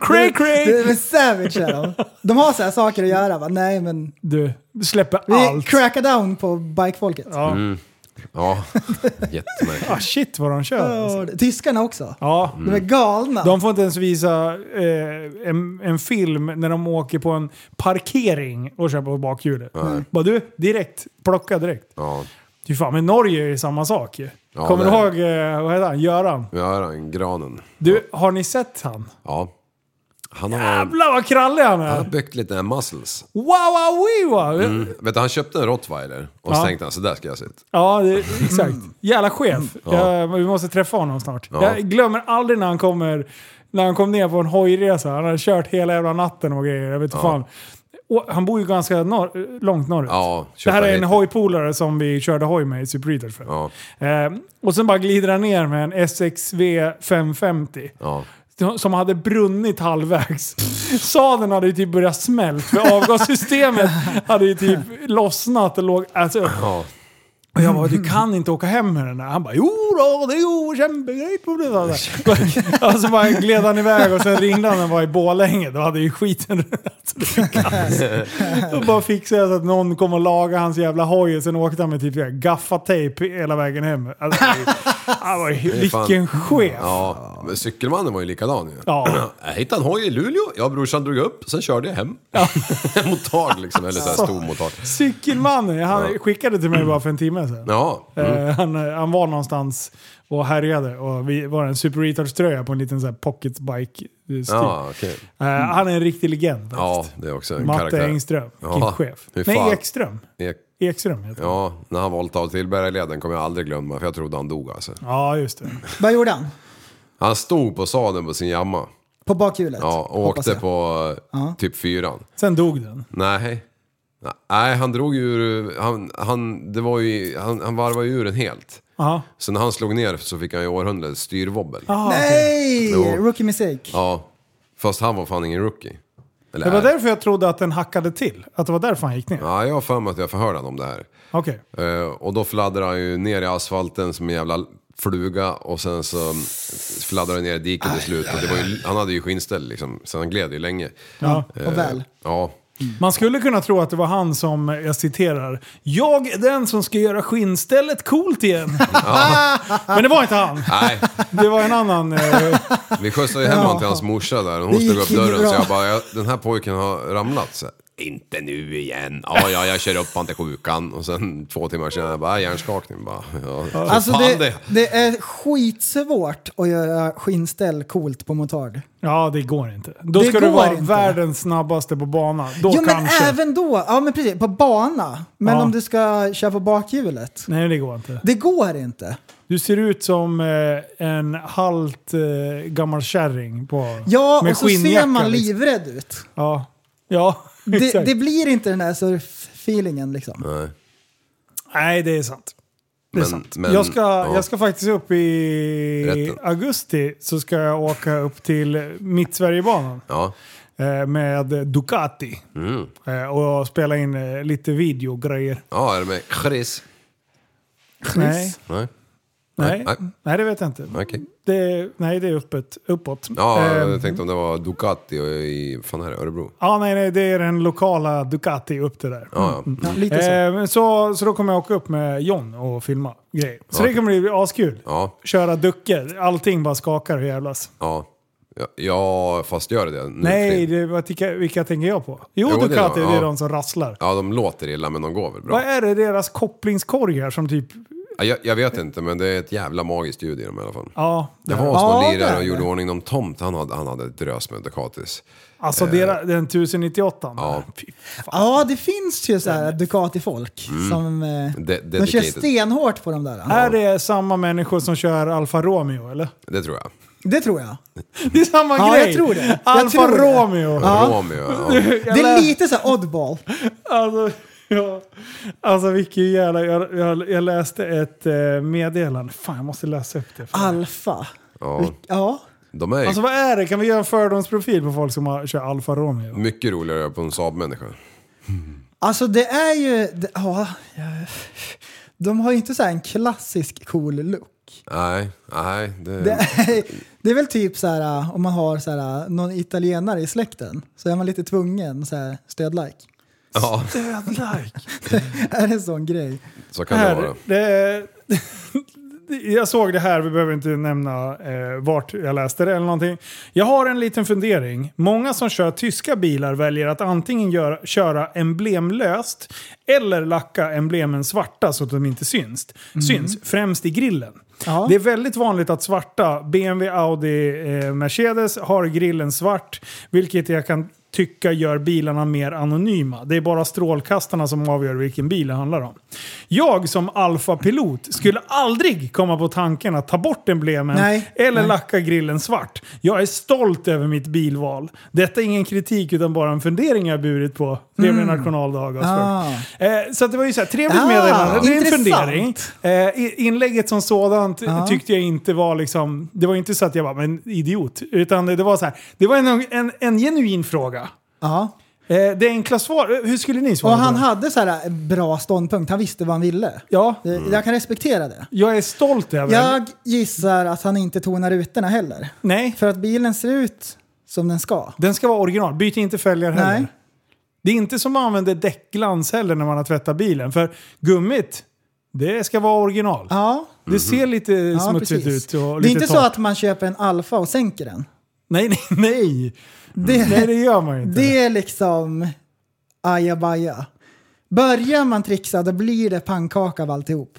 [SPEAKER 5] Cray cray!
[SPEAKER 6] Du, men savage är de. De har så här saker att göra va? Nej men,
[SPEAKER 5] Du, släpper
[SPEAKER 6] vi
[SPEAKER 5] allt.
[SPEAKER 6] crackar down på bikefolket.
[SPEAKER 5] Ja.
[SPEAKER 7] ja. Jättemärkligt.
[SPEAKER 5] Ah, shit vad de kör. Alltså.
[SPEAKER 6] Ja, det- Tyskarna också.
[SPEAKER 5] Ja.
[SPEAKER 6] De är galna.
[SPEAKER 5] De får inte ens visa eh, en, en film när de åker på en parkering och kör på bakhjulet. Mm. Bara du, direkt. Plocka direkt.
[SPEAKER 7] Ja.
[SPEAKER 5] Fy fan, men Norge är ju samma sak ju.
[SPEAKER 7] Ja,
[SPEAKER 5] Kommer du
[SPEAKER 7] det är
[SPEAKER 5] ihåg, eh, vad heter han, Göran?
[SPEAKER 7] Vi har han, granen.
[SPEAKER 5] Du, har ni sett han?
[SPEAKER 7] Ja. Han har, han
[SPEAKER 5] Jävlar vad krallig han
[SPEAKER 7] har
[SPEAKER 5] är!
[SPEAKER 7] byggt lite muscles.
[SPEAKER 5] Wow, wow, wee, wow.
[SPEAKER 7] Vet du, han köpte en rottweiler och så
[SPEAKER 5] Ja.
[SPEAKER 7] tänkte han så där ska jag se ut.
[SPEAKER 5] Ja, det, exakt.
[SPEAKER 7] Mm.
[SPEAKER 5] Jävla chef. Jag, vi måste träffa honom snart. Jag glömmer aldrig när han kommer när han kom ner på en hojresa. Han hade kört hela jävla natten och grejer. Jag vet inte fan. Och han bor ju ganska norr, långt norrut.
[SPEAKER 7] Ja,
[SPEAKER 5] det här
[SPEAKER 7] köpa
[SPEAKER 5] är en
[SPEAKER 7] hit.
[SPEAKER 5] hojpolare som vi körde hoj med i Super för.
[SPEAKER 7] Ja.
[SPEAKER 5] Eh, och sen bara glider han ner med en SXV 550.
[SPEAKER 7] Ja.
[SPEAKER 5] Som hade brunnit halvvägs. Sadeln hade ju typ börjat smälta för avgassystemet hade ju typ lossnat och låg... Alltså,
[SPEAKER 7] Ja.
[SPEAKER 5] och jag bara, du kan inte åka hem med den där. Han bara, jo då, det är ju kämpegrej på det där. Och så bara gled han iväg och sen ringde han när han var i Borlänge. Då hade ju skiten alltså, det är kaos. Då bara fixade jag så att någon kom och lagade hans jävla hoj och sen åkte han med typ så här gaffatejp hela vägen hem. Alltså, det är- han var ju-
[SPEAKER 7] är fan-
[SPEAKER 5] vilken chef.
[SPEAKER 7] ja. Men Cykelmannen var ju likadan ju.
[SPEAKER 5] Ja.
[SPEAKER 7] Jag hittade en hoj i Luleå, jag och brorsan drog upp, sen körde jag hem. motard liksom, eller såhär stor motard.
[SPEAKER 5] Cykelmannen, han skickade till mig bara för en timme sedan.
[SPEAKER 7] Ja, Mm.
[SPEAKER 5] Eh, han, han var någonstans och härjade och vi var en Super Retards-tröja på en liten så här pocketbike. eh, stil.
[SPEAKER 7] ja okej.
[SPEAKER 5] Eh, han är en riktig legend.
[SPEAKER 7] Ja, det är också en
[SPEAKER 5] Matte
[SPEAKER 7] karaktär.
[SPEAKER 5] Engström,
[SPEAKER 7] Ja,
[SPEAKER 5] kitchef.
[SPEAKER 7] hur fan.
[SPEAKER 5] Nej, Ekström.
[SPEAKER 7] Ek-
[SPEAKER 5] Ekström heter han.
[SPEAKER 7] Ja, när han valde av till Bergaleden kommer jag aldrig glömma, för jag trodde han dog alltså.
[SPEAKER 5] Ja, just det.
[SPEAKER 6] Vad gjorde han?
[SPEAKER 7] Han stod på sadeln på sin jamma.
[SPEAKER 6] På bakhjulet?
[SPEAKER 7] Ja, och
[SPEAKER 6] hoppas
[SPEAKER 7] åkte
[SPEAKER 6] jag.
[SPEAKER 7] på eh, typ fyran.
[SPEAKER 5] Sen dog den.
[SPEAKER 7] Nej. Nej, han drog ju ur... Han, han, det var ju, han, han varvade ju ur den helt.
[SPEAKER 5] Aha.
[SPEAKER 7] Så när han slog ner så fick han ju århundradets styrvobbel.
[SPEAKER 5] Ah, okej.
[SPEAKER 6] Nej!
[SPEAKER 7] Jo.
[SPEAKER 6] Rookie mistake.
[SPEAKER 7] Ja. Fast han var fan ingen rookie. Eller
[SPEAKER 5] Det var
[SPEAKER 7] är.
[SPEAKER 5] därför jag trodde att den hackade till. Att det var därför han gick ner.
[SPEAKER 7] Ja, jag har för mig att jag förhörde honom om det här.
[SPEAKER 5] Okej.
[SPEAKER 7] Eh, och då fladdrar han ju ner i asfalten som en jävla fluga och sen så fladdrar han ner i diket till slut. Och det var ju, han hade ju skinnställ liksom, så han gled ju länge.
[SPEAKER 5] Ja.
[SPEAKER 7] Eh.
[SPEAKER 6] Och väl.
[SPEAKER 7] Ja,
[SPEAKER 5] Man skulle kunna tro att det var han som, eh, jag citerar, “Jag är den som ska göra skinnstället coolt igen”. Ah! Men det var inte han.
[SPEAKER 7] nej.
[SPEAKER 5] Det var en annan... Eh,
[SPEAKER 7] Vi skjutsade ju hem honom till hans morsa där och hon
[SPEAKER 6] Det
[SPEAKER 7] slog
[SPEAKER 6] gick
[SPEAKER 7] upp dörren
[SPEAKER 6] ju bra.
[SPEAKER 7] så jag bara, "Ja, den här pojken har ramlat. Så, här, inte nu igen. Ja, ja, jag kör upp honom till sjukan. Och sen två timmar senare, bara, "Äh, hjärnskakning. Bara, ja.
[SPEAKER 6] Alltså
[SPEAKER 7] Eh, Fan
[SPEAKER 6] det, det är skitsvårt att göra skinnställ coolt på motard.
[SPEAKER 5] ja, det går inte. Då
[SPEAKER 6] Det
[SPEAKER 5] ska du
[SPEAKER 6] går
[SPEAKER 5] vara
[SPEAKER 6] inte.
[SPEAKER 5] världens snabbaste på banan. Då
[SPEAKER 6] Jo men
[SPEAKER 5] kanske.
[SPEAKER 6] även då, ja men precis, på bana. Men
[SPEAKER 5] Ja.
[SPEAKER 6] om du ska köra på bakhjulet.
[SPEAKER 5] Nej, det går inte.
[SPEAKER 6] Det går inte.
[SPEAKER 5] Du ser ut som eh, en halt eh, gammal kärring på...
[SPEAKER 6] Ja,
[SPEAKER 5] med
[SPEAKER 6] och så
[SPEAKER 5] skinnjacka,
[SPEAKER 6] ser man
[SPEAKER 5] liksom.
[SPEAKER 6] livrädd ut.
[SPEAKER 5] Ja, ja
[SPEAKER 6] Det,
[SPEAKER 5] exakt.
[SPEAKER 6] det blir inte den där surf-feelingen liksom.
[SPEAKER 7] Nej.
[SPEAKER 5] Nej, det är sant. Det är
[SPEAKER 7] Men-
[SPEAKER 5] sant.
[SPEAKER 7] men-
[SPEAKER 5] jag, ska,
[SPEAKER 7] ja.
[SPEAKER 5] jag ska faktiskt upp i
[SPEAKER 7] Rätten.
[SPEAKER 5] augusti så ska jag åka upp till Mittsverigebanan
[SPEAKER 7] Ja.
[SPEAKER 5] eh, med Ducati
[SPEAKER 7] Mm.
[SPEAKER 5] eh, och spela in eh, lite videogrejer.
[SPEAKER 7] ja, är det med Chris?
[SPEAKER 5] Nej,
[SPEAKER 7] Nej,
[SPEAKER 5] nej,
[SPEAKER 7] Nej.
[SPEAKER 5] nej, det vet jag inte.
[SPEAKER 7] okej.
[SPEAKER 5] Det, nej, det är öppet, uppåt.
[SPEAKER 7] Ja,
[SPEAKER 5] Ehm,
[SPEAKER 7] jag tänkte om det var Ducati och i, fan är det, Örebro?
[SPEAKER 5] ja, nej, nej, det är den lokala Ducati upp till där.
[SPEAKER 7] Ja, ja.
[SPEAKER 6] Ja, lite så.
[SPEAKER 5] Eh, men så, så då kommer jag åka upp med John och filma grejer. Så det kommer bli askul.
[SPEAKER 7] Ja.
[SPEAKER 5] Köra duckor, allting bara skakar och jävlas.
[SPEAKER 7] ja. Ja, Ja, fast gör det det nu för
[SPEAKER 5] Nej,
[SPEAKER 7] tiden?
[SPEAKER 5] det, vad tycker, vilka tänker jag på? Jo,
[SPEAKER 7] Jo, det är
[SPEAKER 5] Ducati, det
[SPEAKER 7] de,
[SPEAKER 5] är,
[SPEAKER 7] ja.
[SPEAKER 5] de som rasslar.
[SPEAKER 7] Ja, de låter illa men de går väl
[SPEAKER 5] Vad
[SPEAKER 7] bra.
[SPEAKER 5] är det deras kopplingskorg här som typ...
[SPEAKER 7] Ja, jag, jag vet inte men det är ett jävla magiskt ljud i dem i alla fall.
[SPEAKER 5] Ja,
[SPEAKER 7] Jag var hos någon
[SPEAKER 6] Ja, det
[SPEAKER 7] lirare
[SPEAKER 6] är
[SPEAKER 7] och
[SPEAKER 6] det.
[SPEAKER 7] gjorde i ordning någon tomt. Han hade, han hade ett drös med Ducatis.
[SPEAKER 5] alltså dera, den 1098.
[SPEAKER 7] Eh. Ja.
[SPEAKER 5] Fy
[SPEAKER 6] Ja, det finns ju så här Ducati-folk
[SPEAKER 7] Mm.
[SPEAKER 6] som eh,
[SPEAKER 7] De-
[SPEAKER 6] de kör
[SPEAKER 7] dedicated.
[SPEAKER 6] stenhårt på de där.
[SPEAKER 5] Är det samma människor som kör Alfa Romeo eller?
[SPEAKER 7] Det tror jag.
[SPEAKER 6] Det tror jag.
[SPEAKER 5] Det är samma
[SPEAKER 6] Ja,
[SPEAKER 5] grej!
[SPEAKER 6] jag tror det. Jag
[SPEAKER 5] Alfa
[SPEAKER 6] tror det.
[SPEAKER 5] Romeo!
[SPEAKER 7] Alltså, Romeo. Ja.
[SPEAKER 6] Det är lite så här oddball.
[SPEAKER 5] Alltså, ja. alltså vilken jävla... Jag, jag, jag läste ett eh, meddelande. Fan, jag måste läsa upp det.
[SPEAKER 6] Alfa.
[SPEAKER 7] Ja.
[SPEAKER 6] Ja.
[SPEAKER 7] De är
[SPEAKER 5] Alltså vad är det? Kan vi göra en fördomsprofil på folk som har, kör Alfa Romeo?
[SPEAKER 7] mycket roligare på en Saab-människa.
[SPEAKER 6] Alltså det är ju... det- Ja, ja. de har ju inte så här en klassisk cool look.
[SPEAKER 7] Nej, nej. Det,
[SPEAKER 6] Det är, det är väl typ så här om man har så här, någon italienare i släkten så är man lite tvungen så här stödlike.
[SPEAKER 7] Ja,
[SPEAKER 5] Dödlike!
[SPEAKER 6] Är det en sån grej?
[SPEAKER 7] så kan det
[SPEAKER 5] Här,
[SPEAKER 7] vara.
[SPEAKER 5] det, jag såg det här, vi behöver inte nämna eh, vart jag läste det eller någonting. Jag har en liten fundering. Många som kör tyska bilar väljer att antingen göra, köra emblemlöst eller lacka emblemen svarta så att de inte syns, syns främst i grillen.
[SPEAKER 6] Ja.
[SPEAKER 5] Det är väldigt vanligt att svarta, BMW, Audi, eh, Mercedes har grillen svart, vilket jag kan tycka gör bilarna mer anonyma. Det är bara strålkastarna som avgör vilken bil det handlar om. Jag som alfapilot skulle aldrig komma på tanken att ta bort emblemen
[SPEAKER 6] Nej.
[SPEAKER 5] eller
[SPEAKER 6] Nej.
[SPEAKER 5] lacka grillen svart. Jag är stolt över mitt bilval. Detta är ingen kritik utan bara en fundering jag burit på.
[SPEAKER 6] Mm.
[SPEAKER 5] Trevlig nationaldag Asperger. Eh, så att det var ju så här, trevligt
[SPEAKER 6] Ah,
[SPEAKER 5] meddelande. Det är en
[SPEAKER 6] intressant.
[SPEAKER 5] fundering. Eh, i- inlägget som sådant tyckte jag inte var liksom... Det var inte så att jag var men idiot. Utan det, det var så här, det var en, en, en genuin fråga.
[SPEAKER 6] Ja.
[SPEAKER 5] Eh, det enkla svar, hur skulle ni svara
[SPEAKER 6] Och
[SPEAKER 5] på
[SPEAKER 6] han
[SPEAKER 5] det?
[SPEAKER 6] hade så här en bra ståndpunkt. Han visste vad han ville.
[SPEAKER 5] Ja,
[SPEAKER 6] Det- Jag kan respektera det.
[SPEAKER 5] jag är stolt över
[SPEAKER 6] Jag gissar att han inte tonar rutorna heller.
[SPEAKER 5] Nej,
[SPEAKER 6] För att bilen ser ut som den ska.
[SPEAKER 5] den ska vara original. Byt inte fälgar heller.
[SPEAKER 6] Nej.
[SPEAKER 5] Det är inte som man använder däckglans heller när man har tvättat bilen. För gummit Det ska vara original.
[SPEAKER 6] Ja, Mhm.
[SPEAKER 5] Det ser lite
[SPEAKER 6] ja
[SPEAKER 5] smutsigt
[SPEAKER 6] precis.
[SPEAKER 5] ut. Och
[SPEAKER 6] det är
[SPEAKER 5] lite
[SPEAKER 6] inte så
[SPEAKER 5] torrt.
[SPEAKER 6] att man köper en alfa och sänker den.
[SPEAKER 5] Nej, nej, nej.
[SPEAKER 6] Det,
[SPEAKER 5] Nej, det gör man ju inte.
[SPEAKER 6] det är liksom ajabaja. Börjar man trixa då blir det pannkaka av alltihop.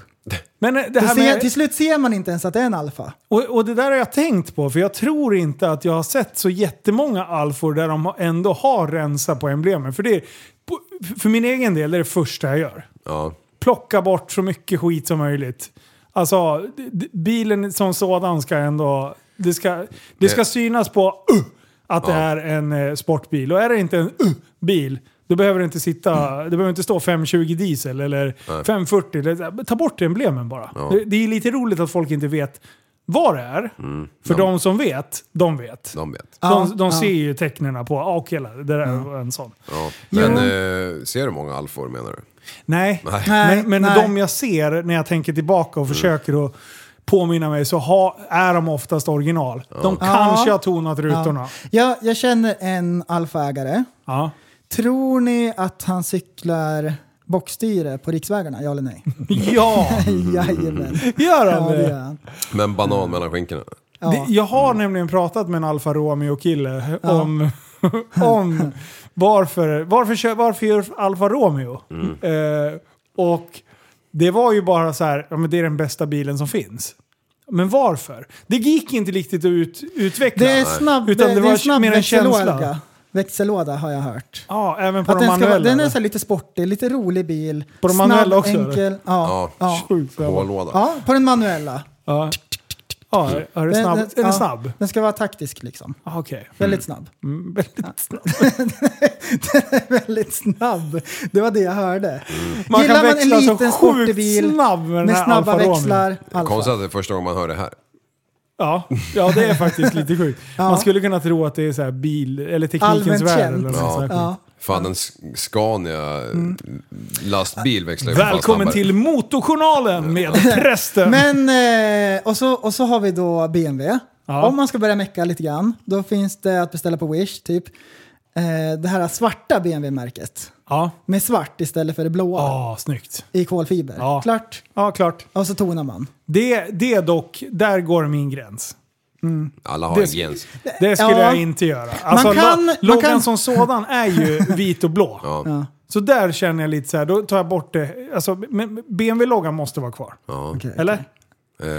[SPEAKER 5] Men eh, det
[SPEAKER 6] Till,
[SPEAKER 5] här
[SPEAKER 6] se,
[SPEAKER 5] med,
[SPEAKER 6] till slut ser man inte ens att det är en alfa.
[SPEAKER 5] och, och det där har jag tänkt på, för jag tror inte att jag har sett så jättemånga alfor där de har- ändå har rensat på emblemen. För, det är, på- för min egen del är det första jag gör.
[SPEAKER 7] Ja.
[SPEAKER 5] Plocka bort så mycket skit som möjligt. Alltså, d- d- bilen som sådan ska ändå... Det ska, det ska
[SPEAKER 7] Det-
[SPEAKER 5] synas på uh, att det är en eh, sportbil. Och är det inte en uh-bil, då behöver det inte sitta... Det behöver inte stå 520 diesel eller 540. Eller, så här. ta bort emblemen bara. Det, det är lite roligt att folk inte vet vad det är.
[SPEAKER 7] Mm.
[SPEAKER 5] För de som vet, de vet.
[SPEAKER 7] De vet.
[SPEAKER 5] De, de
[SPEAKER 6] Ja,
[SPEAKER 5] ser
[SPEAKER 6] ja.
[SPEAKER 5] ju tecknena på, ah, okej, det där är en sån.
[SPEAKER 7] Mm. Ja. Men eh, ser du många alfor menar du?
[SPEAKER 5] Nej,
[SPEAKER 6] Nej,
[SPEAKER 5] men, men
[SPEAKER 6] nej.
[SPEAKER 5] de jag ser när jag tänker tillbaka och försöker att påminna mig så ha, är de oftast original. De kanske har tonat rutorna.
[SPEAKER 6] Jag, jag känner en alfaägare.
[SPEAKER 5] Ja.
[SPEAKER 6] Tror ni att han cyklar bockstyre på riksvägarna? Ja eller nej?
[SPEAKER 5] Ja,
[SPEAKER 6] Jajamän.
[SPEAKER 5] gör
[SPEAKER 6] Ja,
[SPEAKER 5] han
[SPEAKER 6] det gör
[SPEAKER 5] det?
[SPEAKER 6] han.
[SPEAKER 7] Men banan
[SPEAKER 6] Mm.
[SPEAKER 7] mellan skinkorna?
[SPEAKER 5] Det- Jag har nämligen pratat med en Alfa Romeo-kille om, om varför, varför, kör- varför gör Alfa Romeo? Eh, och det var ju bara så här, ja, men det är den bästa bilen som finns. Men varför? Det gick inte riktigt att ut, utveckla.
[SPEAKER 6] Det är snabb,
[SPEAKER 5] Utan det
[SPEAKER 6] det, det
[SPEAKER 5] var
[SPEAKER 6] är snabb
[SPEAKER 5] mer en känsla.
[SPEAKER 6] växellåda. Växellåda har jag hört.
[SPEAKER 5] Ja, även på
[SPEAKER 6] Att
[SPEAKER 5] de
[SPEAKER 6] den, ska, vara-
[SPEAKER 5] manuella.
[SPEAKER 6] den är så här lite sportig, lite rolig bil.
[SPEAKER 5] På de
[SPEAKER 6] Snabb,
[SPEAKER 5] manuella också, eller?
[SPEAKER 6] Enkel. Ja, ja.
[SPEAKER 5] Sjukt.
[SPEAKER 7] Hållåda?
[SPEAKER 6] ja, på den manuella.
[SPEAKER 5] Ja. Ja, är det snabb? Är
[SPEAKER 6] ja,
[SPEAKER 5] den snabb?
[SPEAKER 6] Den ska vara taktisk liksom.
[SPEAKER 7] Mm.
[SPEAKER 5] Ah, Okej.
[SPEAKER 6] Väldigt snabb.
[SPEAKER 5] Mm, väldigt snabb.
[SPEAKER 6] Väldigt snabb. Det var det jag hörde.
[SPEAKER 7] Mm.
[SPEAKER 5] Man
[SPEAKER 6] Gillar
[SPEAKER 5] kan
[SPEAKER 6] man en
[SPEAKER 5] växla så
[SPEAKER 6] liten
[SPEAKER 5] sjukt
[SPEAKER 6] sportig bil
[SPEAKER 5] snabb med den
[SPEAKER 6] med
[SPEAKER 5] här
[SPEAKER 6] snabba
[SPEAKER 5] Alfa Romeo.
[SPEAKER 6] växlar,
[SPEAKER 7] Konstigt
[SPEAKER 6] alfa.
[SPEAKER 7] att det är första gången man hör det här.
[SPEAKER 5] Ja. ja, det är faktiskt lite sjukt. Man skulle kunna tro att det är så här bil eller teknikens
[SPEAKER 6] Allmänt
[SPEAKER 5] värld.
[SPEAKER 6] känt.
[SPEAKER 5] Eller något
[SPEAKER 7] Ja.
[SPEAKER 5] sånt här
[SPEAKER 6] Ja.
[SPEAKER 5] skit.
[SPEAKER 7] Fan en Sk- Scania
[SPEAKER 6] Mm.
[SPEAKER 7] lastbil växlar ju för fan
[SPEAKER 5] Välkommen
[SPEAKER 7] snabbare.
[SPEAKER 5] till Motorjournalen med prästen.
[SPEAKER 6] Men, eh, och, så, och så har vi då BMW.
[SPEAKER 5] Ja.
[SPEAKER 6] Om man ska börja mecka lite grann, då finns det att beställa på Wish, typ. Eh, det här svarta BMW-märket.
[SPEAKER 5] Ja,
[SPEAKER 6] Med svart istället för det blåa
[SPEAKER 5] ah, snyggt.
[SPEAKER 6] i kolfiber.
[SPEAKER 5] Ja.
[SPEAKER 6] Klart.
[SPEAKER 5] Ja, klart.
[SPEAKER 6] Och så tonar man.
[SPEAKER 5] Det, det dock, där går min gräns.
[SPEAKER 7] Alla har en gräns.
[SPEAKER 5] Det skulle
[SPEAKER 6] Ja.
[SPEAKER 5] jag inte göra. Alltså, man
[SPEAKER 6] kan-
[SPEAKER 5] kan,
[SPEAKER 6] man
[SPEAKER 5] loggan
[SPEAKER 6] kan-
[SPEAKER 5] som sådan är ju vit och blå.
[SPEAKER 7] Ja.
[SPEAKER 5] Så där känner jag lite så här, då tar jag bort det. Alltså, men BMW-loggan måste vara kvar.
[SPEAKER 7] Ja.
[SPEAKER 5] Eller?
[SPEAKER 7] Eh,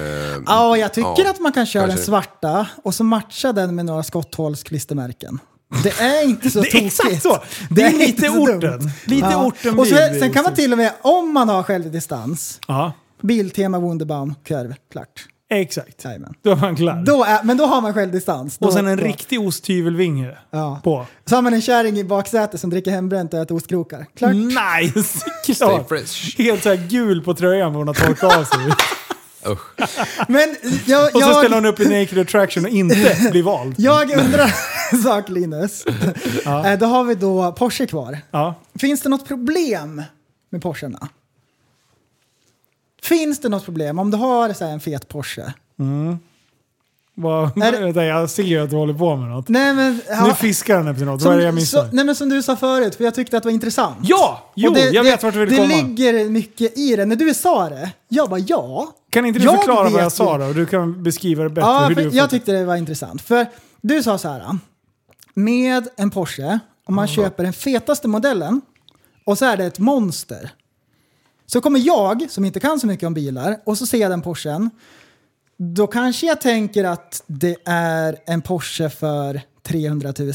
[SPEAKER 6] Ja, och jag tycker
[SPEAKER 7] Ja,
[SPEAKER 6] att man kan köra
[SPEAKER 7] kanske.
[SPEAKER 6] den svarta och så matcha den med några skotthålsklistermärken. Det är inte så
[SPEAKER 5] Det är exakt
[SPEAKER 6] tokigt.
[SPEAKER 5] så! Det är
[SPEAKER 6] inte
[SPEAKER 5] lite
[SPEAKER 6] så dumt.
[SPEAKER 5] orten. Lite orten
[SPEAKER 6] och så,
[SPEAKER 5] blir det
[SPEAKER 6] Sen kan man
[SPEAKER 5] ju.
[SPEAKER 6] till och med, om man har självdistans,
[SPEAKER 5] Ja,
[SPEAKER 6] biltema Wunderbaum, kurv, klart.
[SPEAKER 5] exakt.
[SPEAKER 6] Jajamän.
[SPEAKER 5] Då är man klar.
[SPEAKER 6] Då är, men då har man självdistans. Då,
[SPEAKER 5] och sen en
[SPEAKER 6] då.
[SPEAKER 5] riktig osthyvelvinge
[SPEAKER 6] Ja.
[SPEAKER 5] på.
[SPEAKER 6] Så har man en kärring i baksätet som dricker hembränt och äter ostkrokar. Klart.
[SPEAKER 5] Mm. Nice!
[SPEAKER 7] Stay
[SPEAKER 5] Klart!
[SPEAKER 7] fresh.
[SPEAKER 5] Helt såhär gul på tröjan för hon har torkat av sig.
[SPEAKER 7] Usch.
[SPEAKER 6] Men jag,
[SPEAKER 5] Och så
[SPEAKER 6] jag,
[SPEAKER 5] ställer hon upp i Naked Attraction och inte blir vald.
[SPEAKER 6] jag undrar en sak Linus. Eh, Då har vi då Porsche kvar.
[SPEAKER 5] Ja.
[SPEAKER 6] Finns det något problem med Porscharna? Finns det något problem om du har så här, en fet Porsche?
[SPEAKER 5] Vad,
[SPEAKER 6] Är det-
[SPEAKER 5] vänta, jag ser ju att du håller på med något.
[SPEAKER 6] Nej men...
[SPEAKER 5] Nu
[SPEAKER 6] ja,
[SPEAKER 5] fiskar han efter något.
[SPEAKER 6] som,
[SPEAKER 5] Vad är det jag
[SPEAKER 6] så,
[SPEAKER 5] missar?
[SPEAKER 6] nej men som du sa förut, för jag tyckte att det var intressant.
[SPEAKER 5] Ja! Jo,
[SPEAKER 6] Och det,
[SPEAKER 5] jag
[SPEAKER 6] det,
[SPEAKER 5] vet vart du vill
[SPEAKER 6] Det
[SPEAKER 5] komma.
[SPEAKER 6] ligger mycket i det. När du sa det, jag bara ja.
[SPEAKER 5] Kan inte du
[SPEAKER 6] Jag
[SPEAKER 5] förklara
[SPEAKER 6] vet
[SPEAKER 5] vad jag sa
[SPEAKER 6] ju-
[SPEAKER 5] då? Du kan beskriva det bättre.
[SPEAKER 6] Ja,
[SPEAKER 5] hur
[SPEAKER 6] för
[SPEAKER 5] du
[SPEAKER 6] jag tyckte det var intressant. För du sa så här, med en Porsche, om man köper den fetaste modellen och så är det ett monster. Så kommer jag, som inte kan så mycket om bilar, och så ser jag den Porschen. Då kanske jag tänker att det är en Porsche för 300 000.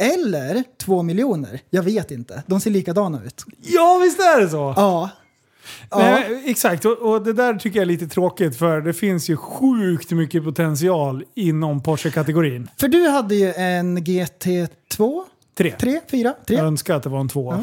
[SPEAKER 6] Eller 2 miljoner. Jag vet inte. De ser likadana ut.
[SPEAKER 5] ja, visst är det så!
[SPEAKER 6] Ja. ja.
[SPEAKER 5] Nej, exakt, och, och det där tycker jag är lite tråkigt för det finns ju sjukt mycket potential inom Porsche-kategorin.
[SPEAKER 6] För du hade ju en GT2?
[SPEAKER 5] Tre.
[SPEAKER 6] Tre, fyra, tre.
[SPEAKER 5] Jag önskar att det var en två.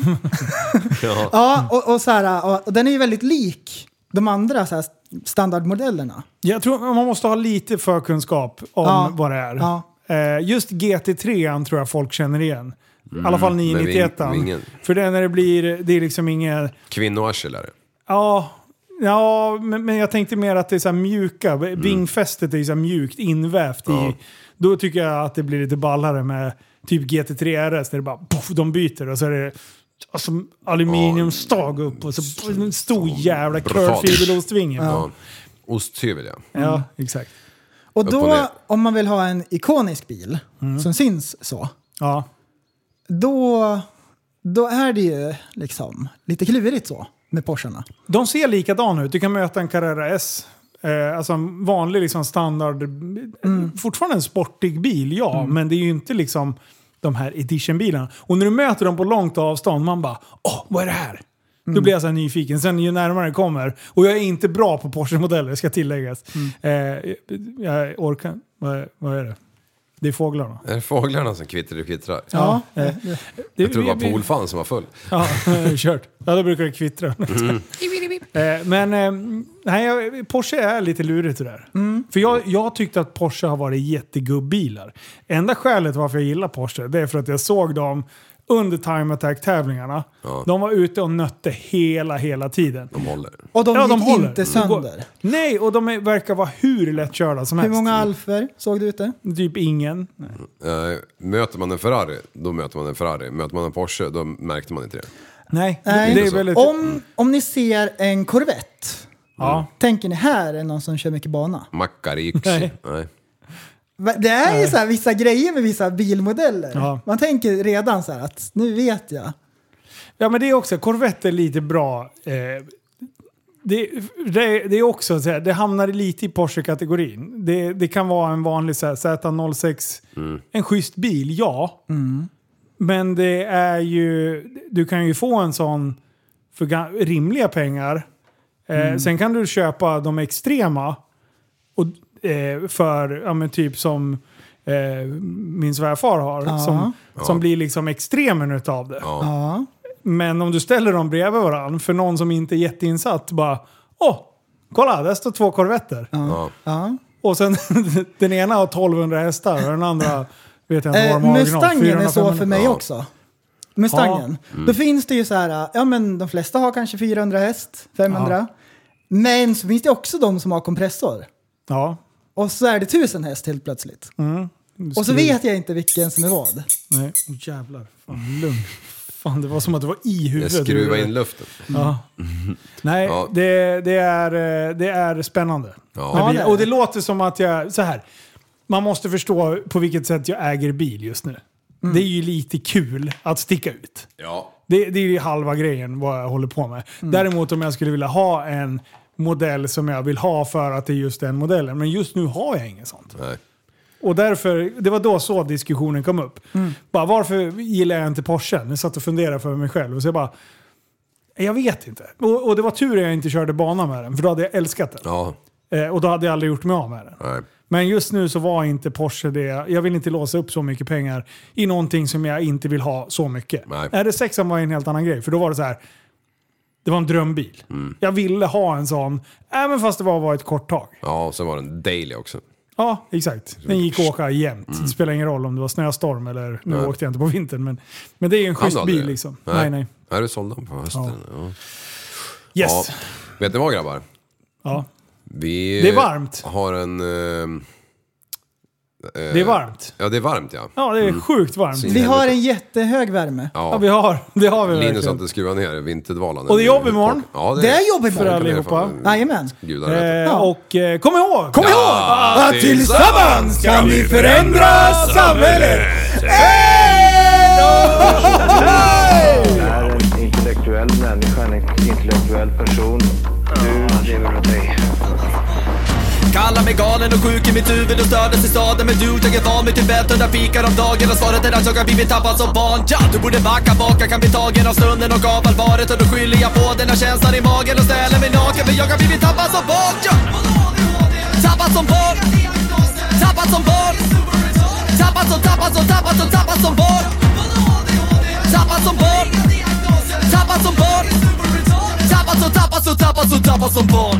[SPEAKER 6] Ja, och, och, så här, och, och den är ju väldigt lik de andra så här, standardmodellerna.
[SPEAKER 5] Jag tror man måste ha lite förkunskap om
[SPEAKER 6] Ja.
[SPEAKER 5] vad det är.
[SPEAKER 6] Ja.
[SPEAKER 5] Eh, Just GT3 tror jag folk känner igen. I alla fall
[SPEAKER 7] men ving-
[SPEAKER 5] 991
[SPEAKER 7] vingen.
[SPEAKER 5] För det är när det blir, det är liksom ingen...
[SPEAKER 7] Kvinnoarsel är det.
[SPEAKER 5] Ja, ja men, men jag tänkte mer att det är så här mjuka.
[SPEAKER 7] Mm.
[SPEAKER 5] Vingfästet är ju så här mjukt invävt i. Då tycker jag att det blir lite ballare med typ GT3 RS. Där det bara, poff, de byter och så är det alltså, aluminiumstag upp och så en stor jävla
[SPEAKER 7] Brutalt.
[SPEAKER 5] curlfiberostvinge.
[SPEAKER 7] Ja. Osthyvel, ja.
[SPEAKER 5] Ja, exakt.
[SPEAKER 6] Och
[SPEAKER 7] Upp och ner.
[SPEAKER 6] då, om man vill ha en ikonisk bil
[SPEAKER 5] Mm.
[SPEAKER 6] som syns så,
[SPEAKER 5] Ja.
[SPEAKER 6] då, då är det ju liksom lite klurigt så med Porscharna.
[SPEAKER 5] De ser likadana ut. Du kan möta en Carrera S. Eh, alltså en vanlig liksom standard... Fortfarande en sportig bil, ja. Men det är ju inte liksom de här editionbilarna. Och när du möter dem på långt avstånd, man bara Åh, vad är det här? Då blir jag så här nyfiken. Sen ju närmare jag kommer, och jag är inte bra på Porsche-modeller, ska tilläggas. Eh, jag orkar... Vad, vad är det? Det är fåglarna.
[SPEAKER 7] Är det fåglarna som kvittrar och kvittrar?
[SPEAKER 6] Ja.
[SPEAKER 5] Eh,
[SPEAKER 7] Jag tror det var
[SPEAKER 5] vi- vi-
[SPEAKER 7] polfan som var full.
[SPEAKER 5] Ja, kört. Ja, då brukar det kvittra. Eh, Men eh, nej, jag- Porsche är lite lurigt det där.
[SPEAKER 6] Mm.
[SPEAKER 5] För jag, jag tyckte att Porsche har varit jättegubbilar. Enda skälet varför jag gillar Porsche, det är för att jag såg dem under Time Attack-tävlingarna. De var ute och nötte hela, hela tiden.
[SPEAKER 7] De håller.
[SPEAKER 6] Och de
[SPEAKER 5] Ja,
[SPEAKER 6] gick
[SPEAKER 5] de håller.
[SPEAKER 6] inte
[SPEAKER 5] De går-
[SPEAKER 6] sönder.
[SPEAKER 5] Nej, och de är, verkar vara hur lättkörda som
[SPEAKER 6] Hur
[SPEAKER 5] helst.
[SPEAKER 6] många alfer såg du ute?
[SPEAKER 5] Typ ingen.
[SPEAKER 7] Eh, möter man en Ferrari, då möter man en Ferrari. Möter man en Porsche, då märkte man inte det.
[SPEAKER 5] Nej,
[SPEAKER 6] Nej.
[SPEAKER 5] det är väldigt...
[SPEAKER 6] Om, om ni ser en Corvette,
[SPEAKER 5] Ja.
[SPEAKER 6] tänker ni här är någon som kör mycket bana?
[SPEAKER 7] Macarixi.
[SPEAKER 5] Nej.
[SPEAKER 7] Nej.
[SPEAKER 6] Va- Det är ju så här, vissa grejer med vissa bilmodeller.
[SPEAKER 5] Ja.
[SPEAKER 6] Man tänker redan så här att nu vet jag.
[SPEAKER 5] Ja, men det är också, Corvette är lite bra. Eh, det, det, det är också så här, det hamnar lite i Porsche-kategorin. Det, det kan vara en vanlig så här, Z06, en schysst bil, ja. Men det är ju, du kan ju få en sån för ga- rimliga pengar. Eh, Sen kan du köpa de extrema och, eh, för, ja men typ som eh, min svärfar har, som, som blir liksom extremen utav det.
[SPEAKER 6] Ja.
[SPEAKER 5] Men om du ställer dem bredvid varandra, för någon som inte är jätteinsatt, bara åh, kolla där står två korvetter.
[SPEAKER 7] Ja.
[SPEAKER 6] Ja.
[SPEAKER 5] Och sen den ena har 1200 hästar och den andra vet jag inte vad
[SPEAKER 6] Eh,
[SPEAKER 5] de har original,
[SPEAKER 6] Mustangen är så
[SPEAKER 5] 400-500.
[SPEAKER 6] för mig
[SPEAKER 7] Ja.
[SPEAKER 6] också. Mustangen. Då finns det ju så här, ja men de flesta har kanske 400 häst, 500. Men så finns det också de som har kompressor.
[SPEAKER 5] Ja.
[SPEAKER 6] Och så är det 1000 häst helt plötsligt. Och så vet jag inte vilken som är vad.
[SPEAKER 5] Nej, oh, jävlar. Fan, lugn. Fan, det var som att det var i
[SPEAKER 7] Jag
[SPEAKER 5] huvudet.
[SPEAKER 7] skruvar in luften.
[SPEAKER 5] Ja. Nej,
[SPEAKER 7] Ja.
[SPEAKER 5] Det, det, är, eh, det är spännande.
[SPEAKER 7] Ja.
[SPEAKER 5] Med
[SPEAKER 7] Ja,
[SPEAKER 5] bil.
[SPEAKER 6] det är
[SPEAKER 5] Och det
[SPEAKER 6] det.
[SPEAKER 5] låter som att jag... Så här. Man måste förstå på vilket sätt jag äger bil just nu. Det är ju lite kul att sticka ut.
[SPEAKER 7] Ja.
[SPEAKER 5] Det, det är ju halva grejen vad jag håller på med. Däremot om jag skulle vilja ha en modell som jag vill ha för att det är just den modellen. Men just nu har jag inget sånt.
[SPEAKER 7] Nej.
[SPEAKER 5] Och därför, det var då så diskussionen kom upp. Bara, varför gillar jag inte Porsche? Jag satt och funderade för mig själv och så jag bara, jag vet inte. Och, och det var tur att jag inte körde bana med den, för då hade jag älskat den.
[SPEAKER 7] Ja.
[SPEAKER 5] Eh, och då hade jag aldrig gjort mig av med den.
[SPEAKER 7] Nej.
[SPEAKER 5] Men just nu så var inte Porsche det. Jag vill inte låsa upp så mycket pengar i någonting som jag inte vill ha så mycket.
[SPEAKER 7] Nej.
[SPEAKER 5] Är det sexan var en helt annan grej. För då var det så här. Det var en drömbil.
[SPEAKER 7] Mm.
[SPEAKER 5] Jag ville ha en sån, även fast det var bara ett kort tag.
[SPEAKER 7] Ja, och sen var den daily också.
[SPEAKER 5] Ja, exakt. Den gick att åka jämt. Det spelar ingen roll om det var snöstorm eller... Nu
[SPEAKER 7] Mm. Nej.
[SPEAKER 5] åkte jag inte på vintern, men, men det är ju en
[SPEAKER 7] Hann du
[SPEAKER 5] schysst
[SPEAKER 7] aldrig
[SPEAKER 5] bil
[SPEAKER 7] det?
[SPEAKER 5] liksom. Nej, nej.
[SPEAKER 7] Är du sålde den på hösten? Ja.
[SPEAKER 5] Yes.
[SPEAKER 7] Ja. Vet ni vad grabbar?
[SPEAKER 5] Ja.
[SPEAKER 7] Vi
[SPEAKER 5] Det är varmt.
[SPEAKER 7] har en... eh,
[SPEAKER 5] Det är varmt.
[SPEAKER 7] ja, det är varmt ja.
[SPEAKER 5] Ja, det är sjukt varmt.
[SPEAKER 7] Sin-
[SPEAKER 6] Vi har en jättehög värme.
[SPEAKER 5] Ja, vi har. Det har vi
[SPEAKER 7] Linus har
[SPEAKER 5] verkligen.
[SPEAKER 7] inte skruvat ner vinterdvalan.
[SPEAKER 5] Och det är jobb imorgon.
[SPEAKER 7] Ja,
[SPEAKER 6] Det är jobb imorgon.
[SPEAKER 5] För allihopa.
[SPEAKER 6] Jajamän.
[SPEAKER 7] Gudar
[SPEAKER 5] Eh,
[SPEAKER 7] vet.
[SPEAKER 6] Ja.
[SPEAKER 5] Och eh, kom ihåg! Kom
[SPEAKER 7] Ja,
[SPEAKER 6] tillsammans kan vi förändra samhället!
[SPEAKER 1] är en intellektuell människa, en intellektuell person. Du lever av dig.
[SPEAKER 2] Kallar mig galen och sjuk i mitt huvud och stördes i staden Men du, jag är van vid Tibet under fikar om dagen Och svaret är att jag har blivit tappad som barn ja, Du borde backa bak, jag kan bli tagen av stunden och av allvaret Och då skyller jag på den här känslan i magen och ställer mig naken För jag har blivit tappad som barn ja. Tappad som barn Tappad som barn Tappad som, tappad som, tappad som, tappad som barn Tappad som barn Tappad som barn Tappad som, tappad som, tappad som, tappad som barn